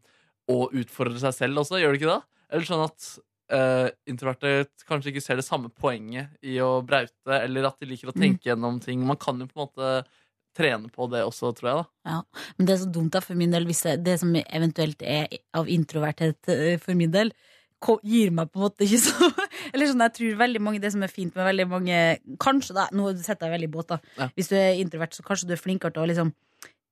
å utfordre seg selv også, gjør det ikke det? Eller sånn at uh, introverte kanskje ikke ser det samme poenget i å braute, eller at de liker å
Mm.
tenke gjennom ting. Man kan jo på en måte trene på det også, tror jeg, da.
Men det er så dumt da, for min del, hvis det, det som eventuelt er av introverthet eh, for min del, ko- gir meg på en måte ikke så Eller sånn, jeg tror veldig mange, det som er fint med veldig mange Kanskje, da, nå setter jeg veldig i båt, da.
Ja.
Hvis du er introvert, så kanskje du er flinkere til å liksom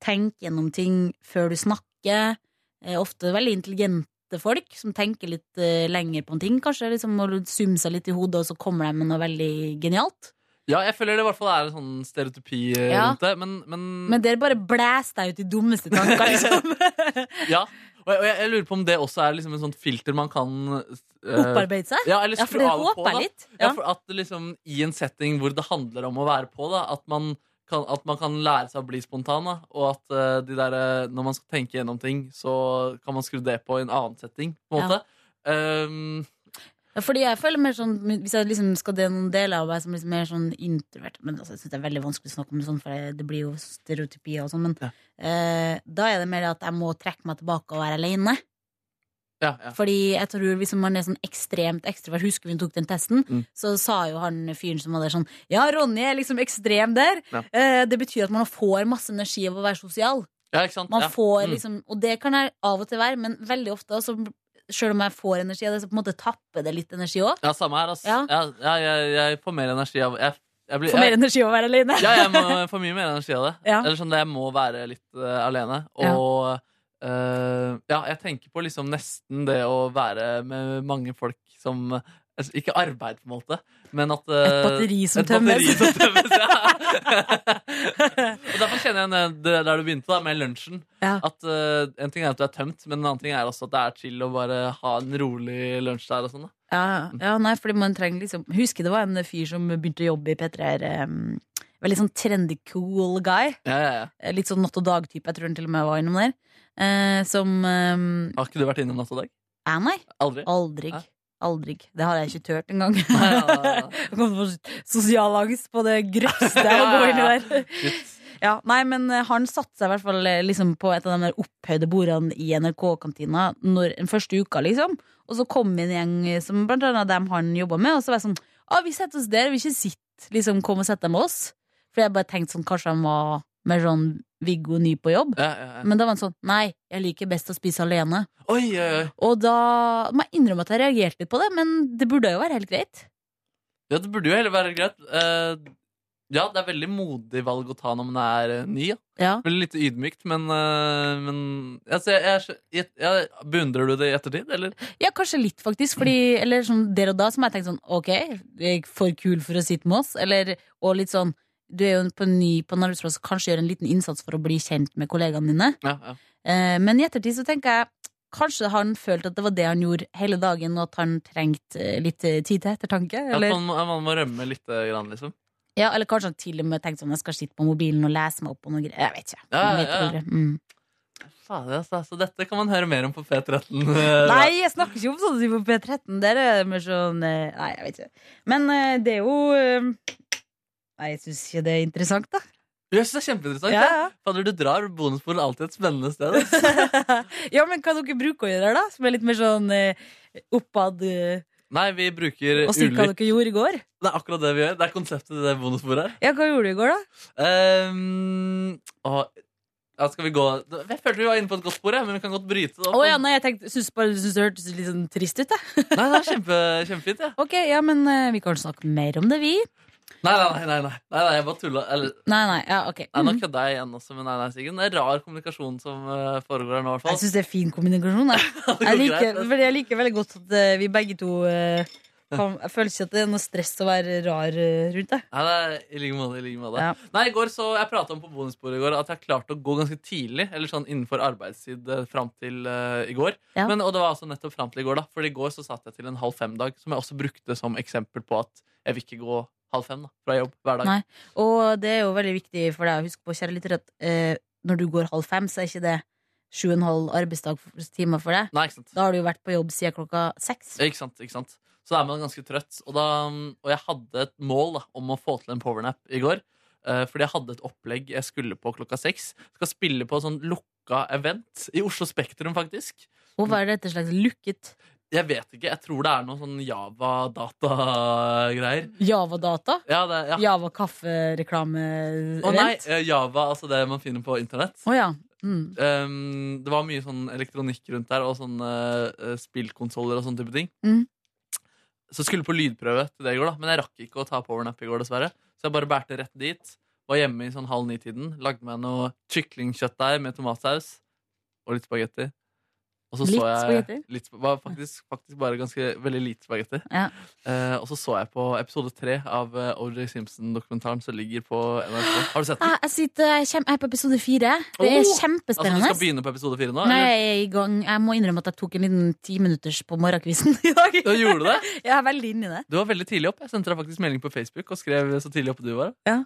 tenke gjennom ting før du snakker. Eh, Ofte veldig intelligente folk som tenker litt eh, lenger på en ting, kanskje. liksom Og summer seg litt i hodet, og så kommer de med noe veldig genialt.
Ja, jeg føler det i hvert fall er en sånn stereotypi eh,
Ja.
rundt det, men, men,
Men der bare blæser deg ut de dummeste tanker, liksom.
Ja. Og jeg, og jeg, jeg lurer på om det også er liksom en sånn filter man kan eh,
Opparbeide seg.
Ja, eller
Ja, for
skru
det
av og på,
håper
da.
jeg litt.
Ja.
Ja.
for at det liksom, I en setting hvor det handler om å være på, da, at, man kan, at man kan lære seg å bli spontan. Da, og at eh, de der, eh, når man skal tenke gjennom ting, så kan man skru det på i en annen setting. På en
Ja.
måte. Ehm,
Ja, fordi jeg føler mer sånn Hvis jeg liksom skal det noen deler av meg som liksom er sånn introvert Men altså, jeg synes det er veldig vanskelig å snakke om det sånn For det- det blir jo stereotypier og sånn Men
Ja.
eh, da er det mer at jeg må trekke meg tilbake og være alene
ja, ja.
Fordi jeg tror hvis man er sånn ekstremt ekstrovert Husker vi hun tok den testen
Mm.
Så sa jo han fyren som var der sånn Ja, Ronny er liksom ekstrem der
Ja.
eh, Det betyr at man får masse energi av å være sosial
ja, ikke sant?
man
ja.
får
Mm.
liksom, Og det kan jeg av og til være, men veldig ofte altså, Selv om jeg får energi av det, så på en måte tapper det litt energi òg.
Ja, samme her, ass. Ja.
Ja.
ja, jeg, jeg får mer energi av jeg, jeg blir,
Får mer
jeg,
energi av å være alene.
ja, jeg må, jeg får mye mer energi av det.
Ja.
Eller sånn, Jeg må være litt eh, alene.
Ja.
Og eh, ja, jeg tenker på liksom nesten det å være med mange folk som eh, altså, Ikke arbeid, på en måte, men at eh,
Et batteri som
et batteri
tømmes.
som tømmes, ja. og Derfor kjenner jeg igjen det der du begynte, da, med lunsjen.
Ja.
At eh, En ting er at du er tømt, men en annen ting er også at det er chill å bare ha en rolig lunsj der. og sånn da.
Ja, ja, nei, fordi man trenger liksom Husker det var en fyr som begynte å jobbe i P3 her. em, veldig sånn trendy cool guy.
Ja, ja, ja.
Eh, Litt sånn natt og dag-type. Jeg tror han til og med var innom der. Eh, som um,
Har ikke du vært innom Natt og dag?
Ja, nei.
Aldri?
Aldrig.
Hæ?
Aldrig. Det har jeg ikke turt engang.
Nei, nei, nei, nei.
Jeg kom på sosial angst på det grøvste av å
Ja,
gå
ja,
inn
ja.
i der. Ja, nei, men eh, han satte seg i hvert fall eh, liksom, på et av de der opphøyde bordene i NRK-kantina når, den første uka, liksom. Og så kom en gjeng eh, som blant annet dem han jobba med, og så var jeg sånn Å, vi setter oss der, vi ikke sitter. Liksom, kom og sett deg med oss. For jeg bare tenkte sånn, kanskje han var mer sånn Viggo ny på jobb.
Ja, ja, ja.
Men da var han sånn Nei, jeg liker best å spise alene.
Oi, eh, oi, oi.
Og da må jeg innrømme at jeg reagerte litt på det, men det burde jo være helt greit.
Ja, det burde jo heller være greit. Eh, ja, det er veldig modig valg å ta når man er eh, ny. Ja.
Ja.
Veldig litt ydmykt, men, eh, men altså, jeg, jeg, er så- jeg, jeg, Beundrer du det i ettertid, eller?
Ja, kanskje litt faktisk, fordi, eller sånn der og da, som jeg tenkte sånn, ok, du er for kul for å sitte med oss, eller, og litt sånn, du er jo på ny på en arbeidsplass, kanskje gjør en liten innsats for å bli kjent med kollegaene dine.
Ja, ja.
Eh, men i ettertid så tenker jeg, kanskje han følte at det var det han gjorde hele dagen, og at han trengte eh, litt eh, tid til ettertanke,
At
eller,
man, må- man må rømme litt, eh, grann, liksom.
ja, eller kanskje han til og med tenkte sånn, jeg skal sitte på mobilen og lese meg opp på noe greier, jeg vet ikke.
Ja,
Man vet
ja, ja.
aldri. Mm.
Fader, altså, altså, dette kan man høre mer om på P13. eh,
Nei, jeg snakker ikke om sånne ting på P13. Der er det mer sånn eh, Nei, jeg vet ikke. Men eh, det er jo eh, Nei, jeg syns ikke det er interessant, da.
Jeg synes det er kjempeinteressant.
Ja,
Ja.
ja.
Fader, du drar bonusbordet alltid et spennende sted. altså. ass.
ja, men hva dere bruker å gjøre, da? Som er litt mer sånn eh, oppad eh,
Nei, vi bruker
Og sier hva
ulik
dere gjorde i går?
Det er akkurat det vi gjør. Det er konseptet i det bonusbordet her.
Ja, hva gjorde du i går, da?
Ehm, og, ja, skal vi gå Jeg følte vi var inne på et godt spor, jeg, men vi kan godt bryte det
Å
opp.
ja, nei, jeg tenkte, syns bare syns det hørtes litt sånn trist ut, jeg.
Nei, det er kjempe, kjempefint, ja.
Ok, ja, men eh, vi kan snakke mer om det, vi.
Nei, nei, nei, nei, nei, nei, nei jeg bare tulla. Eller,
Nei, nei, ja, ok.
nei, nå
Mm.
kødda jeg igjen også, men nei, nei, Siggen. Det er rar kommunikasjon som eh, foregår her nå, i hvert
Jeg
fall.
syns det er fin kommunikasjon, jeg.
Det
Jeg
går
liker,
greit,
fordi jeg liker veldig godt at eh, vi begge to eh, kan, Jeg føler ikke at det er noe stress å være rar eh, rundt deg.
Nei, det er- I like måte. i like måte
Ja.
Nei, i går så, Jeg prata om på bonusbordet i går at jeg klarte å gå ganske tidlig, eller sånn innenfor arbeidstid eh, fram til eh, i går.
Ja.
Men, og det var altså nettopp fram til i går, da. For i går så satt jeg til en halv fem-dag, som jeg også brukte som eksempel på at jeg vil ikke gå halv fem da, fra jobb hver dag.
Nei. Og det er jo veldig viktig for deg å huske på, kjære lytter, at eh, når du går halv fem, så er ikke det sju og en halv arbeidstimer for deg.
Nei, ikke sant?
Da har du jo vært på jobb siden klokka seks.
Ikke sant, ikke sant Så da er man ganske trøtt Og, da, og jeg hadde et mål da, om å få til en powernap i går eh, Fordi jeg hadde et opplegg jeg skulle på klokka 6 Skal spille på sånn lukka event I Oslo Spektrum faktisk
Og hva er dette slags lukket
Jeg vet ikke, jeg tror det er noen sånn Java-data-greier
Java-data?
Ja, det ja.
Java-kaffereklame-event?
Å nei, eh, Java, altså det man finner på internett
Å ja. Mm.
Ehm, det var mye sånn elektronikk rundt der, og sånne uh, spillkonsoller og sånne type ting.
Mm.
Så skulle på lydprøve til det i går, da, men jeg rakk ikke å ta powernap i går, dessverre. Så jeg bare bærte rett dit. Var hjemme i sånn halv ni-tiden. Lagde meg noe kyklingkjøttdeig med tomatsaus og litt spagetti. Og så
Litt
så jeg
spagetti?
Litt, sp- var faktisk, faktisk bare ganske veldig lite spagetti.
Ja.
Eh, og så så jeg på episode tre av eh, O.J. Simpson-dokumentaren som ligger på NRK. Har du sett den?
Ah, jeg, sitter, jeg, kjem, jeg er på episode fire. Det er
Oh! Altså, du
kjempespennende.
skal begynne på episode fire nå?
Nei,
eller?
jeg er i gang. Jeg må innrømme at jeg tok en liten timinutters på morgenkvisten i dag.
Ja, gjorde du det?
Jeg er veldig inne i det.
Du var veldig tidlig opp. Jeg sendte deg faktisk melding på Facebook og skrev så tidlig opp du var.
Eh,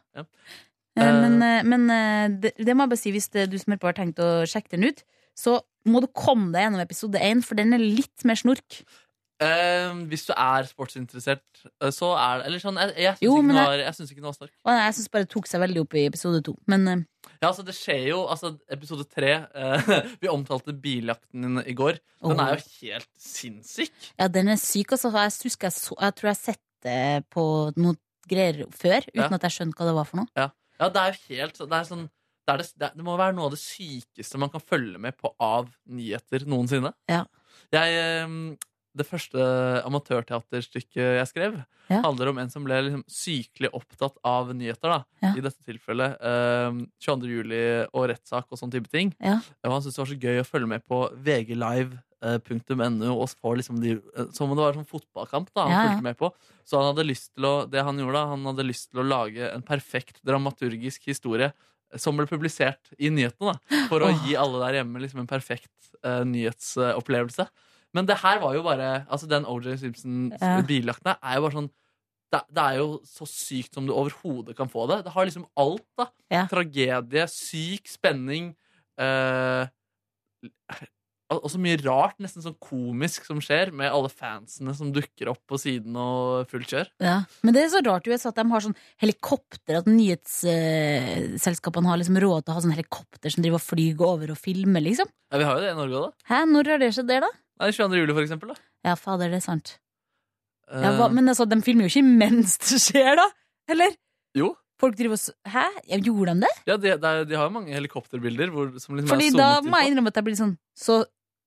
Eh.
Men, eh, men eh, det, det må jeg bare si, hvis det, du som hører på har tenkt å sjekke den ut, så må du komme deg gjennom episode én, for den er litt mer snork.
Eh, hvis du er sportsinteressert, eh, så er det Eller sånn, jeg, jeg syns
Jo,
ikke,
men
det
jeg-
var- jeg syns ikke det var snork.
Og jeg syns bare det tok seg veldig opp i episode to. Men eh,
Ja, altså, det skjer jo Altså, episode tre eh, Vi omtalte biljakten din i går. Den
Åh.
er jo helt sinnssyk.
ja, den er syk, altså. Jeg, husker jeg, så, jeg tror jeg har sett det på noen greier før, uten
Ja.
at jeg skjønte hva det var for noe.
Ja, det er jo helt Det er sånn det, er det, det, er- det må være noe av det sykeste man kan følge med på av nyheter noensinne.
Ja.
Jeg, eh, det første amatørteaterstykket jeg skrev,
Ja.
handler om en som ble liksom sykelig opptatt av nyheter. Da.
Ja.
I dette tilfellet eh, 22. juli og rettssak og sånn type ting.
Ja.
Og han syntes det var så gøy å følge med på eh, vglive.no, og så får liksom de, eh, som om det var en sånn fotballkamp da, han
Ja, ja.
fulgte med på. Så han hadde lyst til å, det han gjorde da, han hadde lyst til å lage en perfekt dramaturgisk historie eh, som ble publisert i nyhetene, da, for å
Åh.
gi alle der hjemme liksom en perfekt eh, nyhetsopplevelse. Men det her var jo bare Altså, den OJ
Ja.
Simpson-biljakten her er jo bare sånn det, det er jo så sykt som du overhodet kan få det. Det har liksom alt, da.
Ja.
Tragedie, syk spenning eh, og og så mye rart, nesten sånn komisk, som skjer med alle fansene som dukker opp på siden og fullt kjør.
Ja. Men det er så rart i USA at de har sånn helikopter, at nyhetsselskapene har liksom råd til å ha sånn helikopter som driver og flyr over og filmer, liksom.
Ja, vi har jo det i Norge òg, da.
Hæ, når har det skjedd der, da?
Nei, 22. juli, for eksempel. Da.
Ja, fader, det er sant.
Eh,
Ja, hva, men altså, de filmer jo ikke mens det skjer, da? Eller?
Jo.
Folk driver og s- Hæ? Ja, gjorde de det?
Ja, de, de, de har jo mange helikopterbilder. Hvor, som liksom er
Fordi da
zoomet inn
må jeg
på.
innrømme at jeg blir sånn Så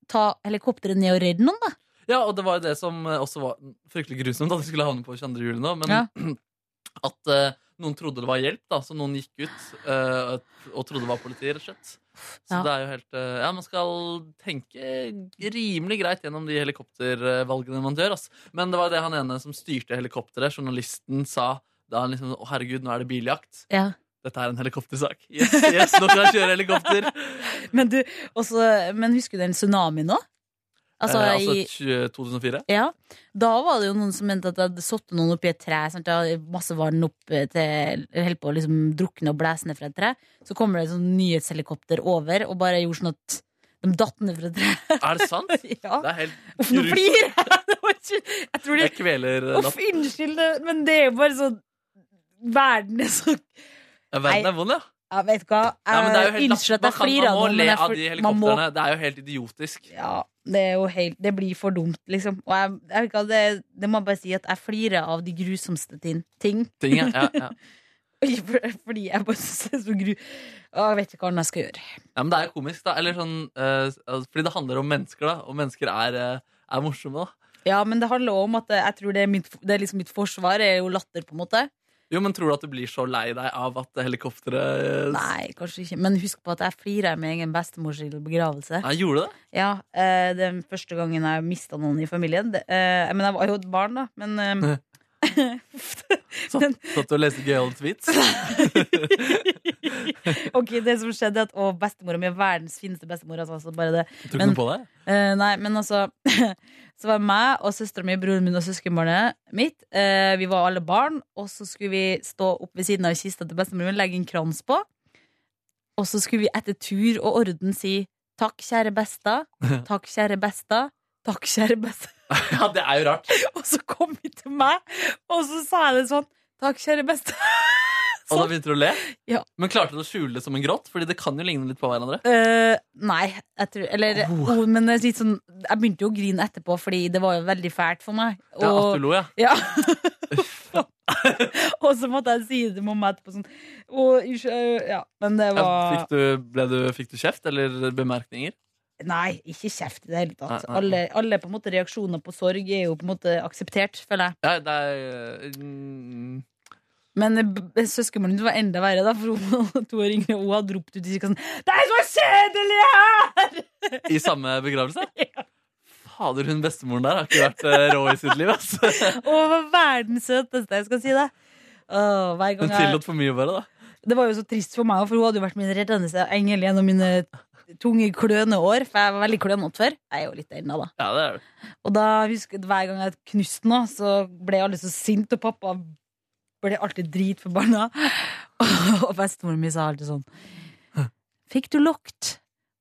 ta helikopteret ned og redd noen, da.
Ja, og det var jo det som eh, også var fryktelig grusomt, at de skulle havne på 22. juli nå. Men
Ja.
at eh, noen trodde det var hjelp, da, så noen gikk ut eh, og trodde det var politi, rett og slett. Så
Ja.
det er jo helt eh, Ja, man skal tenke rimelig greit gjennom de helikoptervalgene man gjør, ass. Men det var det han ene som styrte helikopteret, journalisten, sa da han liksom Å, herregud, nå er det biljakt.
Ja.
Dette er en helikoptersak. Yes, yes, nå skal jeg kjøre helikopter!
Men, du, også, men husker du den tsunamien nå? Altså,
eh,
i,
altså 2004.
Ja, da var det jo noen som mente at det hadde satt noen oppi et tre. Sant? Det hadde masse vann opp eh, til eller Holdt på å liksom drukne og blæse ned fra et tre. Så kommer det et sånn nyhetshelikopter over og bare gjorde sånn at de datt ned fra et tre.
Er det sant?
ja.
Det er helt
Uff, nå
grusomt.
flirer jeg! Det var ikke- Jeg tror det
Jeg kveler eh,
Uff, unnskyld, det- men det er jo bare sånn Verden er så
Ja, verden er vond, ja.
Jeg vet ikke hva.
ja men det er jo helt
Unnskyld Eh, at
Man
jeg
kan-
flirer
Man
av noe,
må le
men jeg
av
fl-
de
man må-
helikoptrene. Det er jo helt idiotisk.
Ja, det er jo helt Det blir for dumt, liksom. Og jeg, jeg vet ikke, det, det må jeg bare si at jeg flirer av de grusomste tin- ting.
Ting, ja. Ja, ja.
Ikke for- Fordi jeg bare synes det er så gru... Å, Jeg vet ikke hva annet jeg skal gjøre.
ja, men det er jo komisk, da. Eller sånn, eh, altså, fordi det handler om mennesker, da. Og mennesker er, eh, er morsomme, da.
Ja, men det handler også om at jeg tror det er mitt, det er liksom mitt forsvar er jo latter, på en måte.
Jo, men tror du at du blir så lei deg av at helikopteret eh,
Nei, kanskje ikke. Men husk på at jeg flirer av min egen bestemors begravelse.
Nei, Gjorde det?
Ja, eh, Den første gangen jeg mista noen i familien. det- eh, Men jeg var jo et barn, da. Men eh,
Satt, satt du og leste gøyale tweets?
ok, det som skjedde, er at å, bestemora mi er verdens fineste bestemor. Altså, altså bare det.
Tok
Men-
du på deg?
Eh, nei, men altså Så var det meg og søstera mi, broren min og søskenbarnet mitt. Eh, vi var alle barn, og så skulle vi stå opp ved siden av kista til bestemor og legge en krans på. Og så skulle vi etter tur og orden si takk, kjære besta, takk, kjære besta, takk, kjære besta.
Ja, det er jo rart.
Og så kom vi til meg, og så sa jeg det sånn. Takk, kjære besta.
Og da begynte du å le?
Ja.
Men klarte du å skjule det som en gråt? Fordi det kan jo ligne litt på hverandre.
Eh, nei, jeg tror Eller oh, men det er litt sånn, jeg begynte jo å grine etterpå, fordi det var jo veldig fælt for meg. Og,
Ja, at du lo, ja.
Ja. og så måtte jeg si det til mamma etterpå sånn «Å, unnskyld, øh, ja. Men det
ja
var
fikk, du, ble du, fikk du kjeft eller bemerkninger?
Nei, ikke kjeft i det hele tatt.
Nei, nei,
Alle, alle på en måte reaksjoner på sorg er jo på en måte akseptert, føler jeg.
Ja, det er mm,
Men eh, b- søskenbarnet mitt var enda verre, da, for hun var to år yngre, og hun hadde ropt ut i kirka sånn Det er så kjedelig her!
I samme begravelse? Fader, hun bestemoren der har ikke vært eh, rå i sitt liv. Ass. Hun
Å, var verdens søteste, jeg skal si det. Åh, hver gang jeg
tillot for mye, bare. da
Det var jo så trist for meg, for hun hadde jo vært min reddende engel gjennom mine tunge, kløne år. For jeg var veldig klønete før. Jeg er jo litt ennå, da.
Ja, det er det.
Og da husker jeg at hver gang jeg knuste noe, så ble alle så sinte, og pappa ble alltid dritforbanna. Og bestemoren min sa alltid sånn Fikk du lukt?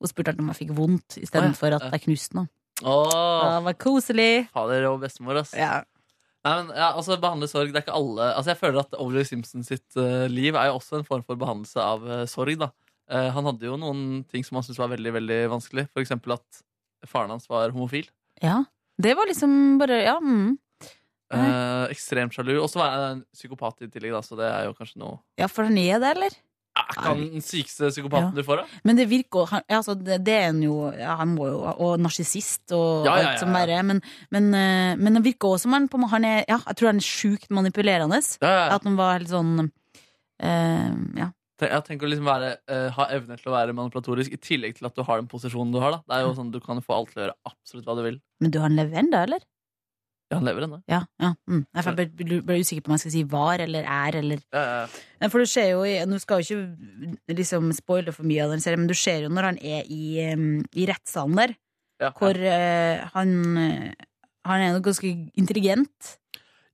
Hun spurte alltid om jeg fikk vondt,
Å, ja.
istedenfor at jeg knuste noe.
Åh,
Det var koselig.
fader og bestemor, ass.
Ja.
Nei, men, ja, altså, behandle sorg, det er ikke alle Altså, Jeg føler at O.J. Simpson sitt eh, liv er jo også en form for behandlelse av eh, sorg. da Eh, Han hadde jo noen ting som han syntes var veldig veldig vanskelig. For eksempel at faren hans var homofil.
ja. Det var liksom bare Ja. Mm.
Eh, ekstremt sjalu. Og så var han en psykopat i tillegg, da, så det er jo kanskje noe
ja, for han er det, eller?
Er ikke han den sykeste psykopaten
Ja.
du får, da?
Men det virker han, altså, det, det er han jo ja, Han må jo Og narsissist og
Ja, ja, ja,
alt som
ja.
verre er. Men, men, eh, men det virker også som han, på en måte- han er ja, Jeg tror han er sjukt manipulerende.
Ja, ja, ja.
At han var helt sånn eh, Ja.
Tenk, jeg tenker å liksom være, eh, ha evne til å være manipulatorisk i tillegg til at du har den posisjonen du har. da Det er jo sånn, Du kan jo få alt til å gjøre absolutt hva du vil.
Men du, han lever ennå, eller?
Ja, han lever ennå.
Ja. ja. Mm. Jeg ble, ble, ble usikker på om jeg skal si var eller er eller
Ja, ja, ja.
Nei, For du ser jo i- Nå skal jeg jo ikke liksom spoile for mye av den serien, men du ser jo når han er i, eh, i rettssalen der,
Ja,
hvor
ja.
eh, han eh, Han er jo ganske intelligent.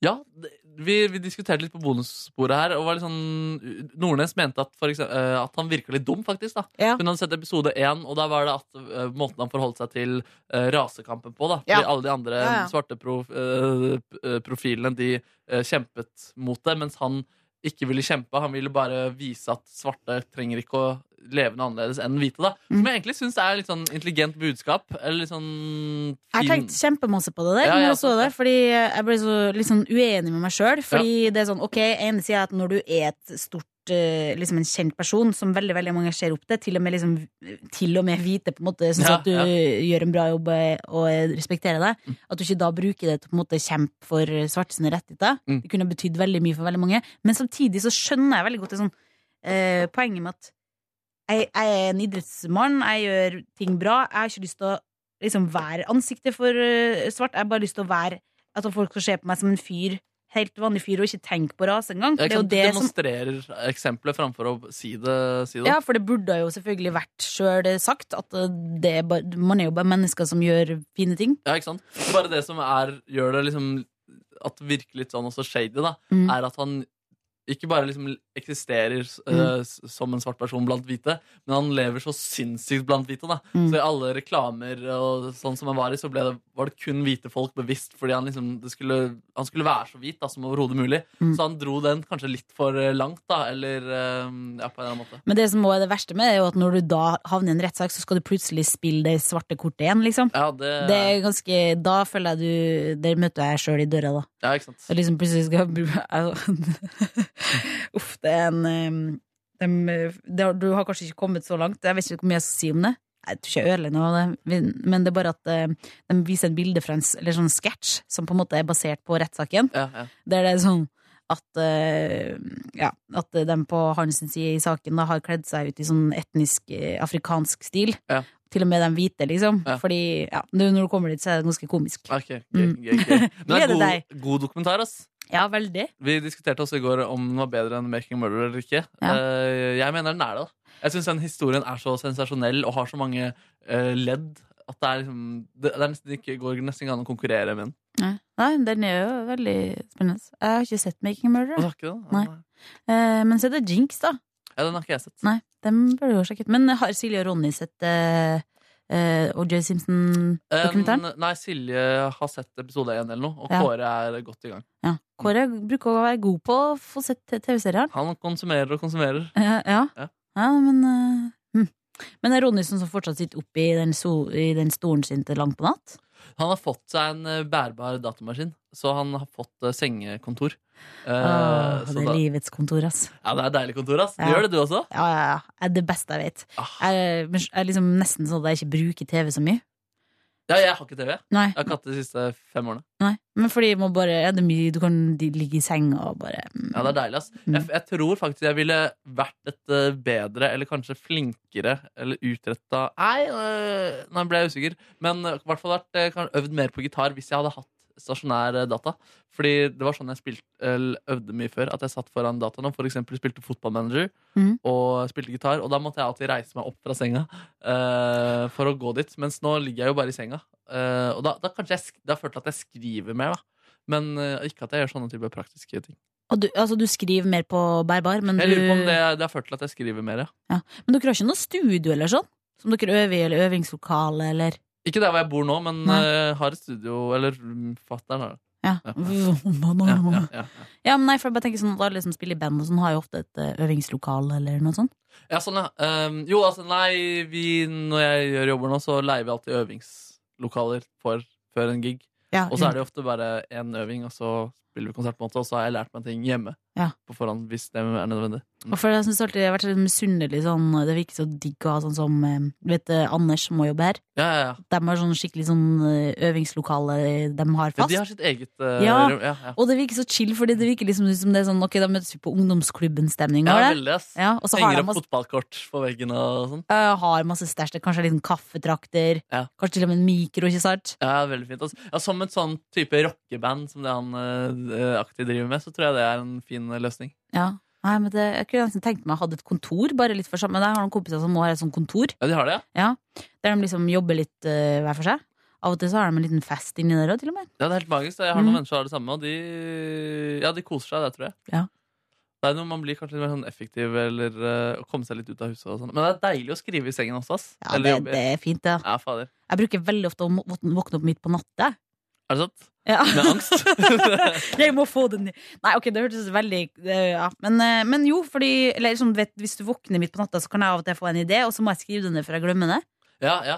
ja det- vi, vi diskuterte litt på bonussporet her. Og var litt sånn, Nordnes mente at, for eksempel, eh, at han virka litt dum, faktisk. da
Ja.
Hun hadde sett episode én, og da var det at eh, måten han forholdt seg til eh, rasekampen på. da
Ja.
Fordi alle de andre
Ja, ja.
svarte prof, eh, p- eh, profilene de eh, kjempet mot det, mens han ikke ville kjempe. Han ville bare vise at svarte trenger ikke å levende annerledes enn hvite. da
Mm.
Som jeg egentlig syns er litt sånn intelligent budskap. Eller litt sånn
Jeg
fin-
tenkte kjempemasse på det der,
Ja,
når
ja,
jeg så det, fordi jeg ble så litt sånn uenig med meg sjøl. Fordi det er sånn, ok, ene sida er at når du er et stort eh, Liksom en kjent person som veldig veldig mange ser opp til, til og med, liksom, til og med hvite på en måte syns
Ja,
at du
ja. Mm.
gjør en bra jobb eh, og eh, respekterer deg, at du ikke da bruker det til å på en måte kjempe for svarte sine rettigheter.
Mm.
Det kunne betydd veldig mye for veldig mange. Men samtidig så skjønner jeg veldig godt det sånn eh, poenget med at jeg, jeg er en idrettsmann, jeg gjør ting bra. Jeg har ikke lyst til å liksom, være ansiktet for eh, svart. Jeg har bare lyst til å være At folk skal se på meg som en fyr, helt vanlig fyr, og ikke tenke på rase engang.
Jeg
Det er jo
kan
det som
demonstrerer eksempelet framfor å si det. Si det.
ja, for det burde jo selvfølgelig vært sjøl sagt at eh, det er bare, man er jo bare mennesker som gjør fine ting.
Ja, ikke sant? Bare det som er, gjør det liksom At det virker litt sånn også shady, da,
Mm.
er at han ikke bare liksom eksisterer eh,
Mm.
s- som en svart person blant hvite, men han lever så sinnssykt blant hvite. da
Mm.
Så i alle reklamer og sånn som han var i, så ble det, var det kun hvite folk bevisst fordi han liksom det skulle, Han skulle være så hvit da som overhodet mulig.
Mm.
Så han dro den kanskje litt for eh, langt, da, eller eh, ja, på en eller annen måte.
Men det som også er det verste med det, er jo at når du da havner i en rettssak, så skal du plutselig spille det svarte kortet igjen, liksom.
Ja, det,
Det er ganske, da føler jeg du Der møter jeg sjøl i døra, da.
ja, ikke sant?
Og liksom plutselig skal jeg bruke Au. Uff, det er en em, dem, eh, det har- Du har kanskje ikke kommet så langt. Jeg vet ikke hvor mye jeg skal si om det. Jeg tror ikke jeg ødelegger noe av det, men- men det er bare at eh, de viser et bilde fra en s- eller sånn sketsj som på en måte er basert på rettssaken.
Ja, ja.
Der det er sånn at eh, ja, at de på hans side i saken da har kledd seg ut i sånn etnisk eh, afrikansk stil.
Ja.
Til og med de hvite, liksom.
Ja.
Fordi ja, du- når du kommer dit, så er det ganske komisk.
Ok,
Mm.
gøy, gøy, gøy. Men det er
Gleder deg.
god, god dokumentar, ass.
Ja, veldig.
Vi diskuterte også i går om den var bedre enn Making a Murderer eller ikke.
Ja.
Eh, Jeg mener den er det. da. Jeg syns den historien er så sensasjonell og har så mange eh, ledd at det er liksom Det, det er nesten ikke, går nesten ikke an å konkurrere med den.
Nei, Nei den er jo veldig spennende. Jeg har ikke sett Making a
Og det
Murderer.
har ikke det, da.
Nei. Eh, men så er det Jinx, da.
Ja, den har ikke jeg sett.
Nei, dem burde du jo sjekke ut. Men har Silje og Ronny sett eh, eh, OJ Simpson-dokumentaren?
Eh, nei, Silje har sett episode 1 eller noe, og
Ja.
Kåre er godt i gang.
ja. Kåre bruker å være god på å få sett TV-serier.
Han konsumerer og konsumerer.
Eh, ja.
Ja.
ja. men eh, hm. Men det er Ronny sånn som så fortsatt sitter oppe i den, so i den stolen sin til langt på natt?
Han har fått seg en eh, bærbar datamaskin, så han har fått eh, sengekontor. Eh,
Åh,
så
det
da,
er livets kontor, ass.
ja, det er deilig kontor, ass.
Ja.
Gjør det du også?
Ja, ja, ja. Det er det beste jeg vet.
Ah.
Jeg, jeg er liksom nesten sånn at jeg ikke bruker TV så mye.
Ja, jeg har ikke TV. Jeg
Nei.
har ikke hatt det de siste fem årene.
Nei, men fordi man bare, er det mye, du kan de- ligge i senga og bare
Ja, det er deilig, ass.
Mm.
Jeg, jeg tror faktisk jeg ville vært et eh, bedre, eller kanskje flinkere, eller utretta Nei, øh, nå ble jeg usikker. Men eh, i hvert fall vært, eh, kan- øvd mer på gitar hvis jeg hadde hatt stasjonær eh, data. Fordi det var sånn jeg spilte, eller øvde mye før. At jeg satt foran dataen og for eksempel spilte fotballmanager
Mm.
og spilte gitar. Og da måtte jeg alltid reise meg opp fra senga eh, for å gå dit. Mens nå ligger jeg jo bare i senga. Eh, og da, da kanskje jeg, sk- da følte jeg at jeg skriver mer, da. Men eh, ikke at jeg gjør sånne type praktiske ting.
Og du, altså, du skriver mer på bærbar, men,
Jeg lurer på om
du-
det, det har ført til at jeg skriver mer, ja.
men dere har ikke noe studio eller sånn? Som dere øver i, eller øvingslokale, eller
Ikke der hvor jeg bor nå, men
Nei.
eh, har et studio Eller mm, fatter'n har det.
Ja.
Ja. Ja, ja,
ja,
ja, ja.
men nei, for jeg bare tenker sånn at alle som spiller i band og sånn, har jo ofte et eh, øvingslokale eller noe sånt.
ja, sånn, ja. Ehm, jo, altså, nei, vi Når jeg gjør jobber nå, så leier vi alltid øvingslokaler for, før en gig.
Ja,
Og så er det jo ofte bare én øving, og så spiller vi konsert, på en måte, og så har jeg lært meg ting hjemme
Ja.
på forhånd, hvis det er nødvendig.
Og for jeg synes alltid jeg har vært litt misunnelig sånn, det virker så digg å ha sånn som eh, Du vet eh, Anders som må jobbe her?
Ja, ja, ja.
De har sånn skikkelig sånn eh, øvingslokale eh, de har
ja
fast.
de har sitt eget eh,
Ja.
rom. Ja, ja.
Og det virker så chill, fordi det virker liksom som det er sånn Ok, da møtes vi på ungdomsklubben-stemning.
Ja,
var det?
veldig, ass.
Ja, og så har de
Henger opp
masse,
fotballkort på veggen og sånn.
øh, har masse stæsj. Det Kanskje er en liten kaffetrakter.
Ja.
Kanskje til og med en mikro, ikke sant?
Ja, veldig fint. Altså. Ja, som et sånn type rockeband som det han eh, aktivt driver med, så tror jeg det er en fin eh, løsning.
Ja. Nei, men det, Jeg kunne nesten tenkt meg å ha et kontor, bare litt for sammen. Men jeg har noen kompiser som nå har et sånt kontor,
Ja, de har det, ja?
der de liksom jobber litt øh, hver for seg. Av og til så har de en liten fest inni der òg, til og med.
Ja, det er helt magisk. Jeg har noen
Mm.
mennesker som har det samme, og de, ja, de koser seg der, tror jeg.
Ja.
Det er noe man blir kanskje litt mer sånn effektiv eller eh, å komme seg litt ut av huset og sånn. Men det er deilig å skrive i sengen også, ass.
Ja,
Eller
det,
jobbe i-
det er fint, det.
Ja, fader.
Jeg bruker veldig ofte å må- våkne opp midt på natta.
Er Er det sant?
Ja.
Med angst?
Jeg må få den ned. Nei, ok, det hørtes veldig eh, ja. men, eh, men jo, fordi eller, liksom, du vet, Hvis du våkner midt på natta, så kan jeg av og til få en idé, og så må jeg skrive den ned før jeg glemmer det.
Ja, ja.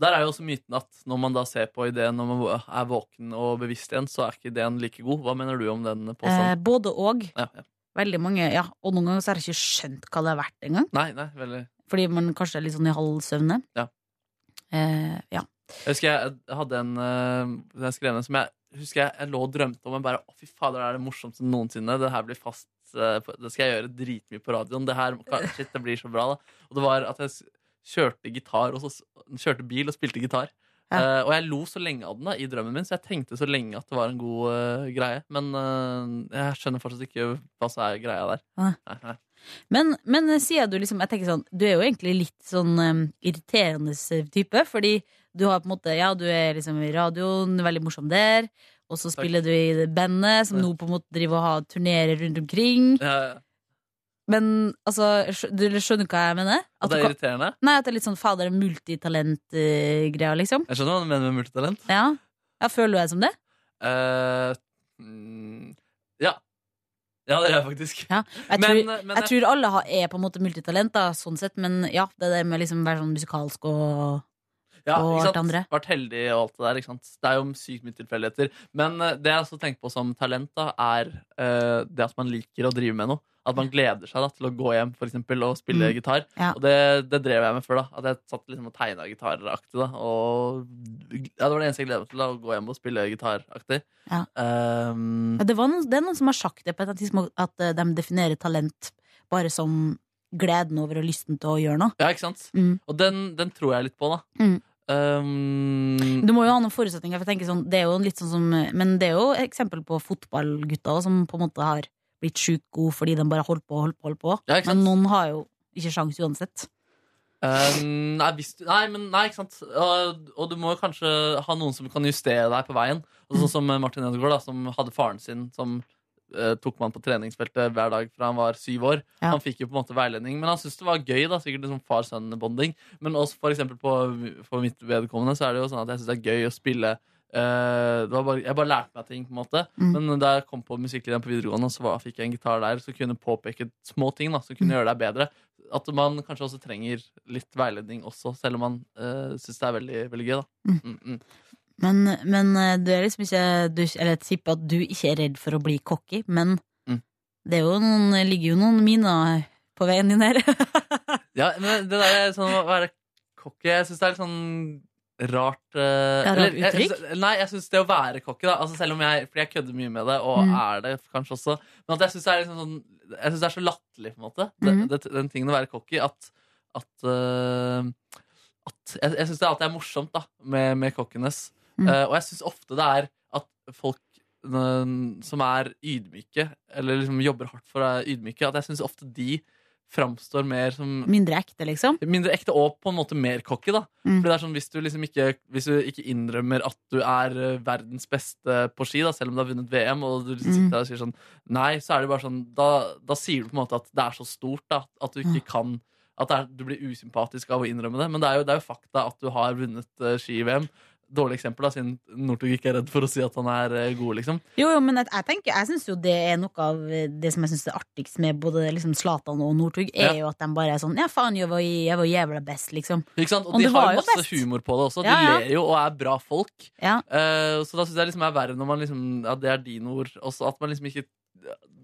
Der er jo også myten at når man da ser på ideen når man er våken og bevisst igjen, så er ikke ideen like god. Hva mener du om den
Eh,
påstanden?
både og.
sånn. Ja, ja.
Veldig mange, ja. Og noen ganger så har jeg ikke skjønt hva det er verdt engang.
Nei, nei, veldig.
Fordi man kanskje er litt sånn i halv søvne.
Ja.
Eh, ja.
Jeg husker jeg, jeg hadde en eh, jeg skrev ned som jeg husker jeg, jeg lå og drømte om. Jeg bare, å fy fader, det er det morsomste noensinne. Det her blir fast eh, på- Det skal jeg gjøre dritmye på radioen. Det her, ka- shit, det blir så bra, da. Og det var at jeg s- kjørte gitar, og så s- kjørte bil og spilte gitar.
Ja.
Eh, og jeg lo så lenge av den da, i drømmen min, så jeg tenkte så lenge at det var en god eh, greie. Men eh, jeg skjønner fortsatt ikke hva som er greia der.
Nei.
Nei, nei.
Men, men sier du liksom Jeg tenker sånn, du er jo egentlig litt sånn em, irriterende type, fordi du har på en måte Ja, du er liksom i radioen, veldig morsom der, og så
Takk.
spiller du i det bandet som
Ja.
nå på en måte driver og har turnerer rundt omkring.
Ja, ja.
Men altså, skj- du skjønner hva jeg mener? At
Og
du
det er
kan,
irriterende.
nei, at det er litt sånn fader multitalent-greia, liksom?
Jeg skjønner hva du mener med multitalent.
Ja. ja, føler du deg som det?
Eh, mm, ja. Ja, det gjør jeg faktisk.
Ja, Jeg
men, eh,
tror,
men
jeg tror alle har, er på en måte multitalenter, sånn sett, men ja, det der med liksom være sånn musikalsk og
ja,
og
ikke
alt
sant?
andre.
Vært heldig og alt det der. Ikke sant? Det er jo sykt mye tilfeldigheter. Men eh, det jeg også tenker på som talent, da, er eh, det at man liker å drive med noe. At man gleder seg da, til å gå hjem for eksempel, og spille
Mm.
gitar.
Ja.
Og det, det drev jeg med før. da At jeg satt liksom og tegna gitaraktig. da Og ja, Det var det eneste jeg gledet meg til. da Å gå hjem og spille gitaraktig.
Ja.
Ehm,
Ja, det, var noen, det er noen som har sagt det på et eller annet tidspunkt, at eh, de definerer talent bare som gleden over og lysten til å gjøre noe.
ja, ikke sant?
Mm.
Og den, den tror jeg litt på, da.
Mm.
Ehm,
Du må jo ha noen forutsetninger, for jeg tenker sånn, det er jo litt sånn som Men det er jo eksempel på fotballgutter også, som på en måte har blitt sjukt gode fordi de bare holdt på og holdt på, holdt på.
Ja, ikke sant?
Men noen har jo ikke sjans uansett.
Eh, nei, hvis du, nei, men nei, ikke sant. Og, og du må jo kanskje ha noen som kan justere deg på veien. Og sånn som Martin Ødegaard, da, som hadde faren sin som eh, tok man på treningsfeltet hver dag fra han var syv år.
Ja.
Han fikk jo på en måte veiledning, men han syntes det var gøy. da, Sikkert liksom far-sønn-bonding. Men også for eksempel på, for mitt vedkommende så er det jo sånn at jeg syns det er gøy å spille eh, det var bare, jeg bare lærte meg ting, på en måte.
Mm.
Men da jeg kom på musikklinja på videregående, så var, fikk jeg en gitar der som kunne påpeke små ting da, som kunne
Mm.
gjøre deg bedre. At man kanskje også trenger litt veiledning også, selv om man uh, syns det er veldig, veldig gøy. da.
Mm.
Mm, mm.
Men, men eh, du er liksom ikke du, Eller jeg tipper at du ikke er redd for å bli cocky, men
Mm.
det er jo noen, ligger jo noen miner på veien din her.
Ja, men det der er sånn å være cocky Jeg syns det er litt sånn rart eh,
Det er rart
eller, jeg-
uttrykk?
Jeg, synes- nei, jeg syns det å være cocky, da altså Selv om jeg, fordi jeg kødder mye med det, og
Mm.
er det kanskje også Men at jeg syns det er liksom sånn Jeg synes det er så latterlig, på en måte, det,
Mhm.
det, den tingen å være cocky, at at, eh, at Jeg, jeg syns det alltid er morsomt, da, med, med cockiness.
Mm.
Eh, og jeg syns ofte det er at folk eh, som er ydmyke, eller liksom jobber hardt for å være ydmyke, at jeg syns ofte de framstår mer som
Mindre ekte, liksom.
mindre ekte og på en måte mer cocky. da
Mm.
Fordi det er sånn, hvis du, liksom ikke, hvis du ikke innrømmer at du er eh, verdens beste på ski, da selv om du har vunnet VM, og du sitter
Mm.
der og sier sånn Nei, så er det bare sånn Da, da sier du på en måte at det er så stort da at du ikke kan At det er, du blir usympatisk av å innrømme det. Men det er jo, det er jo fakta at du har vunnet eh, ski-VM. Dårlig eksempel, da siden Northug ikke er redd for å si at han er eh, god, liksom.
Jo, jo, men jeg, jeg tenker Jeg syns jo det er noe av det som jeg syns er artigst med både liksom Zlatan og Northug, er
Ja.
jo at de bare er sånn Ja, faen, jeg var, jeg var jævla best, liksom.
Ikke sant? Og
Men
de
det
har
var
jo
jo
masse
best.
humor på det også. De
Ja, ja.
ler jo og er bra folk.
Ja.
Eh, så da syns jeg liksom er verre når man liksom Ja, det er dine ord. Også at man liksom ikke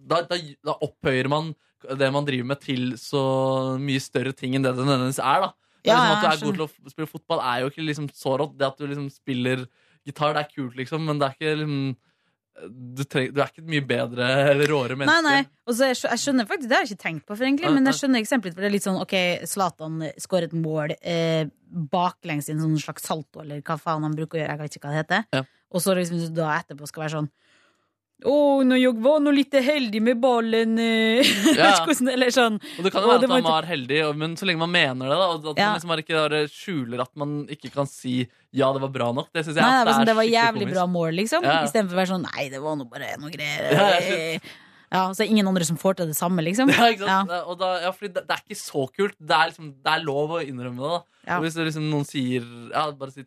da, da, da opphøyer man det man driver med, til så mye større ting enn det det nødvendigvis er. da Det er
Ja,
liksom At du
ja,
er god til å spille fotball, er jo ikke liksom så rått. Det at du liksom spiller gitar, det er kult, liksom, men det er ikke liksom du, treng, du er ikke et mye bedre eller råere
Nei,
menneske.
nei. Og så jeg, skjø- jeg skjønner faktisk Det har jeg ikke tenkt på, for egentlig,
Nei,
men
nei.
jeg skjønner eksempelet. For det er litt sånn OK, Zlatan skårer et mål eh, baklengs i en sånn slags salto, eller hva faen han bruker å gjøre, jeg vet ikke hva det heter.
Ja.
Og så liksom hvis du da etterpå skal være sånn å, nå jeg var nå litt heldig med ballen eh», vet
Ja.
ikke hvordan- Eller sånn.
Og det kan
Og
jo være
det var
at man
ikke-
var heldig, og- men så lenge man mener det, da, og at
Ja.
man liksom bare ikke bare skjuler at man ikke kan si 'ja, det var bra nok', det syns jeg
Nei,
at
det var, sånn, det var
skikkelig
jævlig bra mål, liksom.
Ja.
Istedenfor å være sånn Nei, det var nå bare noe greier.
Ja, ja,
eh». Ja, så er det ingen andre som får til det samme, liksom.
Ja, ikke sant?
Ja.
Og da, ja, fordi det, det er ikke så kult. Det er, liksom, det er lov å innrømme det. da
Ja.
Og Hvis det liksom noen sier ja, bare si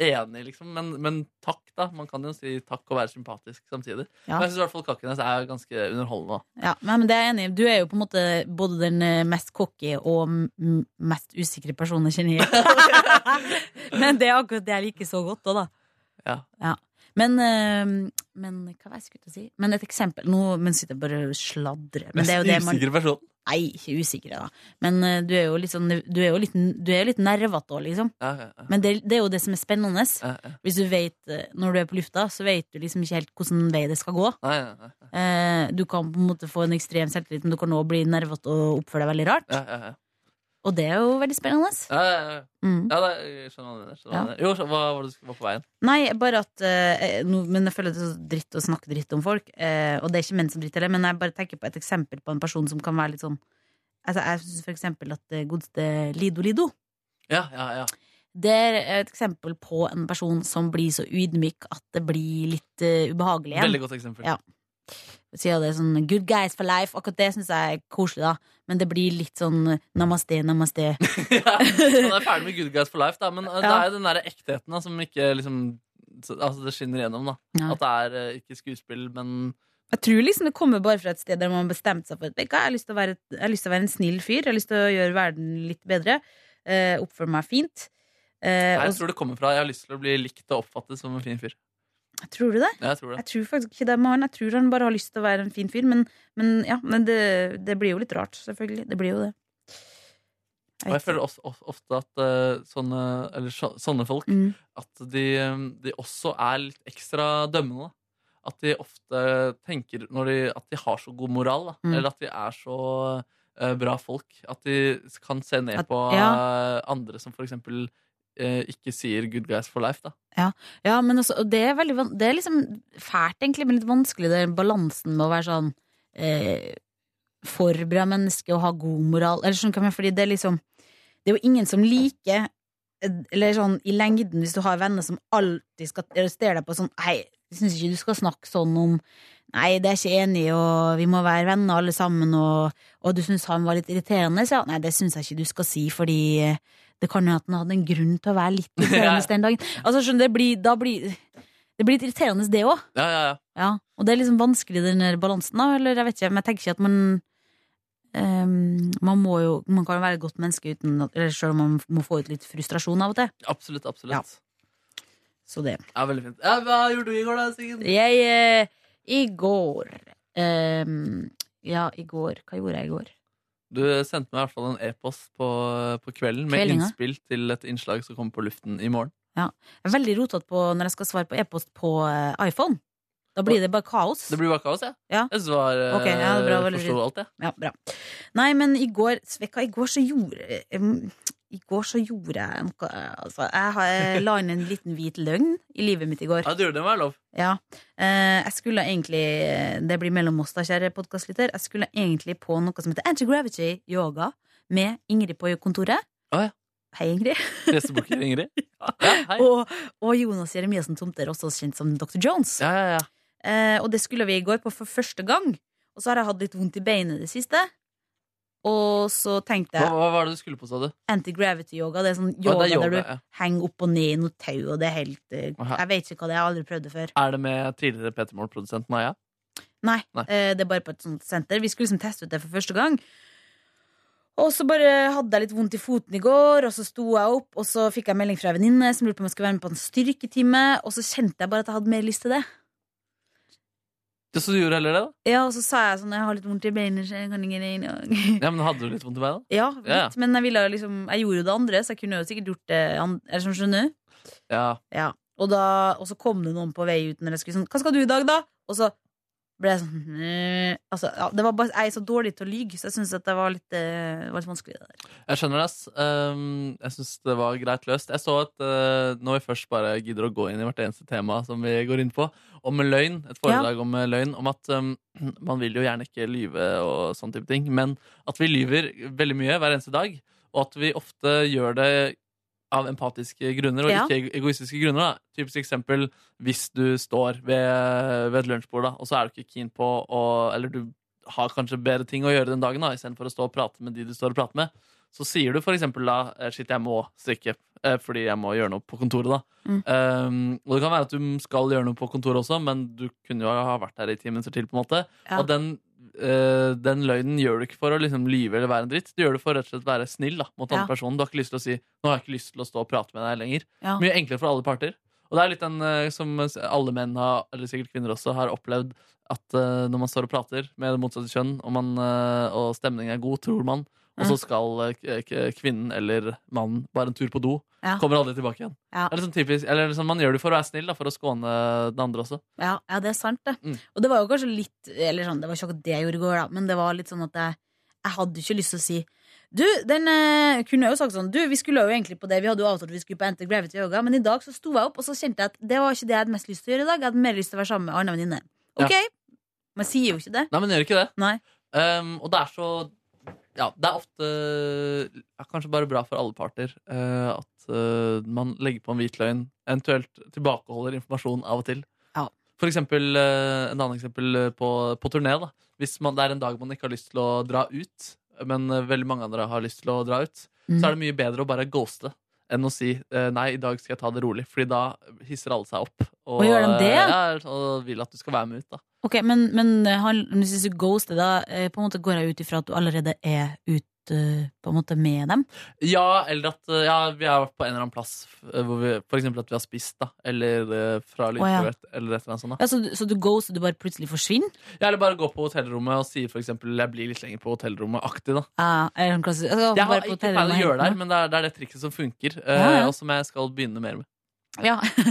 enig, liksom. Men, men takk, da. Man kan jo si takk og være sympatisk samtidig.
Ja.
Men jeg syns i hvert fall Kakkenes er ganske underholdende. da.
Ja, men det er jeg enig i. Du er jo på en måte både den eh, mest cocky og m- mest usikre personen jeg kjenner. men det er akkurat det jeg liker så godt òg, da.
Ja.
Men, eh, men hva var det jeg skulle til å si? Men et eksempel Nå men sitter jeg bare og sladrer. Men det er jo det
Mest
man
usikre person.
Nei, ikke usikre, da. Men eh, du er jo litt sånn Du er jo litt, du er jo litt nervete òg, liksom.
Ja, ja, ja.
Men det, det er jo det som er spennende.
Ja, ja.
Hvis du vet, eh, Når du er på lufta, så vet du liksom ikke helt hvordan vei det skal gå.
Nei, nei, nei. nei.
Eh, du kan på en måte få en ekstrem selvtillit, men du kan òg bli nervete og oppføre deg veldig rart.
Ja, ja, ja.
Og det er jo veldig spennende.
Ja, ja, ja.
Mm.
Ja, da, jeg skjønner hva du mener. skjønner hva du mener. Jo, så- hva var det du skulle- var på veien?
Nei, bare at eh, nå- Men jeg føler det er så dritt å snakke dritt om folk. eh, og det er ikke menn som dritt heller, men jeg bare tenker på et eksempel på en person som kan være litt sånn Altså, Jeg syns for eksempel at eh, godeste Lido Lido
Ja, ja, ja.
Det er et eksempel på en person som blir så ydmyk at det blir litt eh, ubehagelig igjen.
Veldig godt eksempel.
Ja. Sier det sånn good guys for life. Akkurat det syns jeg er koselig, da. Men det blir litt sånn namaste, namaste.
ja, han er ferdig med Good Guys for Life, da, men eh, det
Ja.
er jo den derre ektheten da, som ikke liksom så- Altså, det skinner gjennom, da.
Ja.
At det er eh, ikke skuespill, men
Jeg tror liksom det kommer bare fra et sted der man har bestemt seg for at vet du hva, jeg har lyst til å være, et- jeg har lyst til å være en snill fyr. Jeg har lyst til å gjøre verden litt bedre. Eh, Oppføre meg fint. Eh,
jeg
og,
tror det kommer fra Jeg har lyst til å bli likt og oppfattet som en fin fyr.
tror du det?
Ja, jeg tror det.
Jeg tror faktisk ikke det med han. Jeg tror han bare har lyst til å være en fin fyr. Men, men ja, men det, det blir jo litt rart, selvfølgelig. Det blir jo det.
Og jeg føler også, of- ofte at eh, sånne, eller, så- sånne folk
Mm.
At de, eh, de også er litt ekstra dømmende. da. At de ofte tenker når de, at de har så god moral, da.
Mm.
eller at de er så eh, bra folk. At de kan se ned
At-
på eh, andre som for eksempel eh, ikke sier 'good guys for life'. da
Ja, men også, og det er veldig van- Det er liksom fælt egentlig, men litt vanskelig Den balansen med å være sånn eh, For bra menneske Og ha god moral Eller sånn kan man, fordi det er liksom Det er jo ingen som liker eh, Eller sånn, i lengden Hvis du har venner som alltid skal arrestere deg på sånn Hei, jeg synes ikke du skal snakke sånn om Nei, det er jeg ikke enig i, og vi må være venner alle sammen Og, og du synes han var litt irriterende Så ja, nei, det synes jeg ikke du skal si Fordi eh, det kan jo at han hadde en grunn til å være litt irriterende den dagen Altså, skjønner du, det blir, da blir Det blir litt irriterende det òg.
Ja, ja, ja.
Ja. Og det er liksom vanskelig, den der balansen, da. Eller jeg vet ikke, men jeg tenker ikke at man ehm, man må jo Man kan jo være et godt menneske uten at Eller selv om man må få ut litt frustrasjon av og til.
Absolutt. absolutt
Ja.
ja.
Så det.
Veldig fint. Ja, hva gjorde du i går, da, Siggen?
Jeg eh, I går ehm, Ja, i går Hva gjorde jeg i går?
Du sendte meg i hvert fall en e-post på, på kvelden med
Kvelden, ja.
innspill til et innslag som kommer på luften i morgen.
Jeg er veldig rotete på når jeg skal svare på e-post på eh, iPhone. Da blir det bare kaos.
Det blir bare kaos, jeg.
Ja.
Jeg svar, eh,
Ok, ja, det er bra, veldig
forsto
fint.
alt, jeg.
Ja, bra. Nei, men i går Svekka, i går så gjorde em, I går så gjorde jeg noe altså, jeg, har, jeg la inn en liten hvit løgn i livet mitt i går.
Ja, du gjorde det med lov.
Ja. Eh, jeg skulle egentlig Det blir mellom oss, da, kjære podkastlytter. Jeg skulle egentlig på noe som heter Anti-Gravity Yoga med Ingrid på kontoret.
Å, ja.
Hei, Ingrid.
Gjestebukker Ingrid. Ja, hei.
Og, og Jonas Jeremiassen Tomter, også kjent som Dr. Jones.
Ja, ja, ja.
Eh, og det skulle vi i går på for første gang. Og så har jeg hatt litt vondt i beinet i det siste. Og så tenkte
Hva,
jeg
hva var det du skulle på, sa du?
anti-gravity-yoga. Det er sånn
Ja,
yoga,
det er
der du
yoga, ja.
henger opp og ned i noe tau, og det er helt eh,
Aha.
Jeg vet ikke hva det er, jeg har aldri prøvd det før.
Er det med tidligere Peter Moll-produsent Maja?
Nei,
Nei.
eh, det er bare på et sånt senter. Vi skulle liksom teste ut det for første gang. Og så bare hadde jeg litt vondt i foten i går, og så sto jeg opp, og så fikk jeg melding fra ei venninne som lurte på om jeg skulle være med på en styrketime, og så kjente jeg bare at jeg hadde mer lyst til det.
Ja, så du gjorde heller det, da?
Ja, og så sa jeg sånn, jeg har litt vondt i beinet, så jeg kan ikke inn og
Ja, men hadde du litt vondt i beinet?
Ja, litt,
Ja.
men jeg, ville jo liksom, jeg gjorde jo det andre, så jeg kunne jo sikkert gjort det an- Er det sånn, skjønner du?
Ja.
Ja. Og, da, og så kom det noen på vei ut når jeg skulle sånn 'Hva skal du i dag, da?' Og så ble jeg sånn «Nei». altså, ja, det var bare, Jeg er så dårlig til å lyge, så jeg syns det var litt, eh, det var litt vanskelig. Det der.
Jeg skjønner det, ass. Um, jeg syns det var greit løst. Jeg så at eh, når vi først bare gidder å gå inn i hvert eneste tema som vi går inn på, om løgn, et foredrag om eh, løgn, om at um, man vil jo gjerne ikke lyve og sånn type ting, men at vi lyver veldig mye hver eneste dag, og at vi ofte gjør det av empatiske grunner og
Ja.
ikke egoistiske grunner. Da. Typisk eksempel hvis du står ved, ved et lunsjbord, da, og så er du ikke keen på å Eller du har kanskje bedre ting å gjøre den dagen da, istedenfor å stå og prate med de du står og prater med. Så sier du for eksempel da eh, Shit, jeg må strikke. eh, fordi jeg må gjøre noe på kontoret, da.
Mm.
Eh, og det kan være at du skal gjøre noe på kontoret også, men du kunne jo ha vært der i ti minutter til, på en måte.
Ja.
Og den, eh, den løgnen gjør du ikke for å liksom lyve eller være en dritt. Du gjør det for rett og slett å være snill da, mot andre
Ja.
personen. Du har ikke lyst til å si 'nå har jeg ikke lyst til å stå og prate med deg lenger'.
Ja.
Mye enklere for alle parter. Og det er litt den eh, som alle menn, har, eller sikkert kvinner også, har opplevd. At eh, når man står og prater med det motsatte kjønn, og, man, eh, og stemningen er god, tror man, og så skal eh, k- k- kvinnen eller mannen bare en tur på do,
Ja.
kommer aldri tilbake igjen.
Ja.
Det er liksom typisk, eller liksom, Man gjør det for å være snill, da, for å skåne den andre også.
Ja, ja, det er sant, det.
Mm.
Og det var jo kanskje litt Eller sånn, det var ikke akkurat det jeg gjorde i går, da, men det var litt sånn at jeg, jeg hadde ikke lyst til å si Du, den eh, kunne jeg jo sagt sånn Du, vi skulle jo egentlig på det, vi hadde jo avtalt at vi skulle på Enter Gravity Yoga, men i dag så sto jeg opp, og så kjente jeg at det var ikke det jeg hadde mest lyst til å gjøre i dag. Jeg hadde mer lyst til å være sammen med ei anna venninne.
Ja.
Ok, man sier jo ikke det.
Nei, men gjør ikke det.
Nei.
Um, og det er så Ja, det er ofte ja, Kanskje bare bra for alle parter eh, at eh, man legger på en hvit løgn. Eventuelt tilbakeholder informasjon av og til.
Ja.
For eksempel, eh, en annen eksempel eh, på, på turné. da Hvis man, det er en dag man ikke har lyst til å dra ut, men eh, veldig mange andre har lyst til å dra ut,
Mm.
så er det mye bedre å bare ghoste enn å si eh, nei, i dag skal jeg ta det rolig. Fordi da hisser alle seg opp
Og gjør de det?
eh, ja, og vil at du skal være med ut. da
Ok, Men, men eh, han, men hvis du ghoster, da eh, på en måte går jeg ut ifra at du allerede er ute eh, på en måte med dem?
Ja, eller at uh, ja, vi har vært på en eller annen plass uh, hvor vi, For eksempel at vi har spist, da. Eller uh, fra
ja.
lydprøvet, eller et eller annet sånt. da
Ja, så, Altså, du- så du ghoster, du bare plutselig forsvinner?
ja, Eller bare gå på hotellrommet og si for eksempel 'jeg blir litt lenger på hotellrommet'-aktig, da.
Ja, eller sånn klassisk altså, bare
Jeg har
på
ikke
hotellet
pleid å
med
gjøre det,
hentene.
her, men det er, det er det trikset som funker, uh,
Ja, ja.
og som jeg skal begynne mer med.
Ja.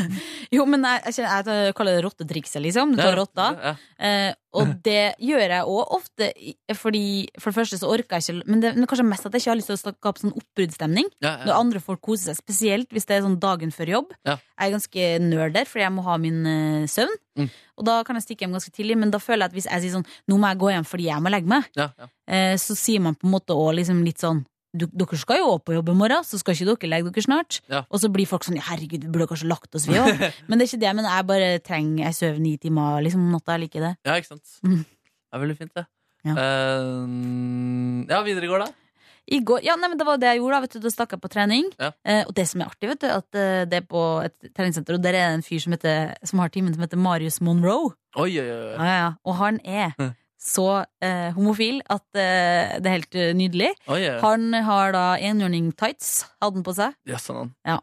Jo, men jeg, jeg, kjenner, jeg kaller det rottetrikset, liksom. Du
Ja,
tar rotta.
ja.
Eh, og det gjør jeg òg ofte, i- fordi for det første så orker jeg ikke Men det men kanskje mest at jeg ikke har lyst til å skape sånn oppbruddsstemning.
Ja,
Når
ja.
andre folk koser seg, spesielt hvis det er sånn dagen før jobb.
Ja.
Jeg er ganske nerd der, fordi jeg må ha min eh, søvn.
Mm.
Og da kan jeg stikke hjem ganske tidlig, men da føler jeg at hvis jeg sier sånn Nå må jeg gå hjem fordi jeg må legge meg,
Ja, ja.
eh, så sier man på en måte òg liksom litt sånn «Du- dere skal jo opp på jobb i morgen, så skal ikke dere legge dere snart?
Ja.
Og så blir folk sånn Herregud, vi burde kanskje lagt oss, vi òg. men det er ikke det. Men jeg bare trenger Jeg sover ni timer liksom, om natta. Jeg liker det.
ja, ikke sant.
Mm.
Det er veldig fint, det.
Ja.
Uh, ja, videre går det.
I går, ja, nei, men det var det jeg gjorde. Da, vet du, da stakk jeg på trening.
Ja.
Eh, og det som er artig, vet du, at eh, det er på et treningssenter, og der er det en fyr som, heter, som har timen som heter Marius Monroe.
Oi, oi, oi.
Ja, ja, ja. Og han er
Hm.
så eh, homofil at eh, det er helt eh, nydelig.
oi, oi.
Han har da enhjørning tights, hadde han på seg.
Ja, sånn han.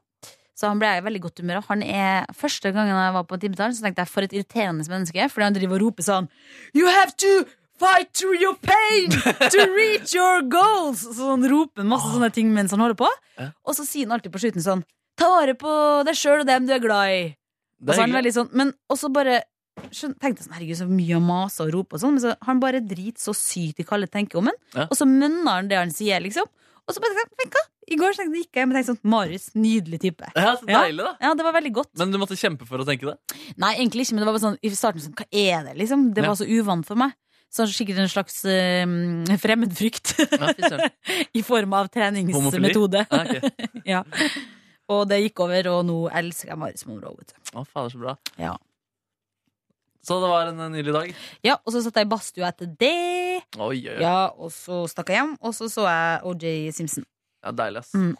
Så han ble jeg i veldig godt humør. av. Han er, første gangen jeg var på timetall, så tenkte jeg for et irriterende menneske. Fordi han driver og roper sånn You have to fight through your pain to reach your goals! Så han roper han masse sånne ting mens han holder på.
Ja.
Og så sier han alltid på slutten sånn Ta vare på deg sjøl og dem du er glad i. Og så
Det er
er han
hyggelig.
veldig sånn Men også bare skjøn- tenkte jeg sånn, herregud, så mye å mase og rope og sånn. Men så han bare driter så sykt i hva alle tenker om han.
Ja.
Og så mønner han det han sier, liksom. Og så bare tenkte jeg, «Vet du hva? I går tenkte jeg, gikk jeg hjem og tenkte sånn Marius, nydelig type.
Ja, så
Ja.
deilig, da.
Ja, det var veldig godt.
Men du måtte kjempe for å tenke det?
Nei, egentlig ikke, men det var bare sånn i starten sånn, hva er det, liksom? Det
Ja.
var så uvant for meg. Så sikkert en slags eh, fremmedfrykt
Ja, fy søren.
i form av
Homofili?
treningsmetode.
Ja, ok.
ja. Og det gikk over, og nå elsker jeg Marius Monroe. vet du.
Å, fader, så bra.
Ja.
Så det var en eh, nydelig dag.
Ja, og så satt jeg i badstua etter det.
Oi, oi, oi. Ja.
Ja, og så stakk jeg hjem, og så så jeg OJ Simpson.
deilig, ass.
Mm.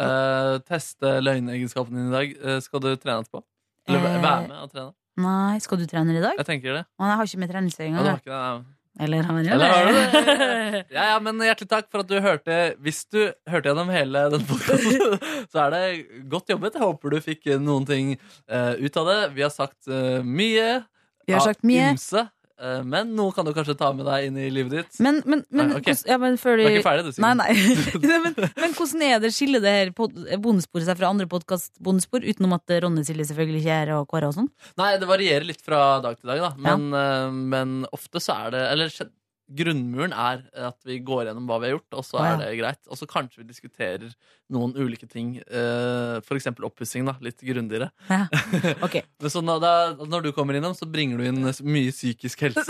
Eh, teste løgneegenskapen din i dag. Eh, skal du trene etterpå? Eller væ-
Eh.
være med og trene?
Nei, skal du trene i dag?
Jeg tenker det.
Å, nei, jeg har ikke med treningstøy
Ja, du
engang.
har
jeg.
ikke det. nei.
Eller har jeg
Eller har du
det?
Ja, ja, men hjertelig takk for at du hørte Hvis du hørte gjennom hele den podkasten, så er det godt jobbet. Jeg håper du fikk eh, noen ting eh, ut av det. Vi har sagt eh, mye.
Vi har
av
sagt mye.
Ymse. Eh, men noe kan du kanskje ta med deg inn i livet ditt.
Men, men, men,
Nei, ok.
hvordan- ja, men før
Du
du
er ikke ferdig, du,
Nei,
Sigurd.
nei. Nei, men, men hvordan er det skiller det her pod- bondesporet seg fra andre podkast-bondespor, utenom at Ronne Silje selvfølgelig ikke er her, og Kåre og sånn?
Nei, det varierer litt fra dag til dag, da. Men, eh, men ofte så er det Eller skje- grunnmuren er at vi går gjennom hva vi har gjort, og
Å,
så
ja.
er det greit. Og så kanskje vi diskuterer noen ulike ting. eh, For eksempel oppussing, da. Litt grundigere.
Ja. Ok.
Men så når, da, når du kommer innom, så bringer du inn s- mye psykisk helse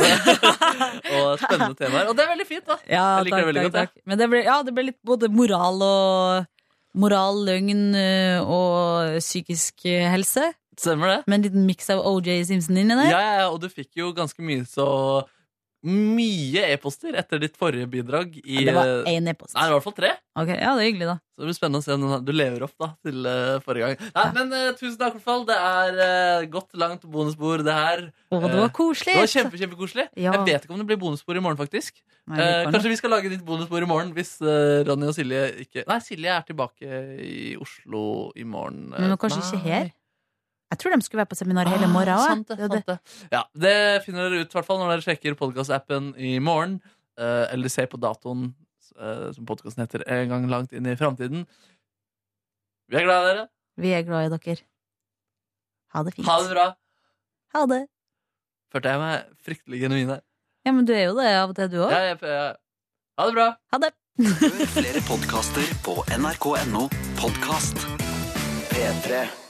og spennende temaer. Og det er veldig fint, da.
Ja,
Jeg liker det veldig godt, jeg.
Men det ble, ja, det ble litt både moral og Moral, løgn ø, og psykisk ø, helse.
Stemmer det?
Med en liten miks av OJ Simpson inni der.
Ja, ja, ja, og du fikk jo ganske mye så mye e-poster etter ditt forrige bidrag. I,
Det var
eh,
én e-post.
Nei, det var i hvert fall tre.
Ok, ja, det er hyggelig, da.
Så det blir spennende å se om den her- du lever opp da, til eh, forrige gang. Nei, Men eh, tusen takk, i hvert fall. Det er eh, godt langt bonusbord, det her.
Å, det
Eh,
var koselig!
Det var kjempe, kjempekoselig.
Ja.
Jeg vet ikke om det blir bonusbord i morgen, faktisk.
Nei, det
Eh,
kan
kanskje vi skal lage ditt bonusbord i morgen hvis eh, Ronny og Silje ikke Nei, Silje er tilbake i Oslo i morgen. eh,
Men kanskje ikke
nei.
her? Jeg tror de skulle være på seminar hele
Ah,
morgenen.
Sant det, sant det. Ja, det finner dere ut i hvert fall når dere sjekker podkastappen i morgen. eh, eller ser på datoen, eh, som podkasten heter, en gang langt inn i framtiden. Vi er glad i dere.
Vi er glad i dere. Ha det fint.
Ha det bra.
Ha det.
Følte jeg meg fryktelig genuin her.
Ja, men du er jo det av og til, du òg.
Ja, jeg- jeg- Ha det bra.
Ha det.
Hør flere podkaster på nrk.no podkast P3.